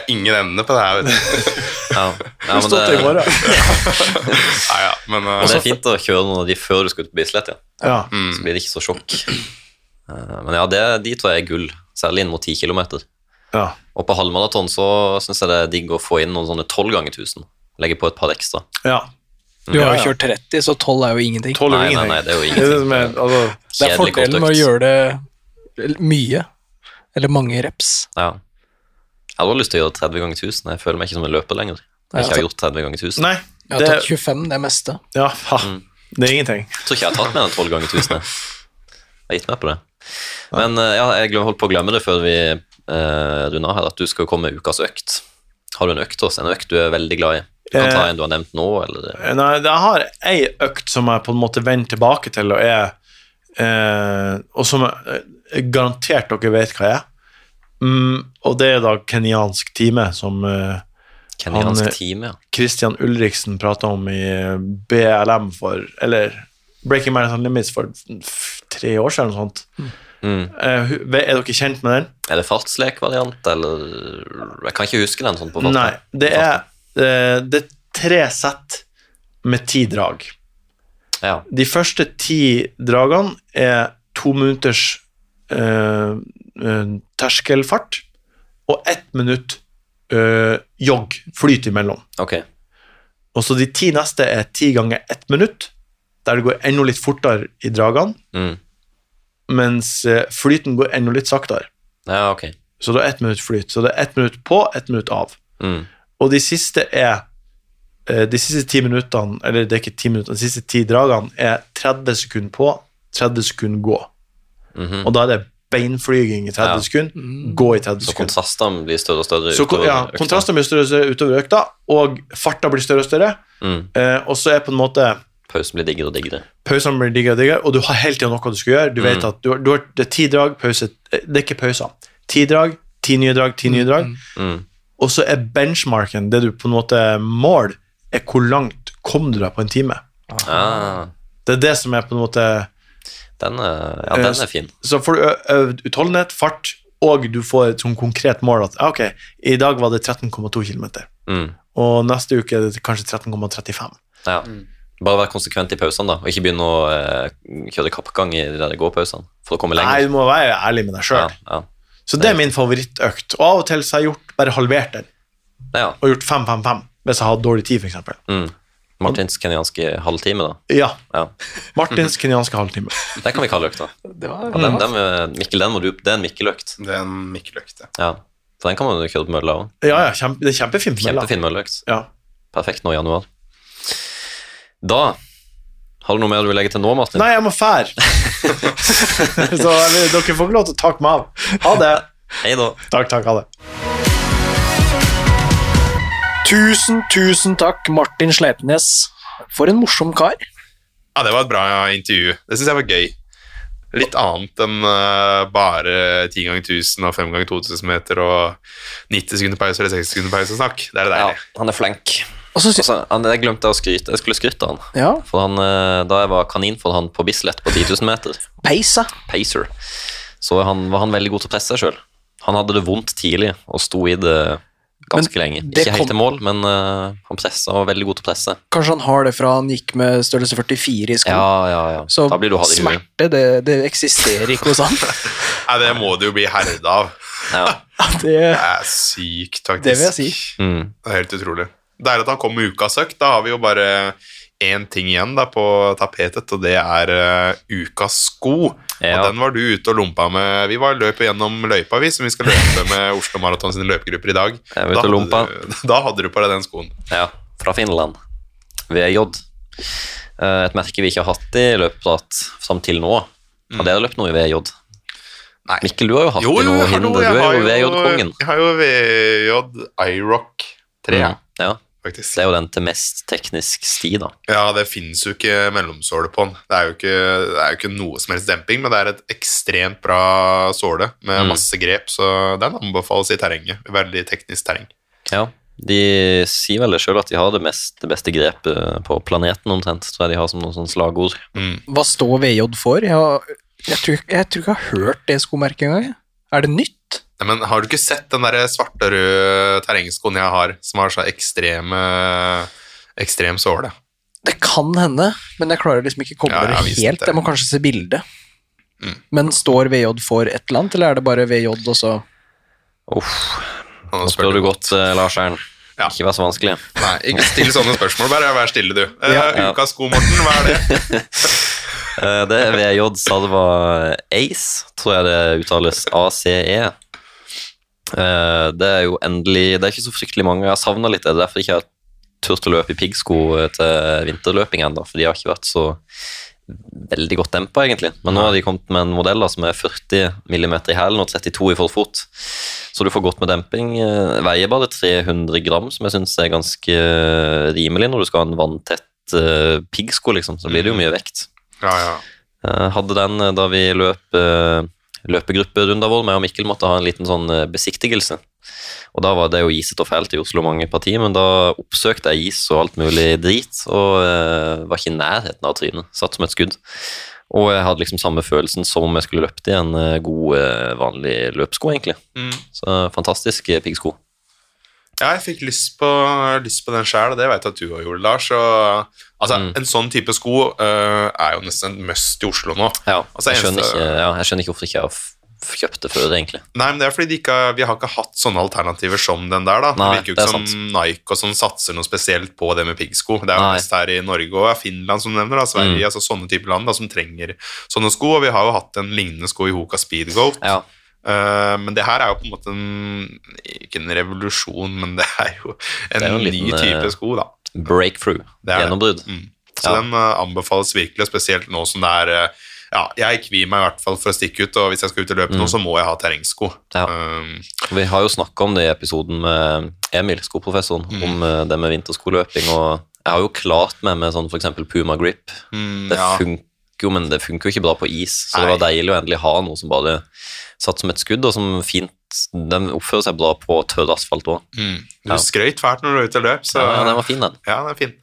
Speaker 3: er ingen ende på det her. vet du.
Speaker 2: ja. ja men,
Speaker 4: Stått i
Speaker 2: det,
Speaker 4: morgen.
Speaker 3: Nei, ja, men
Speaker 2: men det
Speaker 3: uh,
Speaker 2: er fint å kjøre noen av de før du skal ut på Bislett, ja.
Speaker 4: Ja.
Speaker 3: Mm.
Speaker 2: Så blir det ikke så sjokk. Eh, Men ja, det, de tror jeg er gull. Særlig inn mot 10 km.
Speaker 4: ja.
Speaker 2: Og på halvmaraton så syns jeg det er digg å få inn noen sånne 12 ganger 1000. Legge på et par ekstra.
Speaker 4: ja.
Speaker 1: Du har
Speaker 4: Ja, ja.
Speaker 1: jo kjørt 30, så 12 er jo ingenting.
Speaker 4: Tolv
Speaker 2: Nei, nei,
Speaker 4: ingenting.
Speaker 2: nei, det er jo
Speaker 4: Det er det
Speaker 2: ingenting.
Speaker 4: som er, altså,
Speaker 1: Det er
Speaker 2: Kjedelig kort
Speaker 1: fordelen med å
Speaker 2: økt.
Speaker 1: gjøre det mye. Eller mange reps.
Speaker 2: Ja. Jeg hadde lyst til å gjøre 30 ganger 1000. Jeg føler meg ikke som en løper lenger. Jeg
Speaker 1: altså-
Speaker 2: ikke har gjort 30 ganger 1000.
Speaker 4: Nei,
Speaker 1: Jeg
Speaker 4: det,
Speaker 1: har tatt 25, det er meste.
Speaker 4: ja, ha,
Speaker 2: Mm.
Speaker 4: det er ingenting.
Speaker 2: Jeg tror ikke jeg har tatt mer enn 12 ganger 1000. jeg. Jeg har gitt meg på det. Men eh, ja, jeg glem- holdt på å glemme det før vi eh, runder av her, at du skal komme med ukas økt. Har du en økt til oss? En økt du er veldig glad i? Du kan ta en du har nevnt nå, eller eh,
Speaker 4: Nei, jeg har ei økt som jeg på en måte vender tilbake til, og er eh, Og som eh, garantert dere vet hva er. Mm, og det er da kenyansk time, som eh, Han, eh,
Speaker 2: kenyansk time. Ja.
Speaker 4: Christian Ulriksen prata om i BLM for Eller Breaking Marathon Limits for f- tre år siden, eller noe sånt.
Speaker 2: Mm.
Speaker 4: Eh, hu- er dere kjent med den?
Speaker 2: Er det fartslekvariant, eller Jeg kan ikke huske den sånn på farten.
Speaker 4: Nei, det er, eh, det er tre sett med ti drag.
Speaker 2: Ja.
Speaker 4: De første ti dragene er to minutters eh, eh, terskelfart og ett minutt eh, jogg, flyt imellom.
Speaker 2: Ok.
Speaker 4: Og så de ti neste er ti ganger ett minutt, der det går enda litt fortere i dragene,
Speaker 2: Mm.
Speaker 4: mens eh, flyten går enda litt saktere.
Speaker 2: Ja, ok.
Speaker 4: Så det er ett minutt flyt. Så det er ett minutt på, ett minutt av.
Speaker 2: Mm.
Speaker 4: Og de siste er eh, De siste ti minuttene Eller det er ikke ti minutter, de siste ti dragene er 30 sekunder på, 30 sekunder gå.
Speaker 2: Mhm.
Speaker 4: Og da er det beinflyging i 30
Speaker 2: Ja.
Speaker 4: sekunder, gå i 30
Speaker 2: Så
Speaker 4: sekunder.
Speaker 2: kontrastene blir større og større.
Speaker 4: Så kon
Speaker 2: utover
Speaker 4: ja,
Speaker 2: økta.
Speaker 4: kontrasten blir større og større utover økta, og farta blir større og større.
Speaker 2: Mm.
Speaker 4: Eh, og så er på en måte
Speaker 2: Pausen blir diggere og diggere.
Speaker 4: pausene blir diggere og diggere, og du har hele tida noe du skal gjøre. Du vet
Speaker 2: Mm.
Speaker 4: at du har, du har, det er ti drag, pause eh, Det er ikke pauser. Ti drag, ti nye drag, ti nye drag.
Speaker 2: Mm.
Speaker 4: Og så er benchmarken, det du på en måte måler, er hvor langt kom du deg på en time.
Speaker 2: Ah,
Speaker 4: Det er det som er på en måte
Speaker 2: den, er, ja,
Speaker 4: Eh,
Speaker 2: den er fin.
Speaker 4: Så får du ø- øvd utholdenhet, fart, og du får et sånn konkret mål at ja, ok, i dag var det 13,2 km,
Speaker 2: Mm.
Speaker 4: og neste uke er det kanskje 13,35.
Speaker 2: Ja. Bare vær konsekvent i pausene, da, og ikke begynne å eh, kjøre kappgang i de der gåpausene for å komme
Speaker 4: Nei,
Speaker 2: lenger.
Speaker 4: du må være ærlig med deg
Speaker 2: ja,
Speaker 4: sjøl.
Speaker 2: ja.
Speaker 4: Så det er min favorittøkt. Og av og til så har jeg gjort, bare halvert den,
Speaker 2: ja.
Speaker 4: og gjort 5-5-5 hvis jeg har dårlig tid, f.eks.
Speaker 2: Mm. Martins kenyanske halvtime, da.
Speaker 4: Ja.
Speaker 2: Ja.
Speaker 4: Martins kenyanske halvtime.
Speaker 2: Det kan vi kalle økta.
Speaker 1: Det var,
Speaker 2: Ja,
Speaker 4: Mm.
Speaker 2: den, den, eh, Mikkel, den må du, det er en Mikkel-økt.
Speaker 3: det er en Mikkel-økte.
Speaker 2: Ja. For den kan man jo kjøre på mølla òg.
Speaker 4: Ja, ja, kjempe, det er kjempefint. med, da.
Speaker 2: Kjempefin mølleøkt.
Speaker 4: Ja.
Speaker 2: Perfekt nå i januar. Da Har du noe mer du vil legge til nå, Martin?
Speaker 4: Nei, jeg må fære. Så eller, dere får ikke lov til å takke meg av. Ha det.
Speaker 2: Hei da.
Speaker 4: Takk, takk, ha det.
Speaker 1: Tusen, tusen takk, Martin Sleipnes. For en morsom kar.
Speaker 3: Ja, det var et bra intervju. Det syns jeg var gøy. Litt annet enn eh, bare 10 ganger 1000 og 5 ganger 2000 meter og 90 sekunder pause eller 60 sekunder pause og snakk. Det er det
Speaker 2: Ja,
Speaker 3: deilig.
Speaker 2: han er flink.
Speaker 1: Og så sy-
Speaker 2: Altså, han, jeg glemte å skryte. Jeg skulle skryte av han.
Speaker 1: Ja,
Speaker 2: For han, eh, da jeg var kanin for han på Bislett på 10 000 meter,
Speaker 1: peisa.
Speaker 2: pacer, så han, var han veldig god til å presse seg sjøl. Han hadde det vondt tidlig og sto i det ganske lenge.
Speaker 1: det
Speaker 2: Ikke
Speaker 1: kom-
Speaker 2: helt til mål, men eh, han pressa og var veldig god til å presse.
Speaker 1: Kanskje han har det fra han gikk med størrelse 44 i sko.
Speaker 2: Ja, ja, ja.
Speaker 1: Så
Speaker 2: da blir du hard i huet.
Speaker 1: smerte, det, det eksisterer ikke hos han.
Speaker 3: Nei, det må du jo bli herda av.
Speaker 2: Ja.
Speaker 1: Det,
Speaker 3: Det er sykt, taktisk.
Speaker 1: Det vil jeg si.
Speaker 2: Mm.
Speaker 3: Det er helt utrolig. Det er at han kom med ukas økt. Da har vi jo bare én ting igjen da på tapetet, og det er eh, ukas sko.
Speaker 2: Ja.
Speaker 3: Og den var du ute og lompa med. Vi var løp gjennom løypa, vi, som vi skal løpe med Oslo Maraton sine løpegrupper i dag.
Speaker 2: Jeg var ute
Speaker 3: Da
Speaker 2: og
Speaker 3: hadde Du, da hadde du på deg den skoen.
Speaker 2: Ja, fra Finland. VJ. Eh, Et merke vi ikke har hatt i løpeprat fram til nå. Har dere løpt noe i VJ?
Speaker 3: Nei.
Speaker 2: Mikkel, du har jo hatt
Speaker 3: Jo,
Speaker 2: i
Speaker 3: jo,
Speaker 2: noe
Speaker 3: jeg har noe.
Speaker 2: hinder. Du er
Speaker 3: Jeg har
Speaker 2: jo
Speaker 3: jo
Speaker 2: VJ-kongen.
Speaker 3: Jeg har jo VJ iRock 3,
Speaker 2: Mm. Ja,
Speaker 3: faktisk.
Speaker 2: det er jo den til mest teknisk sti, da.
Speaker 3: Ja, det fins jo ikke mellomsåle på den. Det er, jo ikke, det er jo ikke noe som helst demping, men det er et ekstremt bra såle med
Speaker 2: Mm.
Speaker 3: masse grep, så den anbefales i terrenget. Veldig teknisk terreng.
Speaker 2: Ja, De sier vel sjøl at de har det, mest, det beste grepet på planeten, omtrent. Tror jeg de har som noe sånn slagord.
Speaker 3: Mm.
Speaker 1: hva står VJ for? Jeg, har- jeg, tror, jeg tror ikke jeg har hørt det skomerket engang. jeg. Er det nytt?
Speaker 3: Nei, Men har du ikke sett den der svarte og røde terrengskoen jeg har, som har så ekstreme ekstrem såle?
Speaker 1: Det kan hende, men jeg klarer liksom ikke å koble
Speaker 3: Ja, jeg har
Speaker 1: det
Speaker 3: vist
Speaker 1: helt.
Speaker 3: det.
Speaker 1: Jeg må kanskje se bildet.
Speaker 3: Mm.
Speaker 1: Men står VJ for et eller annet, eller er det bare VJ og så
Speaker 2: Uff,
Speaker 3: Ja,
Speaker 2: nå spør du godt, eh, Lars Ern.
Speaker 3: Ja.
Speaker 2: Ikke vær så vanskelig.
Speaker 3: Nei, ikke still sånne spørsmål, bare vær stille, du. Eh,
Speaker 2: ja.
Speaker 3: Ukas sko, Morten, hva er det?
Speaker 2: Eh, Det er VJ sa det var Ace, tror jeg det uttales. ACE. Eh, Det er jo endelig Det er ikke så fryktelig mange. Jeg har savna litt det. er Derfor ikke jeg har turt å løpe i piggsko eh, til vinterløping ennå. For de har ikke vært så veldig godt dempa, egentlig. Men nå har de kommet med en modell da, som er 40 mm i hælen og 32 i forfot. Så du får godt med demping. Eh, Veier bare 300 gram, som jeg syns er ganske eh, rimelig når du skal ha en vanntett eh, piggsko, liksom. Så blir det jo mye vekt.
Speaker 3: Ja, ja.
Speaker 2: Eh, Hadde den eh, da vi løp eh, løpegruppe Rundavold, meg og Mikkel måtte ha en liten sånn eh, besiktigelse. Og da var det jo isete og fælt i Oslo mange partier, men da oppsøkte jeg is og alt mulig drit, og eh, var ikke i nærheten av trynet. Satt som et skudd. Og jeg hadde liksom samme følelsen som om jeg skulle løpt i en eh, god, eh, vanlig løpsko, egentlig.
Speaker 3: Mm.
Speaker 2: Så eh, fantastisk eh, piggsko.
Speaker 3: Ja, jeg fikk lyst på, lyst på den sjæl, og det vet jeg at du òg gjorde, Lars. Og, altså,
Speaker 2: Mm.
Speaker 3: En sånn type sko eh, er jo nesten en must i Oslo nå.
Speaker 2: Ja,
Speaker 3: Altså,
Speaker 2: jeg, skjønner
Speaker 3: eneste-
Speaker 2: ikke, ja, jeg skjønner ikke hvorfor ikke jeg har f- f- kjøpt det før, egentlig.
Speaker 3: Nei, men det er fordi de ikke, har- vi har ikke hatt sånne alternativer som den der.
Speaker 2: Nei,
Speaker 3: da. det virker jo
Speaker 2: det er
Speaker 3: ikke som Nike og sånn satser noe spesielt på det med piggsko. Det er jo
Speaker 2: Nei. Mm.
Speaker 3: mest her i Norge og Finland som du nevner, da, Sverige, altså sånne type land da, som trenger sånne sko. Og vi har jo hatt en lignende sko i Hoka Speedgoat.
Speaker 2: Ja,
Speaker 3: Eh, men det her er jo på en måte en, ikke en revolusjon, men det er jo en,
Speaker 2: er jo en
Speaker 3: ny
Speaker 2: liten, eh,
Speaker 3: type sko, da.
Speaker 2: Breakthrough.
Speaker 3: Det er det.
Speaker 2: Gjennombrudd.
Speaker 3: Mm. Så
Speaker 2: Ja.
Speaker 3: den eh, anbefales virkelig, og spesielt nå som det er eh, ja, Jeg kvier meg i hvert fall for å stikke ut, og hvis jeg skal ut og løpe nå, så må jeg ha terrengsko.
Speaker 2: Mm. Ja.
Speaker 3: Um,
Speaker 2: Vi har jo snakka om det i episoden med Emil, skoprofessoren,
Speaker 3: Mm.
Speaker 2: om eh, det med vinterskoløping. Og jeg har jo klart meg med sånn f.eks. Puma Grip.
Speaker 3: mm,
Speaker 2: Det
Speaker 3: ja.
Speaker 2: funker jo, men det funker jo ikke bra på is, så det
Speaker 3: Nei.
Speaker 2: var deilig å endelig ha noe som bare satt som et skudd, og som fint Den oppfører seg bra på tørr asfalt òg.
Speaker 3: Mm. Du
Speaker 2: Ja.
Speaker 3: skrøyt fælt når du var ute og løp, så
Speaker 2: Ja, den var fin, den.
Speaker 3: Ja, den er fin.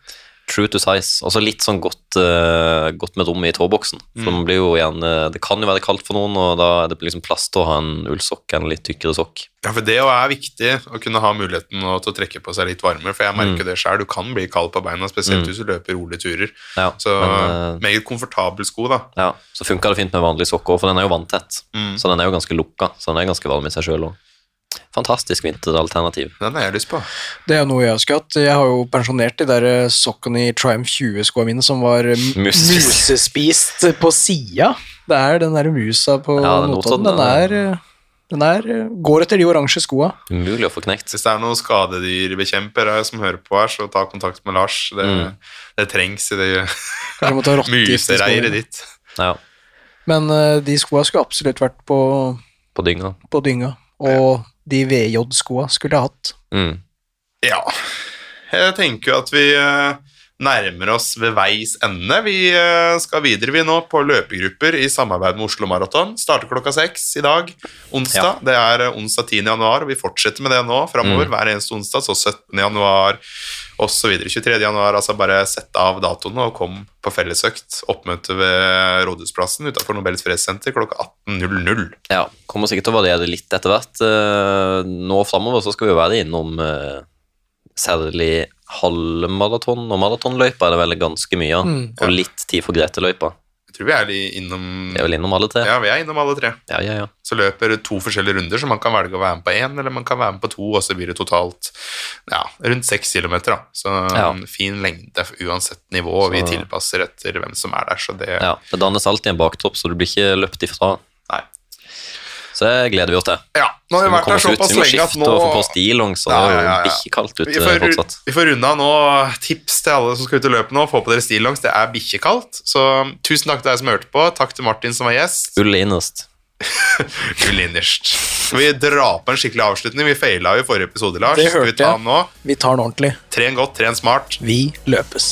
Speaker 2: True to size. Og så litt sånn godt, eh, godt med rom i tåboksen. For
Speaker 3: Mm.
Speaker 2: man blir jo gjerne, Det kan jo være kaldt for noen, og da er det liksom plass til å ha en ullsokk en litt tykkere sokk.
Speaker 3: Ja, for Det jo er viktig å kunne ha muligheten nå til å trekke på seg litt varme.
Speaker 2: Mm.
Speaker 3: For jeg merker det sjøl, du kan bli kald på beina, spesielt hvis du løper rolige turer.
Speaker 2: Ja,
Speaker 3: Så
Speaker 2: Mm. men, eh,
Speaker 3: meget komfortabel sko, da.
Speaker 2: Ja, Så funka det fint med vanlige sokker, for den er jo vanntett.
Speaker 3: Mm.
Speaker 2: Så den er jo ganske lukka, så den er ganske varm i seg sjøl òg. Fantastisk vinteralternativ.
Speaker 3: Den har jeg lyst på.
Speaker 1: Det er jo noe jeg skulle hatt. Jeg har jo pensjonert de der eh, sokkene i Triumph 20-skoa mine som var eh, m-
Speaker 2: Musespist.
Speaker 1: musespist på sida. Det er den der musa på
Speaker 2: Ja, den
Speaker 1: Notodden.
Speaker 2: Notodden,
Speaker 1: Den er eh, Den der eh, går etter de oransje skoa.
Speaker 2: Umulig å få knekt.
Speaker 3: Hvis det er noen skadedyrbekjempere eh, som hører på her, så ta kontakt med Lars. Det,
Speaker 2: Mm.
Speaker 3: det trengs i det
Speaker 1: Kanskje måtte ha rottegift i skoene.
Speaker 3: musereiret ditt.
Speaker 2: Ja,
Speaker 1: Men eh, de skoa skulle absolutt vært på,
Speaker 2: på dynga.
Speaker 1: på dynga. Og de VJ-skoa skulle jeg hatt.
Speaker 2: Mm.
Speaker 3: Ja. Jeg tenker jo at vi eh, nærmer oss ved veis ende. Vi eh, skal videre vi nå på løpegrupper i samarbeid med Oslo Maraton. Starter klokka seks i dag, onsdag.
Speaker 2: Ja.
Speaker 3: Det er eh, onsdag 10. januar, og vi fortsetter med det nå framover.
Speaker 2: Mm.
Speaker 3: Hver eneste onsdag, så 17. januar osv. 23. januar. Altså bare sett av datoene og kom på fellesøkt. Oppmøte ved Rådhusplassen utenfor Nobels fredssenter klokka 18.00.
Speaker 2: Ja, kommer sikkert til å variere litt etter hvert. Eh, Nå framover så skal vi jo være innom eh, særlig halvmaraton og maratonløypa er det vel ganske mye av.
Speaker 1: Mm.
Speaker 2: Og litt tid for Grete-løypa.
Speaker 3: Jeg tror vi er li- innom
Speaker 2: Vi er vel innom alle tre?
Speaker 3: Ja, vi er innom alle tre.
Speaker 2: ja, ja. ja.
Speaker 3: Så løper det to forskjellige runder, så man kan velge å være med på én, eller man kan være med på to, og så blir det totalt ja, rundt seks kilometer. Da. Så
Speaker 2: Ja.
Speaker 3: en fin lengde uansett nivå, og vi
Speaker 2: Så-
Speaker 3: tilpasser etter hvem som er der, så det
Speaker 2: ja. Det dannes alltid en baktropp, så du blir ikke løpt ifra.
Speaker 3: Nei.
Speaker 2: Så det gleder vi oss til.
Speaker 3: Ja, nå
Speaker 2: Så
Speaker 3: har vi vært
Speaker 2: komme oss
Speaker 3: der
Speaker 2: ut,
Speaker 3: såpass
Speaker 2: vi må
Speaker 3: lenge at
Speaker 2: skifte
Speaker 3: nå
Speaker 2: og få på oss stillongs, og
Speaker 3: Ja,
Speaker 2: det
Speaker 3: ja,
Speaker 2: er
Speaker 3: ja,
Speaker 2: jo
Speaker 3: ja.
Speaker 2: bikkjekaldt
Speaker 3: vi
Speaker 2: ute
Speaker 3: får, ru-
Speaker 2: eh, fortsatt.
Speaker 3: vi får runde av nå. Tips til alle som skal ut og løpe nå. Få på dere stillongs. Det er bikkjekaldt. Så um, tusen takk til deg som hørte på. Takk til Martin som var gjest.
Speaker 2: Ull innerst.
Speaker 3: Ull innerst. Vi drar på en skikkelig avslutning. Vi feila jo i forrige episode, Lars.
Speaker 1: Det
Speaker 3: Skal vi
Speaker 1: hørte
Speaker 3: ta
Speaker 1: jeg.
Speaker 3: den nå?
Speaker 1: Vi tar den ordentlig.
Speaker 3: Tren godt, tren smart.
Speaker 1: Vi løpes.